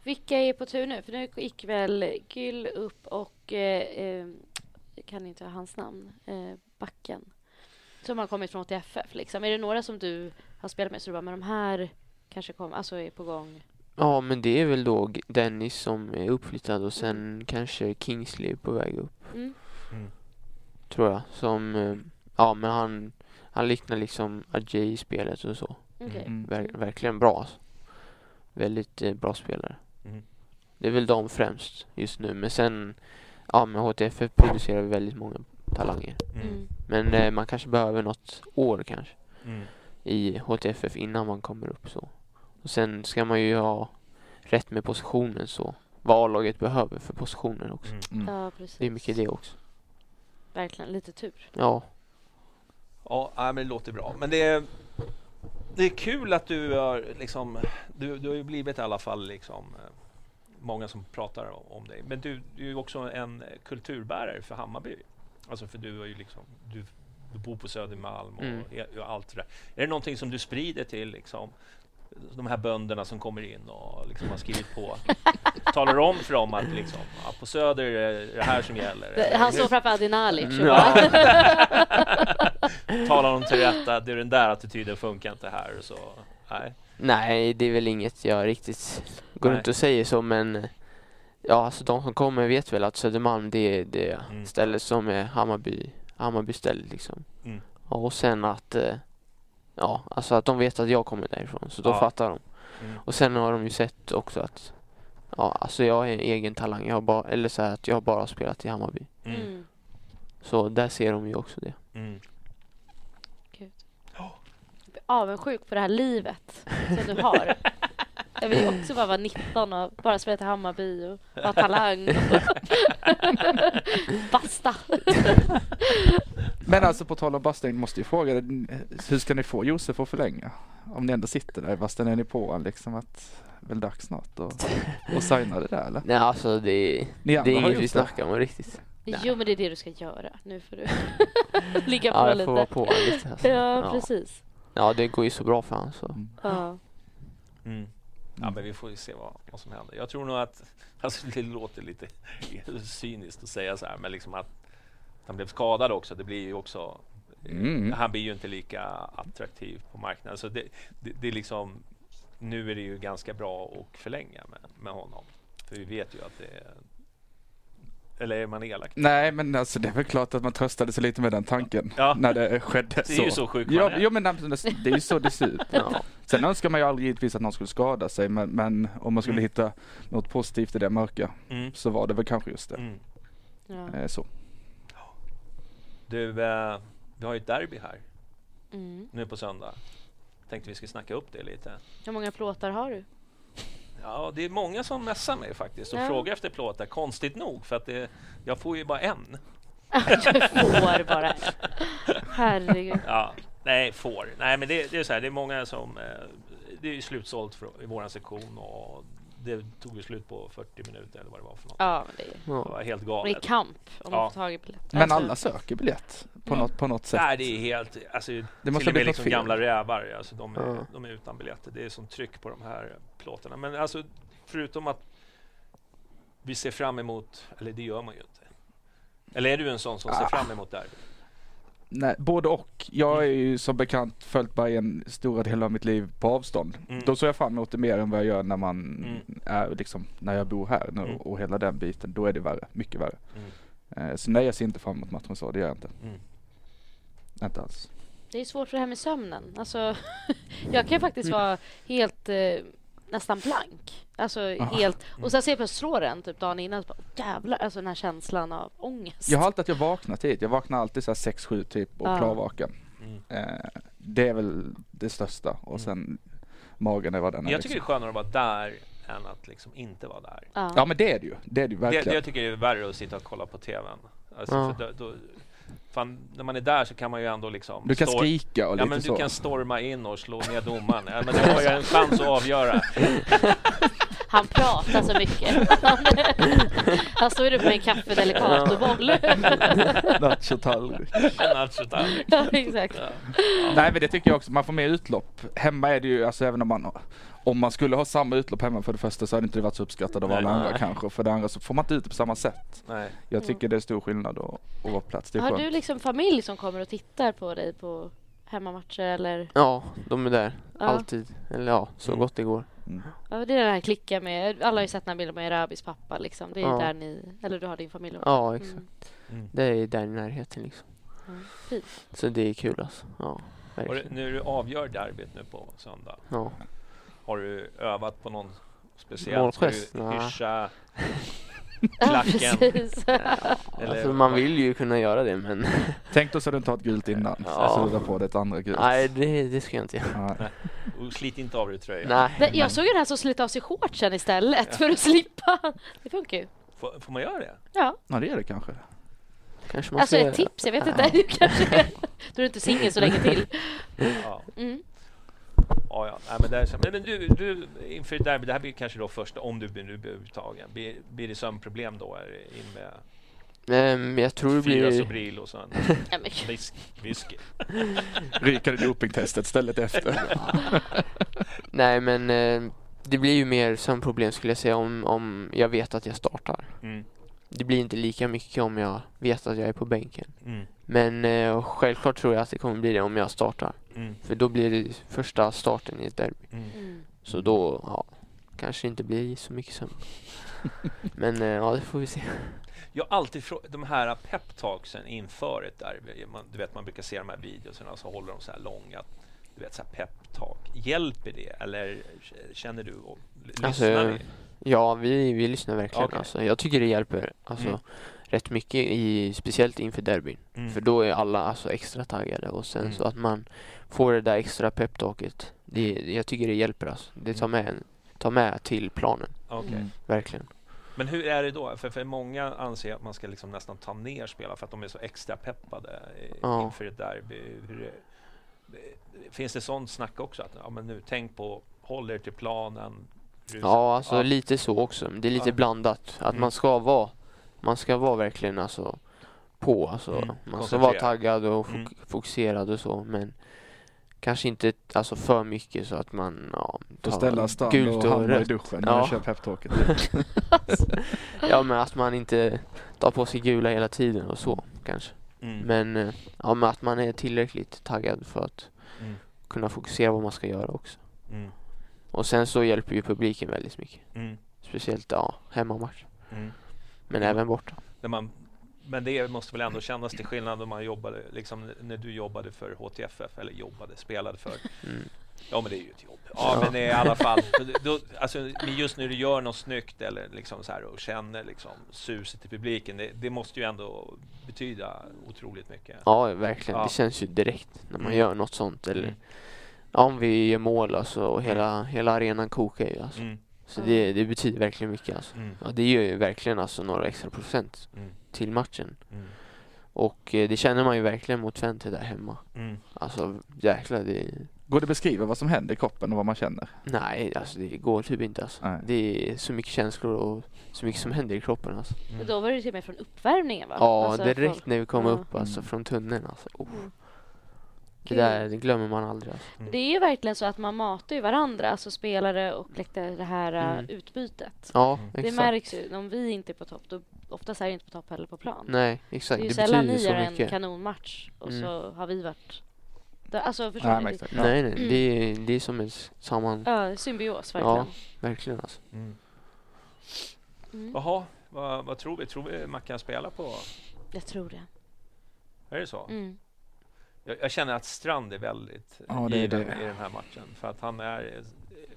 Speaker 3: Vilka är på tur nu? För nu gick väl Gyll upp och eh, eh, jag kan inte ha hans namn, eh, backen som har kommit från TFF. Liksom. Är det några som du har spelat med så du bara, men de här kanske kom, alltså är på gång?
Speaker 4: Ja men det är väl då G- Dennis som är uppflyttad och sen kanske Kingsley är på väg upp
Speaker 3: Mm.
Speaker 4: tror jag som eh, Ja men han Han liknar liksom Ajay i spelet och så
Speaker 3: okej.
Speaker 2: Mm.
Speaker 4: Ver- Verkligen bra alltså. Väldigt eh, bra spelare
Speaker 1: Mm.
Speaker 4: Det är väl de främst just nu men sen Ja men HTFF producerar väldigt många talanger
Speaker 1: Mm.
Speaker 3: Mm.
Speaker 4: Men eh, man kanske behöver något år kanske
Speaker 1: Mm.
Speaker 4: i HTFF innan man kommer upp så. Och sen ska man ju ha rätt med positionen så. Vad A-laget behöver för positioner också.
Speaker 1: Mm.
Speaker 2: Mm.
Speaker 3: Ja, precis.
Speaker 4: Det är mycket det också.
Speaker 3: Verkligen, lite tur.
Speaker 4: Ja,
Speaker 1: Ja, nej, men det låter bra. Men det är, det är kul att du har liksom, du, du har ju blivit i alla fall liksom eh, många som pratar o- om dig. Men du, du är ju också en eh, kulturbärare för Hammarby. Alltså för du har ju liksom, du, du bor på Södermalm och,
Speaker 4: Mm.
Speaker 1: e- och allt det där. Är det någonting som du sprider till liksom de här bönderna som kommer in och liksom har skrivit på talar om för dem att liksom, ja, på Söder är det det här som gäller.
Speaker 3: Det- Han står framför Adin Alic. och
Speaker 1: Ja.
Speaker 3: bara-
Speaker 1: talar om till rätta, det är den där attityden funkar inte här. och Så, nej.
Speaker 4: Nej, det är väl inget jag riktigt går
Speaker 1: Nej.
Speaker 4: runt och säger så, men ja, alltså de som kommer vet väl att Södermalm, det är det
Speaker 1: Mm.
Speaker 4: stället som är Hammarby, Hammarby stället liksom.
Speaker 1: Mm.
Speaker 4: Och sen att, eh, ja, alltså att de vet att jag kommer därifrån, så då
Speaker 1: Ja.
Speaker 4: fattar de.
Speaker 1: Mm.
Speaker 4: Och sen har de ju sett också att, ja, alltså jag är en egen talang, jag har bara, eller så här att jag har bara spelat i Hammarby.
Speaker 1: Mm.
Speaker 3: Mm.
Speaker 4: Så där ser de ju också det.
Speaker 1: Mm.
Speaker 3: Gud. Jag blir avundsjuk på det här livet som du har. Jag vill ju också bara vara 19 och bara spela till Hammarby och ha talang. Basta!
Speaker 2: Men alltså på tal om bastun måste jag fråga dig, hur ska ni få Josef att förlänga? Om ni ändå sitter där i bastun, är ni på honom liksom att väl dags snart och, och signa det där eller?
Speaker 4: Nej, alltså det,
Speaker 2: Ni
Speaker 4: det
Speaker 2: andra
Speaker 4: är
Speaker 2: har
Speaker 4: inget
Speaker 2: gjort
Speaker 4: vi
Speaker 2: det.
Speaker 4: snackar om riktigt.
Speaker 3: Jo, men det är det du ska göra. Nu får du ligga på
Speaker 4: Ja, jag
Speaker 3: lite.
Speaker 4: får vara på honom lite. Alltså.
Speaker 3: Ja, precis.
Speaker 4: Ja, det går ju så bra för honom så.
Speaker 3: Ja.
Speaker 1: Mm. Ja, men vi får ju se vad, vad som händer. Jag tror nog att, alltså det låter lite cyniskt att säga så här, men liksom att han blev skadad också, det blir ju också eh,
Speaker 2: Mm.
Speaker 1: Han blir ju inte lika attraktiv på marknaden. Så det, det, det är liksom, nu är det ju ganska bra att förlänga med, med honom. För vi vet ju att det är... Eller är man elak?
Speaker 2: Nej men alltså det är väl klart att man tröstade sig lite med den tanken
Speaker 1: Ja.
Speaker 2: när det skedde.
Speaker 1: Det är ju så sjuk man
Speaker 2: ja,
Speaker 1: är.
Speaker 2: ja men det det är ju så det ser ut.
Speaker 4: Ja.
Speaker 2: Sen önskar man ju aldrig givetvis att någon skulle skada sig men, men om man skulle
Speaker 1: Mm.
Speaker 2: hitta något positivt i det mörka
Speaker 1: Mm.
Speaker 2: så var det väl kanske just det.
Speaker 1: Mm.
Speaker 3: ja.
Speaker 2: Eh, så.
Speaker 1: Du, eh, vi har ju ett derby här
Speaker 3: Mm.
Speaker 1: nu på söndag. Tänkte vi skulle snacka upp det lite.
Speaker 3: Hur många plåtar har du?
Speaker 1: Ja, det är många som messar mig faktiskt och
Speaker 3: Ja.
Speaker 1: frågar efter plåtar, konstigt nog. För att det, jag får ju bara en.
Speaker 3: Du får bara en. Herregud.
Speaker 1: Ja, nej, får. Nej, men det, det är så här, det är många som... eh, Det är ju slutsålt för, i våran sektion och det tog ju slut på 40 minuter eller vad det var för något.
Speaker 3: Ja, men det är,
Speaker 1: Det
Speaker 4: Ja.
Speaker 1: var helt
Speaker 3: men det är
Speaker 1: galet.
Speaker 3: kamp om
Speaker 1: Ja.
Speaker 3: man får tag i biljetter.
Speaker 2: Men
Speaker 3: Alltså-
Speaker 2: alla söker biljett på, något, på något sätt.
Speaker 1: Nej, det är helt... Alltså, det
Speaker 2: måste
Speaker 1: måste till och
Speaker 2: ha
Speaker 1: med
Speaker 2: blivit något
Speaker 1: liksom
Speaker 2: fel.
Speaker 1: gamla rävar, alltså, de, är,
Speaker 4: Ja.
Speaker 1: de är utan biljetter. Det är sånt tryck på de här plåtarna. Men alltså, förutom att vi ser fram emot... Eller det gör man ju inte. Eller är du en sån som ser
Speaker 2: Ah.
Speaker 1: fram emot derby?
Speaker 2: Nej, både och. Jag är
Speaker 1: Mm.
Speaker 2: ju som bekant följt Bayern stora delar av mitt liv på avstånd.
Speaker 1: Mm.
Speaker 2: Då såg jag fram emot det mer än vad jag gör när man
Speaker 1: Mm.
Speaker 2: är liksom, när jag bor här nu
Speaker 1: Mm.
Speaker 2: och hela den biten. Då är det värre, mycket värre.
Speaker 1: Mm.
Speaker 2: Eh, Så nej, jag ser inte fram emot matchen så, det gör jag inte.
Speaker 1: Mm.
Speaker 2: Inte alls.
Speaker 3: Det är svårt för det här med sömnen. Alltså, jag kan ju faktiskt vara helt eh, nästan blank. Alltså, helt, och
Speaker 2: Mm.
Speaker 3: sen ser jag på slår den typ dagen innan. och Bara, jävlar, alltså den här känslan av ångest.
Speaker 2: Jag har alltid att jag vaknar tidigt. Jag vaknar alltid så här 6-7 typ och
Speaker 3: Ja.
Speaker 2: klarvaken.
Speaker 1: Mm.
Speaker 2: Eh, Det är väl det största. Och sen magen är vad den är.
Speaker 1: Jag tycker det är
Speaker 2: liksom.
Speaker 1: skönare att vara där än att liksom inte vara där.
Speaker 3: Ja.
Speaker 2: Ja men det är det ju. Det är det ju
Speaker 1: Det,
Speaker 2: verkligen.
Speaker 1: det jag tycker är värre att sitta och kolla på TVn. Alltså,
Speaker 4: Ja.
Speaker 1: för då, då, fan, när man är där så kan man ju ändå liksom...
Speaker 2: Du kan
Speaker 1: stor-
Speaker 2: skrika och
Speaker 1: Ja,
Speaker 2: lite
Speaker 1: men
Speaker 2: så.
Speaker 1: du kan storma in och slå ner domaren. Ja, men du har ju en chans att avgöra.
Speaker 3: Han pratar så mycket. Han står ju där med en kaffe delicatoboll.
Speaker 2: Nachotallrik.
Speaker 1: En nachotallrik.
Speaker 3: ja, exakt.
Speaker 2: Nej men det tycker jag också, man får mer utlopp. Hemma är det ju, alltså även om man om man skulle ha samma utlopp hemma för det första så hade inte det varit så uppskattat av
Speaker 1: Nej.
Speaker 2: alla andra
Speaker 4: Nej.
Speaker 2: kanske. Och För det andra så får man inte ut det på samma sätt.
Speaker 1: Nej.
Speaker 2: Jag tycker det är stor skillnad att, att vara på plats. Det är
Speaker 3: Har Mm. du
Speaker 2: skönt.
Speaker 3: liksom familj som kommer och tittar på dig på hemmamatcher eller?
Speaker 4: ja, de är där.
Speaker 3: Ja.
Speaker 4: Alltid. Eller ja, så
Speaker 1: Mm.
Speaker 4: gott det går.
Speaker 2: Mm.
Speaker 3: Ja, det är den här klicken med, alla har ju sett den här bilden med Rabis pappa liksom. Det är ju
Speaker 4: Ja.
Speaker 3: där ni, eller du har din familj också.
Speaker 4: Ja, exakt.
Speaker 3: Mm.
Speaker 4: Det är där i närheten liksom.
Speaker 3: Ja, fint.
Speaker 4: Så det är kul alltså. Ja,
Speaker 1: Och du-
Speaker 4: verkligen.
Speaker 1: nu du avgör derbyt nu på söndag,
Speaker 4: Ja.
Speaker 1: har du övat på någon speciell? Ska
Speaker 4: Målgest?
Speaker 1: du
Speaker 4: Nej.
Speaker 1: hyscha
Speaker 3: Ja,
Speaker 1: klacken?
Speaker 3: precis.
Speaker 1: Eller-
Speaker 4: Alltså, man vill ju kunna göra det men
Speaker 2: Tänk då så du inte har ett gult innan.
Speaker 4: Ja.
Speaker 2: Så du drar på dig ett andra gult.
Speaker 4: nej, det, det ska jag inte göra.
Speaker 2: Nej.
Speaker 1: Och slit inte av dig tröjan.
Speaker 4: Nej.
Speaker 3: Nej, Jag såg den här som slet av sig shortsen istället för att slippa. Det funkar ju.
Speaker 1: Får, får man göra det?
Speaker 3: Ja,
Speaker 2: Ja det är det kanske.
Speaker 4: Kanske man
Speaker 3: alltså
Speaker 4: ska
Speaker 3: ett tips. Jag vet inte. Du kanske Då är du inte singel så länge till.
Speaker 1: Ja.
Speaker 3: Mm.
Speaker 1: Ja, ja. Nej, men, där, så- men men du, du, inför derby, det här blir kanske då första, om du blir- nu blir uttagen, blir, blir det sömnproblem då? Är det in med
Speaker 4: göra. Um, jag tror det
Speaker 1: fyra
Speaker 4: blir...
Speaker 1: Sobril och sen
Speaker 3: Ja, men,
Speaker 1: whisky?
Speaker 2: Mm. Rykade dopingtestet stället efter.
Speaker 4: Nej men eh, det blir ju mer sömnproblem skulle jag säga om, om jag vet att jag startar.
Speaker 1: Mm.
Speaker 4: Det blir inte lika mycket om jag vet att jag är på bänken.
Speaker 1: Mm.
Speaker 4: Men eh, självklart tror jag att det kommer bli det om jag startar.
Speaker 1: Mm.
Speaker 4: För då blir det första starten i ett derby.
Speaker 3: Mm.
Speaker 4: Så då, ja, kanske inte blir så mycket sömn. men eh, ja, det får vi se.
Speaker 1: Jag har alltid frågat, de här peptalksen inför ett derby, man, du vet man brukar se de här videorna så håller de så här långa, du vet så här peptalk. Hjälper det eller känner du och lyssnar
Speaker 4: Alltså,
Speaker 1: ni?
Speaker 4: Ja, vi, vi lyssnar verkligen.
Speaker 1: Okej.
Speaker 4: Alltså, jag tycker det hjälper alltså,
Speaker 1: Mm.
Speaker 4: rätt mycket, i, speciellt inför derbyn.
Speaker 1: Mm.
Speaker 4: För då är alla alltså, extra taggade och sen
Speaker 1: Mm.
Speaker 4: så att man får det där extra peptalket. Det, jag tycker det hjälper alltså.
Speaker 1: Mm.
Speaker 4: Det tar med, en- tar med till planen,
Speaker 1: Okej.
Speaker 2: Mm.
Speaker 4: verkligen.
Speaker 1: Men hur är det då? För, för många anser att man ska liksom nästan ta ner spelare för att de är så extra peppade eh,
Speaker 4: Ja.
Speaker 1: inför ett derby. Hur, eh, finns det sånt snack också? Att ja, men nu, tänk på, håll er till planen. rusa-
Speaker 4: Ja, alltså lite så också. Det är lite
Speaker 1: Ja.
Speaker 4: blandat. Att
Speaker 1: Mm.
Speaker 4: man ska vara, man ska vara verkligen alltså på. Alltså,
Speaker 1: Mm,
Speaker 4: Man ska vara
Speaker 1: koncentrerad.
Speaker 4: taggad och fok-
Speaker 1: Mm.
Speaker 4: fokuserad och så. Men kanske inte alltså, för mycket så att man ja,
Speaker 2: Får
Speaker 4: tar
Speaker 2: ställa Strand
Speaker 4: gult
Speaker 2: och
Speaker 4: och
Speaker 2: Hammar i
Speaker 4: rött.
Speaker 2: duschen när
Speaker 4: Ja.
Speaker 2: jag kör peptalket.
Speaker 4: Ja, men att man inte tar på sig gula hela tiden och så kanske.
Speaker 1: Mm.
Speaker 4: Men eh, ja, men att man är tillräckligt taggad för att
Speaker 1: Mm.
Speaker 4: kunna fokusera på vad man ska göra också.
Speaker 1: Mm.
Speaker 4: Och sen så hjälper ju publiken väldigt mycket.
Speaker 1: Mm.
Speaker 4: Speciellt ja, hemmamatch.
Speaker 1: Mm.
Speaker 4: Men även borta.
Speaker 1: När man, men det måste väl ändå kännas till skillnad om man jobbade, liksom när du jobbade för HTFF, eller jobbade, spelade för.
Speaker 4: Mm.
Speaker 1: Ja, men det är ju ett jobb. Ja, men i alla fall. Då, alltså, men just när du gör något snyggt eller liksom så här, och känner liksom suset i publiken, det, det måste ju ändå betyda otroligt mycket.
Speaker 4: Ja, verkligen.
Speaker 1: Ja.
Speaker 4: Det känns ju direkt när man
Speaker 1: Mm.
Speaker 4: gör något sånt. Eller
Speaker 1: Mm.
Speaker 4: ja, om vi gör mål alltså, och hela, hela arenan kokar ju. Alltså.
Speaker 1: Mm,
Speaker 4: Så det, det betyder verkligen mycket. Alltså.
Speaker 1: mm,
Speaker 4: Ja, det gör ju verkligen alltså, några extra procent
Speaker 1: mm,
Speaker 4: till matchen.
Speaker 1: mm,
Speaker 4: Och eh, det känner man ju verkligen mot Fente där hemma.
Speaker 1: mm.
Speaker 4: Alltså jäklar, det...
Speaker 2: Går det beskriva vad som händer i kroppen och vad man känner?
Speaker 4: Nej, alltså det går typ inte alltså.
Speaker 2: Nej.
Speaker 4: Det är så mycket känslor och så mycket som händer i kroppen alltså.
Speaker 1: mm,
Speaker 3: Men då var det till och med från uppvärmningen va?
Speaker 4: Ja,
Speaker 3: Alltså,
Speaker 4: direkt när vi kom
Speaker 3: ja.
Speaker 4: upp alltså
Speaker 2: Mm.
Speaker 4: från tunneln alltså. Oh,
Speaker 3: Mm.
Speaker 4: det
Speaker 3: Gud.
Speaker 4: där det glömmer man aldrig alltså.
Speaker 1: mm,
Speaker 3: Det är ju verkligen så att man matar ju varandra, alltså spelare och läktare, det här eh,
Speaker 4: Mm.
Speaker 3: utbytet.
Speaker 4: Ja,
Speaker 1: Mm.
Speaker 4: exakt.
Speaker 3: Det märks ju. Om vi inte är på topp, då oftast är det inte på topp heller på plan.
Speaker 4: Nej,
Speaker 3: liksom. det
Speaker 4: exakt.
Speaker 3: är ju
Speaker 4: Det,
Speaker 3: sällan
Speaker 4: betyder
Speaker 3: ni gör
Speaker 4: så
Speaker 3: en
Speaker 4: mycket.
Speaker 3: kanonmatch och
Speaker 4: Mm.
Speaker 3: så har vi varit... Då- Alltså förstår
Speaker 2: Nej,
Speaker 3: ni?
Speaker 2: men
Speaker 3: Det-
Speaker 2: exakt. Ja.
Speaker 4: Nej, nej. Det,
Speaker 3: Mm.
Speaker 4: är, det är som en s- samman...
Speaker 3: Ja, symbios verkligen.
Speaker 4: Ja, verkligen alltså.
Speaker 1: Mm.
Speaker 3: Mm.
Speaker 1: Jaha, vad, vad tror vi? Tror vi man kan spela på?
Speaker 3: Jag tror det.
Speaker 1: Är det så?
Speaker 3: Mm.
Speaker 1: Jag, jag känner att Strand är väldigt
Speaker 2: Ja,
Speaker 1: ja,
Speaker 2: det är
Speaker 1: given
Speaker 2: det.
Speaker 1: i den här matchen. För att han är... eh,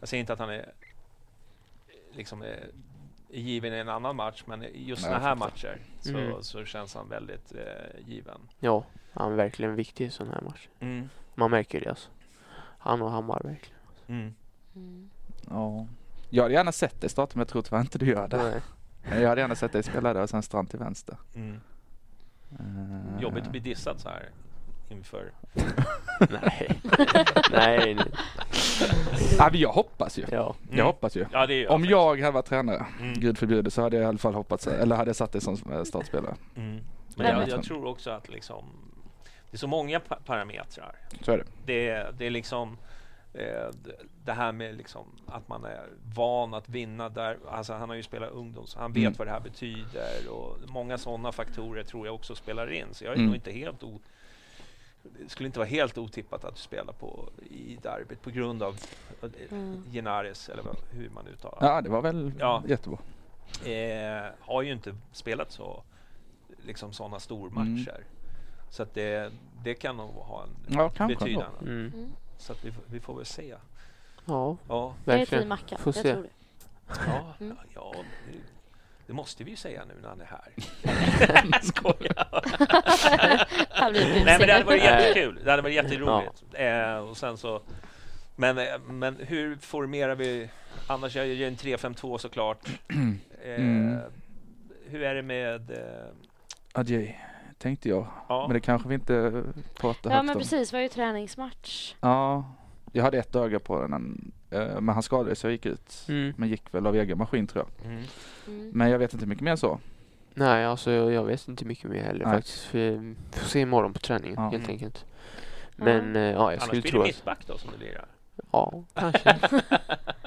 Speaker 1: Jag säger inte att han är eh, liksom eh, given i en annan match, men i just
Speaker 2: Nej,
Speaker 1: såna här
Speaker 2: jag
Speaker 1: matcher så,
Speaker 4: Mm.
Speaker 1: så känns han väldigt eh, given.
Speaker 4: Ja, han är verkligen viktig i sån här match.
Speaker 2: Mm.
Speaker 4: Man märker det alltså. Han och Hammar verkligen.
Speaker 3: Mm.
Speaker 2: Ja. Jag hade gärna sett dig starta men jag tror tyvärr inte du gör det.
Speaker 4: Nej.
Speaker 2: Men jag hade gärna sett dig spela där och sen Strand till vänster. Eh,
Speaker 1: Mm. Jobbigt att bli dissad så här inför...
Speaker 4: nej. nej, nej.
Speaker 2: Ja, men jag hoppas ju.
Speaker 4: Ja.
Speaker 2: Jag hoppas ju.
Speaker 1: Mm. Ja, det är jag
Speaker 2: Om jag hade varit tränare,
Speaker 1: Mm.
Speaker 2: gud förbjude, så hade jag i alla fall hoppats, eller hade jag satt dig som eh, startspelare.
Speaker 1: Mm. Men
Speaker 2: Nej,
Speaker 1: jag,
Speaker 2: men-
Speaker 1: jag tror också att liksom... Det är så många pa- parametrar.
Speaker 2: Så är det.
Speaker 1: Det är, det är liksom eh, d- det här med liksom att man är van att vinna där. Alltså han har ju spelat ungdom, så han vet
Speaker 2: Mm.
Speaker 1: vad det här betyder. Och många sådana faktorer tror jag också spelar in. Så jag är
Speaker 2: Mm.
Speaker 1: nog inte helt o... Det skulle inte vara helt otippat att du spelar på, i derbyt på grund av eh,
Speaker 3: Mm.
Speaker 1: Genares, eller vad- hur man uttalar
Speaker 2: Ja, det var väl
Speaker 1: Ja.
Speaker 2: jättebra.
Speaker 1: eh, har ju inte spelat så liksom sådana stormatcher. Så att det, det kan nog ha en
Speaker 2: Mm. Ja, kanske
Speaker 1: betydan.
Speaker 4: Mm.
Speaker 3: Mm.
Speaker 1: Så att vi, f- vi får väl se.
Speaker 4: Ja,
Speaker 1: Ja,
Speaker 3: Jag är team
Speaker 4: verkligen.
Speaker 3: Mackan,
Speaker 4: Får
Speaker 3: jag
Speaker 4: se.
Speaker 3: tror det.
Speaker 1: ja,
Speaker 3: Mm.
Speaker 1: ja det, det måste vi ju säga nu när han är här. Skojar!
Speaker 3: Han blir busig.
Speaker 1: Nej men det hade varit
Speaker 4: Nej.
Speaker 1: jättekul. Det hade varit jätteroligt. Eh, och sen så, men, eh, men hur formerar vi? Annars jag gör en 3-5-2 såklart. Eh,
Speaker 2: Mm.
Speaker 1: Hur är det med... Eh,
Speaker 2: Adjei, tänkte jag.
Speaker 1: ja.
Speaker 2: Men det kanske vi inte pratar
Speaker 3: Ja
Speaker 2: högt
Speaker 3: men
Speaker 2: om.
Speaker 3: precis, det var ju träningsmatch.
Speaker 2: Ja, jag hade ett öga på den, men, eh, men han skadade sig och gick ut.
Speaker 4: Mm.
Speaker 2: Men gick väl av egen maskin tror jag.
Speaker 1: Mm.
Speaker 3: Mm.
Speaker 2: Men jag vet inte mycket mer än så.
Speaker 4: Nej, alltså jag, jag vet inte mycket mer heller
Speaker 2: Nej.
Speaker 4: faktiskt. För, eh, får se imorgon på träningen
Speaker 2: Ja.
Speaker 4: helt
Speaker 1: Mm.
Speaker 4: enkelt.
Speaker 3: Ja.
Speaker 4: Men eh, ja, jag
Speaker 1: Annars blir
Speaker 4: skulle
Speaker 1: det
Speaker 4: tro att...
Speaker 1: mittback då som du lirar.
Speaker 4: Ja, kanske.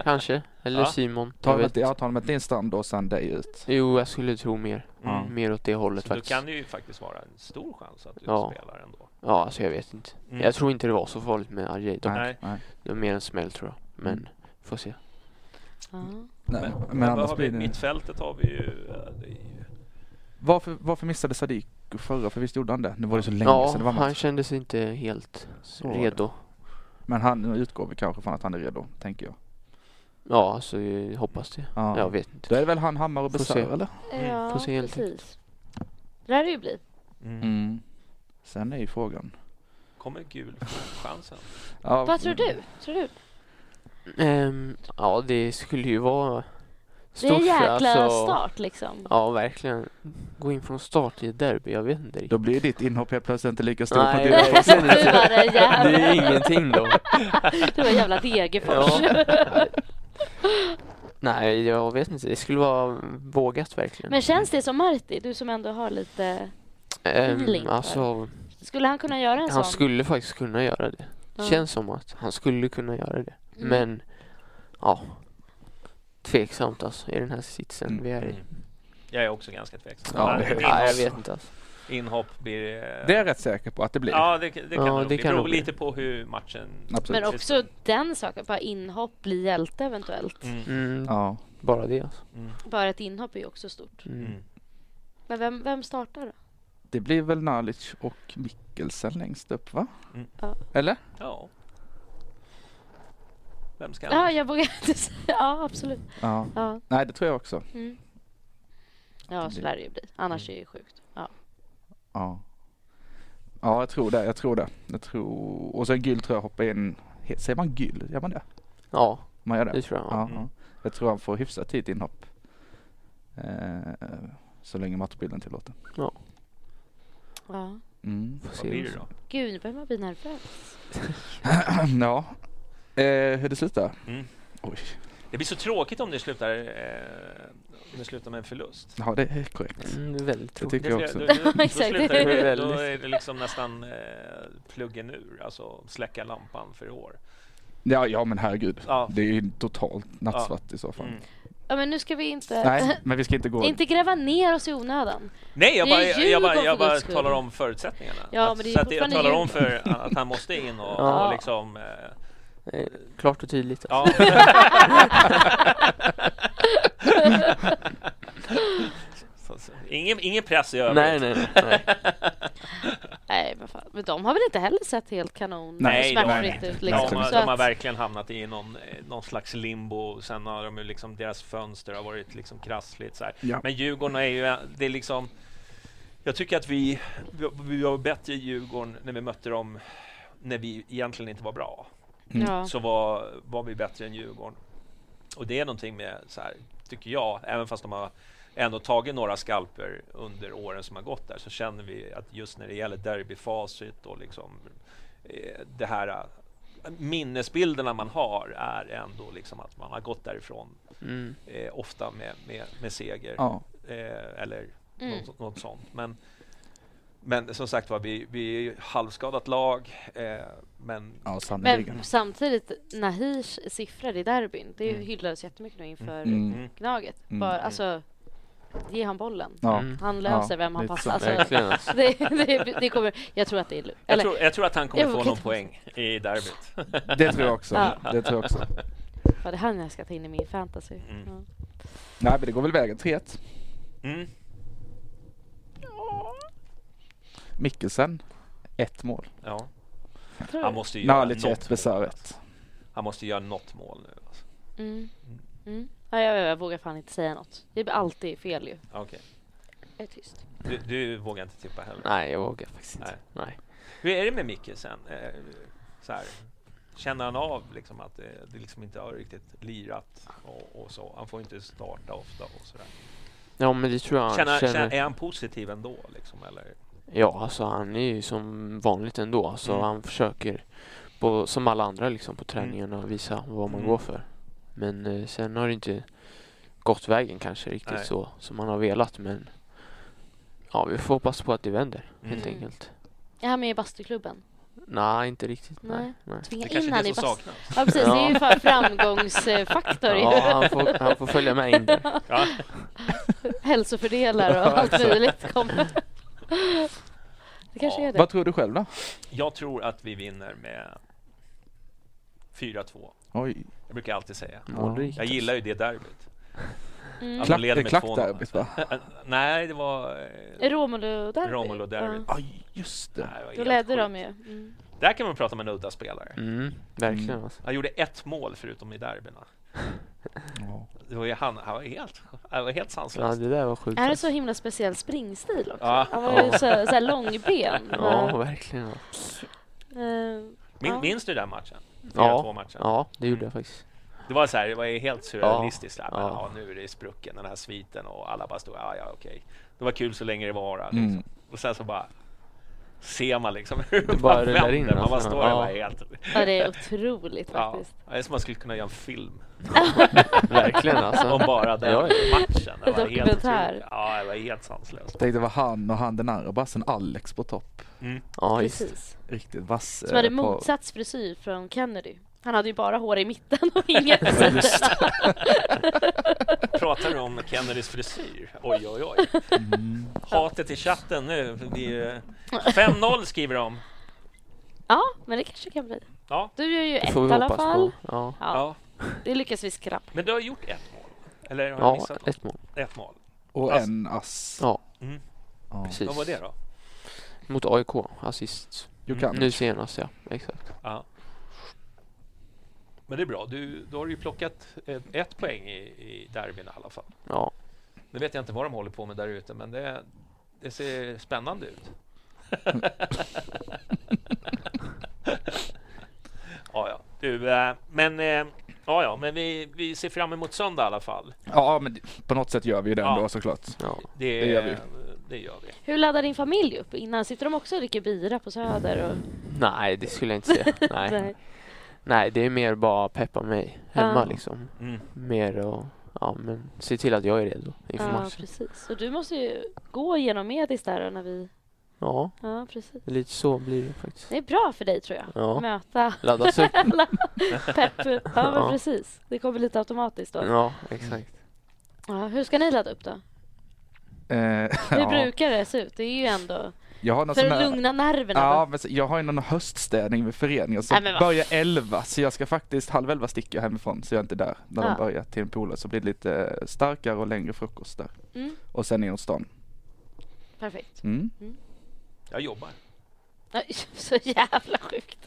Speaker 4: kanske. Eller
Speaker 1: Ja.
Speaker 4: Simon.
Speaker 2: Ta
Speaker 4: Jag
Speaker 2: dem
Speaker 4: vet.
Speaker 2: till- ja, ta dem till din strand och sen dig ut.
Speaker 4: Jo, jag skulle tro mer.
Speaker 2: Ja.
Speaker 4: Mer åt det hållet
Speaker 1: Mm. Så då
Speaker 4: faktiskt.
Speaker 1: kan det ju faktiskt vara en stor chans att du
Speaker 4: Ja.
Speaker 1: spelar ändå.
Speaker 4: Ja, alltså jag vet inte.
Speaker 1: Mm.
Speaker 4: Jag tror inte det var så farligt med Ajay. dock.
Speaker 1: Nej.
Speaker 2: Nej.
Speaker 4: Det var mer en smäll tror jag. Men får se.
Speaker 3: Ja.
Speaker 4: Mm,
Speaker 2: Nej.
Speaker 1: Men, men,
Speaker 2: Men
Speaker 1: vad
Speaker 2: annars
Speaker 1: har vi,
Speaker 2: blir det...
Speaker 1: mittfältet har vi ju... eh, det är ju-
Speaker 2: Varför, varför missade Sadiq förra? För visst gjorde han det? Nu var det så länge
Speaker 4: Ja,
Speaker 2: sedan det var
Speaker 4: han
Speaker 2: match.
Speaker 4: kände sig inte helt
Speaker 2: Så var det.
Speaker 4: redo.
Speaker 2: Men han nu utgår vi kanske från att han är redo, tänker jag.
Speaker 4: Ja, alltså jag hoppas det.
Speaker 2: Ja.
Speaker 4: Jag vet
Speaker 2: Då
Speaker 4: inte.
Speaker 2: är det väl han, Hammar och
Speaker 4: Får se.
Speaker 2: Besör, eller?
Speaker 3: Ja,
Speaker 4: Får se helt
Speaker 3: precis. Det lär det ju bli.
Speaker 2: Mm. Sen är ju frågan.
Speaker 1: Kommer gul chansen?
Speaker 2: Ja,
Speaker 3: Vad tror du? Tror du?
Speaker 4: Ehm, ja, det skulle ju vara
Speaker 3: Det är en
Speaker 4: stort.
Speaker 3: jäkla
Speaker 4: alltså.
Speaker 3: start liksom.
Speaker 4: Ja, verkligen. Gå in från start i ett derby, jag vet inte
Speaker 2: Då
Speaker 4: riktigt.
Speaker 2: blir ju ditt inhopp helt plötsligt inte lika stort. för att
Speaker 4: Nej,
Speaker 2: du är
Speaker 4: jag vet
Speaker 2: från-
Speaker 3: Du var en jävla-
Speaker 4: Det är ingenting då.
Speaker 3: Du var en jävla Degerfors.
Speaker 4: Nej, jag vet inte. Det skulle vara vågat verkligen.
Speaker 3: Men känns det som Marti? Du som ändå har lite...
Speaker 4: Ehm,
Speaker 3: feeling för
Speaker 4: alltså,
Speaker 3: Skulle han kunna göra en
Speaker 4: han
Speaker 3: sån?
Speaker 4: skulle faktiskt kunna göra det.
Speaker 3: Ja.
Speaker 4: Känns som att han skulle kunna göra det.
Speaker 3: Mm.
Speaker 4: Men, ja. Tveksamt alltså, i den här sitsen
Speaker 2: Mm.
Speaker 4: vi är i.
Speaker 1: Jag är också ganska tveksam.
Speaker 2: Ja,
Speaker 1: Men
Speaker 2: det-
Speaker 1: ett
Speaker 4: Nej, jag
Speaker 1: inhopp-
Speaker 4: vet inte alltså.
Speaker 1: Inhopp blir... eh,
Speaker 2: Det är jag rätt säker på att det blir.
Speaker 1: Ja, det, det kan
Speaker 4: Ja,
Speaker 1: det nog
Speaker 4: det
Speaker 1: bli.
Speaker 4: kan
Speaker 1: beror
Speaker 4: nog bli.
Speaker 1: lite på hur matchen...
Speaker 2: Absolut.
Speaker 3: Men också den saken, bara inhopp, bli hjälte eventuellt.
Speaker 1: Mm.
Speaker 4: Mm,
Speaker 2: Ja.
Speaker 4: Bara det alltså.
Speaker 1: Mm.
Speaker 3: Bara ett inhopp är ju också stort.
Speaker 4: Mm.
Speaker 1: Mm.
Speaker 3: Men vem, vem startar då?
Speaker 2: Det blir väl Nalic och Mikkelsen längst upp, va?
Speaker 1: Mm.
Speaker 3: Ja.
Speaker 2: Eller?
Speaker 1: Ja. Vem ska
Speaker 3: Ja, jag vågar inte säga. Ja, absolut.
Speaker 2: Ja.
Speaker 3: Ja,
Speaker 2: Nej, det tror jag också.
Speaker 3: mm. ja så lär det ju bli.
Speaker 1: Mm.
Speaker 3: Annars är det ju sjukt. Ja.
Speaker 2: Ja. Ja, jag tror det. Jag tror det. Jag tror... Och sen Gyll tror jag hoppar in. He- Säger man Gyll? Gör man det?
Speaker 4: Ja,
Speaker 2: Man gör det?
Speaker 4: det tror jag.
Speaker 2: Ja,
Speaker 1: Mm.
Speaker 2: ja. Jag tror han får hyfsat tidigt inhopp. Eh, så länge matchbilden tillåter.
Speaker 3: ja.
Speaker 2: Mm.
Speaker 4: Får
Speaker 1: Vad
Speaker 4: se. alltså.
Speaker 1: blir det då?
Speaker 3: Gud, nu börjar man bli nervös.
Speaker 2: ja. Eh, hur det slutar?
Speaker 1: Mm.
Speaker 2: Oj,
Speaker 1: Det blir så tråkigt om det slutar, eh, om det slutar med en förlust.
Speaker 2: ja det är korrekt.
Speaker 4: Mm, det är väldigt
Speaker 2: Det
Speaker 4: tråkigt.
Speaker 2: tycker jag
Speaker 1: blir-
Speaker 2: också.
Speaker 1: Då, då, då,
Speaker 3: Exakt.
Speaker 1: slutar det, då
Speaker 4: Väldigt.
Speaker 1: är det liksom nästan eh, pluggen ur, alltså släcka lampan för i år.
Speaker 2: Ja, ja men herregud.
Speaker 1: Ja.
Speaker 2: Det är ju totalt nattsvart i så fall.
Speaker 1: Mm.
Speaker 3: Ja, men nu ska vi inte...
Speaker 2: Nej, men vi ska inte gå...
Speaker 3: inte gräva ner oss i onödan.
Speaker 1: Nej, jag
Speaker 3: Det är
Speaker 1: bara,
Speaker 3: jul
Speaker 1: jag bara,
Speaker 3: för
Speaker 1: jag bara
Speaker 3: guds skull.
Speaker 1: talar om förutsättningarna.
Speaker 3: Ja,
Speaker 1: att,
Speaker 3: men det är
Speaker 1: så att jag
Speaker 3: fortfarande
Speaker 1: talar
Speaker 3: jul.
Speaker 1: om för att han måste in och,
Speaker 4: Ja.
Speaker 1: och liksom... Eh,
Speaker 4: Eh, Klart och tydligt. alltså.
Speaker 1: ja. så, så. Ingen, ingen press i övrigt.
Speaker 4: Nej, nej, nej, nej.
Speaker 3: Nej, men fan. Men de har väl inte heller sett helt kanon
Speaker 1: Nej, de har
Speaker 3: smärtfritt ut liksom.
Speaker 1: de, har,
Speaker 3: Så
Speaker 1: de har
Speaker 3: att-
Speaker 1: verkligen hamnat i någon, eh, någon slags limbo. Sen har de ju liksom, deras fönster har varit liksom krassligt. Så här.
Speaker 2: Ja.
Speaker 1: Men Djurgården är ju, det är liksom... Jag tycker att vi, vi, vi var bättre i Djurgården när vi mötte dem när vi egentligen inte var bra.
Speaker 2: Mm.
Speaker 3: ja.
Speaker 1: Så var, var vi bättre än Djurgården. Och det är någonting med, så här, tycker jag, även fast de har ändå tagit några skalper under åren som har gått där, så känner vi att just när det gäller derbyfacit och liksom eh, det här eh, minnesbilderna man har är ändå liksom att man har gått därifrån
Speaker 4: Mm.
Speaker 1: eh, ofta med, med, med seger
Speaker 2: Ja.
Speaker 1: eh, eller
Speaker 3: Mm.
Speaker 1: något, något sånt. Men, men som sagt var, vi, vi är ju halvskadat lag, eh, men
Speaker 2: Ja, sannerligen.
Speaker 3: Men samtidigt, Nahirs siffror i derbyn, det
Speaker 1: Mm.
Speaker 3: hyllades jättemycket nu inför
Speaker 2: Mm.
Speaker 3: Gnaget.
Speaker 2: Mm.
Speaker 3: Bara, alltså, ge han bollen.
Speaker 2: Ja.
Speaker 4: Mm.
Speaker 3: Han löser
Speaker 2: Ja,
Speaker 3: vem han
Speaker 2: lite så.
Speaker 3: passar. Alltså,
Speaker 4: Verkligen alltså.
Speaker 3: det, det, det kommer, jag tror att det är lugnt.
Speaker 1: Jag
Speaker 3: Eller,
Speaker 1: tror, jag tror att han kommer
Speaker 3: Jag
Speaker 1: få
Speaker 3: kan
Speaker 1: någon
Speaker 3: inte-
Speaker 1: poäng i derbyt.
Speaker 2: Det tror jag också.
Speaker 3: Ja.
Speaker 2: Det tror jag också.
Speaker 3: var det han jag ska ta in i min fantasy?
Speaker 1: Mm.
Speaker 3: Ja.
Speaker 2: Nej, men det går väl vägen. 3-1.
Speaker 1: Mm.
Speaker 2: Mikkelsen, ett mål.
Speaker 1: Ja.
Speaker 3: Jag tror
Speaker 1: Han
Speaker 3: det.
Speaker 1: måste ju göra
Speaker 2: Nalic
Speaker 1: något
Speaker 2: 1, Besör
Speaker 1: mål.
Speaker 2: 1.
Speaker 1: Han måste göra något mål nu. Alltså.
Speaker 3: Mm. Mm. Ja, jag, jag, jag vågar fan inte säga något. Det blir alltid fel ju.
Speaker 1: Okej.
Speaker 3: Jag är tyst.
Speaker 1: Du, du vågar inte tippa heller.
Speaker 4: Nej, jag vågar faktiskt inte. Nej.
Speaker 1: Hur är det med Micke sen? Eh, Så här. Känner han av liksom att eh, det liksom inte har riktigt lirat och, och så? Han får inte starta ofta och sådär.
Speaker 4: Ja, men det tror jag han
Speaker 1: Känner,
Speaker 4: känner.
Speaker 1: känner, är han positiv ändå? Liksom, eller?
Speaker 4: Ja, alltså han är ju som vanligt ändå. Alltså
Speaker 1: Mm.
Speaker 4: han försöker, på, som alla andra liksom, på träningarna visa vad man
Speaker 1: Mm.
Speaker 4: går för. Men eh, sen har det inte gått vägen kanske riktigt
Speaker 1: Nej.
Speaker 4: så som man har velat. Men ja, vi får hoppas på att det vänder helt
Speaker 3: Mm.
Speaker 4: enkelt.
Speaker 3: Är han med i bastuklubben?
Speaker 4: Nej, inte riktigt. Nej.
Speaker 3: Nej.
Speaker 4: nej.
Speaker 3: Tvinga
Speaker 1: Det
Speaker 3: in
Speaker 1: kanske är
Speaker 3: han
Speaker 1: det
Speaker 3: i
Speaker 1: som
Speaker 3: bast.
Speaker 1: saknas.
Speaker 3: Ja precis, det är ju
Speaker 4: Ja.
Speaker 3: fa- framgångsfaktor ju.
Speaker 4: Ja, han får, han får följa med in där.
Speaker 1: Ja.
Speaker 3: Hälsofördelar och allt möjligt kommer. Det kanske
Speaker 1: Ja.
Speaker 3: är det.
Speaker 2: Vad tror du själv då?
Speaker 1: Jag tror att vi vinner med 4-2.
Speaker 2: Oj,
Speaker 1: Jag brukar alltid säga.
Speaker 4: Målrikt.
Speaker 1: Jag gillar ju det derbyt.
Speaker 3: Mm.
Speaker 1: Att
Speaker 2: Klack-
Speaker 1: de leder med
Speaker 2: klack
Speaker 1: 2-0.
Speaker 2: derbyt, va?
Speaker 1: äh, Nej, det var... eh,
Speaker 3: Romulo derby.
Speaker 1: Romulo derby.
Speaker 3: Ja.
Speaker 2: aj, just det.
Speaker 1: Nej, det var
Speaker 3: Då
Speaker 1: helt
Speaker 3: ledde
Speaker 1: sjukt.
Speaker 3: de ju. Mm.
Speaker 1: Där kan man prata om en udda spelare.
Speaker 4: Mm, verkligen
Speaker 2: Mm.
Speaker 4: alltså.
Speaker 1: Han gjorde ett mål förutom i derbyna.
Speaker 2: Ja.
Speaker 1: Det var ju han, han var helt, han var helt
Speaker 4: Ja,
Speaker 1: sanslös.
Speaker 4: det där var sjukt.
Speaker 3: Är det
Speaker 4: alltså.
Speaker 3: så himla speciell springstil också?
Speaker 1: Ja.
Speaker 3: Han var ju så, så här långben.
Speaker 4: Ja, verkligen. alltså.
Speaker 3: Eh,
Speaker 1: Min,
Speaker 3: Ja.
Speaker 1: minns du den matchen?
Speaker 4: Ja,
Speaker 1: 4-2-matchen.
Speaker 4: ja, det gjorde jag faktiskt.
Speaker 1: Det var så här, det var ju helt surrealistiskt. där, Men,
Speaker 4: Ja.
Speaker 1: ja, nu är det sprucken, den här sviten och alla bara stod, ja, ja, okej. Det var kul så länge det var. Liksom.
Speaker 2: Mm.
Speaker 1: Och sen så bara ser man liksom hur det
Speaker 4: bara
Speaker 1: bara
Speaker 4: rullar
Speaker 1: vänder.
Speaker 4: in,
Speaker 1: man bara
Speaker 4: alltså.
Speaker 1: står där
Speaker 4: Ja.
Speaker 1: bara helt...
Speaker 3: ja, det är otroligt
Speaker 1: Ja.
Speaker 3: faktiskt.
Speaker 1: Det är som man skulle kunna göra en film
Speaker 4: Verkligen alltså.
Speaker 1: om bara den
Speaker 4: Ja,
Speaker 1: matchen. Det var helt
Speaker 3: Dokumentär.
Speaker 1: otroligt. Ja, det var helt sanslöst.
Speaker 2: Tänkte det var han och han den andra bassen Alex på topp.
Speaker 1: Mm.
Speaker 4: Ja, just det.
Speaker 3: Precis.
Speaker 2: Riktigt vass.
Speaker 3: Som hade
Speaker 2: eh, på-
Speaker 3: motsatt frisyr från Kennedy. Han hade ju bara hår i mitten och inget sånt.
Speaker 1: Pratar du om Kennedys frisyr? Oj, oj, oj.
Speaker 4: Mm.
Speaker 1: Hatet i chatten nu. Det är ju 5-0 skriver de.
Speaker 3: Ja, men det kanske kan bli.
Speaker 1: Ja.
Speaker 3: Du gör ju
Speaker 4: Det
Speaker 3: ett
Speaker 4: får
Speaker 3: i
Speaker 4: vi
Speaker 3: alla
Speaker 4: hoppas
Speaker 3: fall.
Speaker 4: på. Ja,
Speaker 3: Ja,
Speaker 1: ja.
Speaker 3: Det lyckas vi skrappa.
Speaker 1: Men du har gjort ett mål? Eller har jag
Speaker 4: ja
Speaker 1: missat något?
Speaker 4: ett mål.
Speaker 1: Ett mål.
Speaker 2: Och
Speaker 1: Alltså-
Speaker 2: en ass.
Speaker 4: Ja,
Speaker 1: Mm.
Speaker 2: Ja.
Speaker 4: precis.
Speaker 1: Vad var det då?
Speaker 4: Mot AIK, assist.
Speaker 2: Jukanovic.
Speaker 4: Nu senast ja, exakt.
Speaker 1: Ja. Men det är bra. Du, då har du ju plockat eh, ett poäng i, i derbyn i alla fall.
Speaker 4: Ja,
Speaker 1: Nu vet jag inte vad de håller på med där ute, men det, det ser spännande ut. ja, ja. Du, eh, men, eh, ja, ja, men vi, vi ser fram emot söndag i alla fall.
Speaker 2: Ja, men det- på något sätt gör vi ju det
Speaker 1: Ja.
Speaker 2: ändå såklart.
Speaker 4: ja.
Speaker 1: Det, eh,
Speaker 2: Det gör vi.
Speaker 1: Det gör vi.
Speaker 3: Hur laddar din familj upp innan? Sitter de också och dricker bira på Söder? Och...
Speaker 4: Nej, det skulle jag inte säga. Nej.
Speaker 3: Nej.
Speaker 4: Nej, det är mer bara peppa mig hemma
Speaker 3: Ja.
Speaker 4: liksom.
Speaker 1: Mm.
Speaker 4: Mer och ja, men se till att jag är redo inför
Speaker 3: Ja,
Speaker 4: matchen.
Speaker 3: precis. Och du måste ju gå igenom Medis där när vi...
Speaker 4: Ja,
Speaker 3: Ja, precis.
Speaker 4: lite så blir det faktiskt.
Speaker 3: Det är bra för dig tror jag.
Speaker 4: Ja.
Speaker 3: Möta
Speaker 4: Laddas upp.
Speaker 3: alla pepp. Ja, men
Speaker 4: Ja.
Speaker 3: precis. Det kommer lite automatiskt då.
Speaker 4: Ja, exakt.
Speaker 3: Ja, hur ska ni ladda upp då?
Speaker 2: Eh,
Speaker 3: Hur
Speaker 2: ja.
Speaker 3: brukar det se ut? Det är ju ändå
Speaker 2: Jag har någon
Speaker 3: för
Speaker 2: sån
Speaker 3: att
Speaker 2: här...
Speaker 3: lugna nerverna.
Speaker 2: Ja,
Speaker 3: va?
Speaker 2: men så- jag har ju någon höststädning med föreningen som
Speaker 3: Nej, men vad
Speaker 2: börjar elva så jag ska faktiskt, halv elva sticker jag hemifrån så jag är inte där när
Speaker 3: Ja.
Speaker 2: de börjar till en polare så blir det lite eh, starkare och längre frukost där.
Speaker 3: Mm,
Speaker 2: Och sen inåt stan.
Speaker 3: perfekt.
Speaker 2: Mm.
Speaker 1: Jag jobbar.
Speaker 3: Oj, Så jävla sjukt.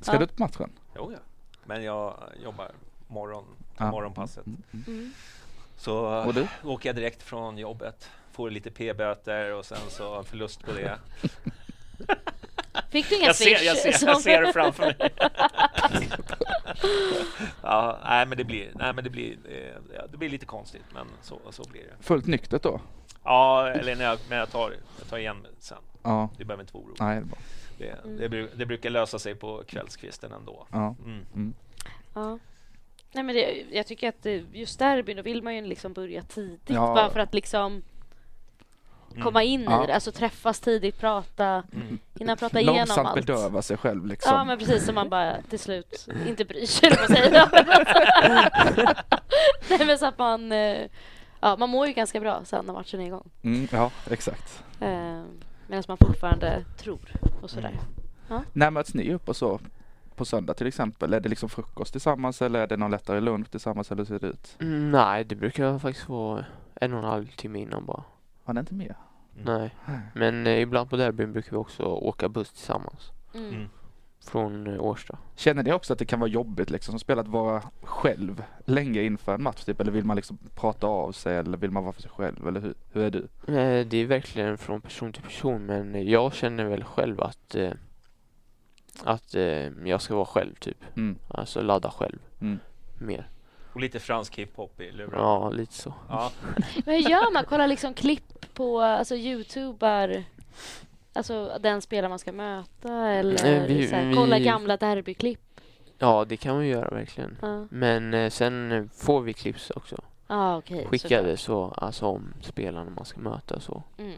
Speaker 2: Ska
Speaker 3: Ja.
Speaker 2: du på matchen?
Speaker 1: Jo, ja. Men jag jobbar morgon,
Speaker 2: Ja.
Speaker 1: morgonpasset.
Speaker 3: Mm.
Speaker 1: Så
Speaker 2: Och du?
Speaker 1: åker jag direkt från jobbet, får lite p-böter och sen så en förlust på det.
Speaker 3: Fick du inga
Speaker 1: jag, ser,
Speaker 3: swish?
Speaker 1: jag, ser, jag
Speaker 3: som-
Speaker 1: ser det framför mig. ja, nej, men det blir, nej, men det blir, eh, ja, det blir lite konstigt, men så, så blir det.
Speaker 2: Fullt nyktert då?
Speaker 1: Ja, eller när jag, men jag, tar, jag tar igen sen.
Speaker 2: Ja.
Speaker 1: Du behöver inte vara orolig.
Speaker 2: Nej, det är bra.
Speaker 1: Det, det,
Speaker 3: Mm.
Speaker 1: bru- det brukar lösa sig på kvällskvisten ändå.
Speaker 2: Ja.
Speaker 1: Mm.
Speaker 3: Ja. Nej, men det, jag tycker att eh, just derbyn, då vill man ju liksom börja tidigt
Speaker 2: Ja.
Speaker 3: bara för att liksom
Speaker 1: Mm.
Speaker 3: komma in
Speaker 2: Ja.
Speaker 3: i det. Alltså träffas tidigt, prata, hinna prata igenom
Speaker 2: Långsamt
Speaker 3: allt.
Speaker 2: bedöva sig själv liksom.
Speaker 3: Ja, men precis som man bara till slut inte bryr sig, vad säger Nej, men så att man... eh, Ja, man mår ju ganska bra sen när matchen är igång.
Speaker 2: mm, ja exakt.
Speaker 3: Eh, Medan man fortfarande tror och sådär.
Speaker 2: När möts ni upp och så? På söndag till exempel, är det liksom frukost tillsammans eller är det någon lättare lunch tillsammans eller hur ser det ut?
Speaker 4: Mm, Nej, det brukar jag faktiskt vara en och en halv timme innan bara.
Speaker 2: Har ni inte med?
Speaker 1: mm.
Speaker 4: Nej, men eh, ibland på derbyn brukar vi också åka buss tillsammans.
Speaker 3: Mm.
Speaker 1: Mm.
Speaker 4: Från eh, Årsta.
Speaker 2: Känner ni också att det kan vara jobbigt liksom som spelat vara själv länge inför en match typ? Eller vill man liksom prata av sig eller vill man vara för sig själv eller hur, hur är du?
Speaker 4: Eh, Det är verkligen från person till person men jag känner väl själv att eh, att eh, jag ska vara själv typ.
Speaker 2: Mm.
Speaker 4: Alltså ladda själv.
Speaker 2: Mm.
Speaker 4: Mer.
Speaker 1: Och lite fransk hiphop i luren.
Speaker 4: Ja, lite så.
Speaker 1: Ja.
Speaker 3: Men hur gör man? Kolla liksom klipp på alltså, youtubar, alltså den spelare man ska möta eller
Speaker 4: Eh, vi-
Speaker 3: så här, kolla
Speaker 4: vi-
Speaker 3: gamla derbyklipp.
Speaker 4: Ja, det kan man ju göra verkligen.
Speaker 3: Ja,
Speaker 4: Men eh, sen eh, får vi clips också
Speaker 3: ah, okej.
Speaker 4: skickade så, alltså om spelarna man ska möta så.
Speaker 3: såklart. Mm.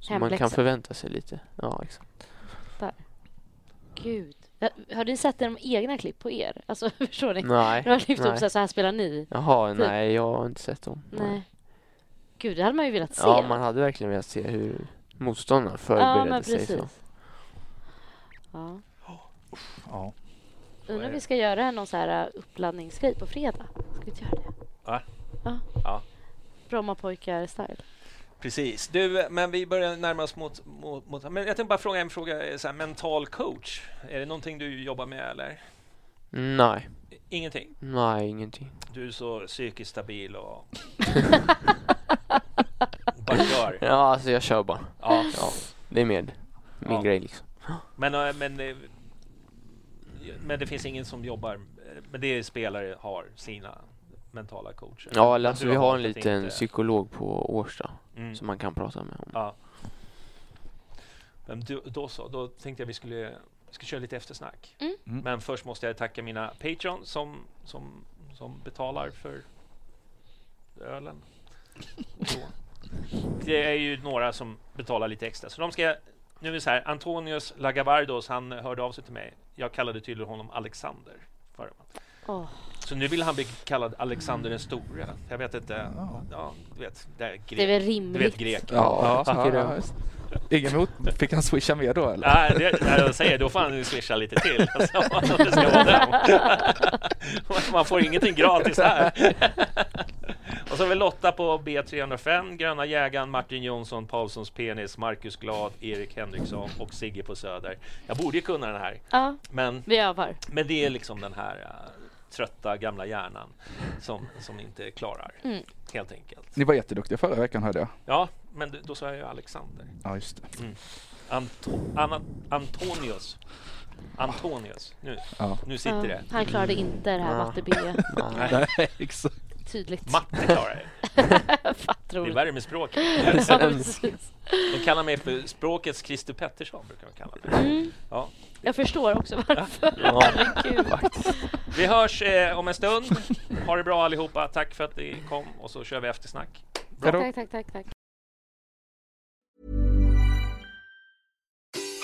Speaker 4: Så man kan
Speaker 3: Hemläxa.
Speaker 4: förvänta sig lite. Ja, exakt.
Speaker 3: Gud. Ja, Har ni sett de egna klipp på er? Alltså, förstår ni?
Speaker 4: Nej,
Speaker 3: De har lyft upp
Speaker 4: nej.
Speaker 3: så här, så här spelar ni.
Speaker 4: Jaha,
Speaker 3: Typ.
Speaker 4: nej jag har inte sett dem.
Speaker 3: Nej. Gud, det hade man ju velat se.
Speaker 4: Ja, man hade verkligen velat se hur motståndarna förberedde sig. Så.
Speaker 3: Ja.
Speaker 2: Ja.
Speaker 3: Undrar om vi ska göra någon så här äh, uppladdningsgrej på fredag. Ska vi inte göra det?
Speaker 1: Va?
Speaker 3: Ja.
Speaker 1: Ja.
Speaker 3: Brommapojkar-style.
Speaker 1: Precis. Du, men vi börjar närma oss mot... mot, mot men jag tänkte bara fråga en fråga. eh, Så här, mental coach, är det någonting du jobbar med eller?
Speaker 4: Nej,
Speaker 1: Ingenting?
Speaker 4: nej ingenting.
Speaker 1: Du är så psykiskt stabil och... bara kör.
Speaker 4: Ja, alltså jag kör bara.
Speaker 1: Ja.
Speaker 4: Ja, det är med min
Speaker 1: Ja.
Speaker 4: grej liksom.
Speaker 1: Men, eh, men, eh, men det finns ingen som jobbar... eh, Men det är spelare har sina mentala coacher.
Speaker 4: Ja,
Speaker 1: Men
Speaker 4: eller alltså
Speaker 1: du
Speaker 4: vi har en
Speaker 1: valt att
Speaker 4: liten
Speaker 1: inte-
Speaker 4: psykolog på Årsta
Speaker 1: Mm.
Speaker 4: som man kan prata med om.
Speaker 1: Ja. Men du, då så, då tänkte jag vi skulle ska köra lite eftersnack.
Speaker 3: Mm.
Speaker 2: Mm.
Speaker 1: Men först måste jag tacka mina Patreon som, som, som betalar för ölen. Och så. Det är ju några som betalar lite extra. Så de ska, nu är det så här, Antonius Lagavardos, han hörde av sig till mig. Jag kallade tydligen honom Alexander. För
Speaker 3: Åh.
Speaker 1: så nu vill han bli kallad Alexander den store. Jag vet inte. Ja, du vet, det är
Speaker 3: Det är
Speaker 1: grek. Du
Speaker 3: väl
Speaker 1: vet
Speaker 3: rimligt?
Speaker 1: grek.
Speaker 2: Ja,
Speaker 4: Ja, tycker du?
Speaker 2: visst. Ingen mot? Fick han swisha mer då eller?
Speaker 1: Nej, det, nej, jag säger då får han ju swisha lite till. Alltså, om det ska vara den. Man får ingenting gratis här. Och så har vi Lotta på B305, Gröna jägaren, Martin Jonsson, Paulssons penis, Marcus Glad, Erik Henriksson och Sigge på Söder. Jag borde ju kunna den här,
Speaker 3: Ja,
Speaker 1: men,
Speaker 3: vi övar.
Speaker 1: men det är liksom den här eh, trötta gamla hjärnan som, som inte klarar,
Speaker 3: Mm.
Speaker 1: helt enkelt.
Speaker 2: Ni var jätteduktiga förra veckan hörde jag.
Speaker 1: Ja, men då sa jag ju Alexander.
Speaker 2: Ja, just det.
Speaker 1: Anto Anna Antonius. Antonius. Nu,
Speaker 2: Ja.
Speaker 1: nu sitter det.
Speaker 3: Ja, han klarade inte det här
Speaker 4: Ja.
Speaker 3: matte B.
Speaker 4: Nej.
Speaker 2: Nej, exakt.
Speaker 3: Tydligt.
Speaker 1: Matte klarar det.
Speaker 3: Fatt
Speaker 1: Det är
Speaker 3: roligt.
Speaker 1: värre med språk.
Speaker 3: Ja, precis.
Speaker 1: De kallar mig för språkets Christer Pettersson. Brukar de kalla mig.
Speaker 3: Mm.
Speaker 1: Ja.
Speaker 3: Jag förstår också varför.
Speaker 4: Ja.
Speaker 3: Herregud.
Speaker 1: Vi hörs eh, om en stund. Ha det bra allihopa. Tack för att ni kom och så kör vi eftersnack.
Speaker 2: Hej då.
Speaker 3: Tack, tack, tack, tack.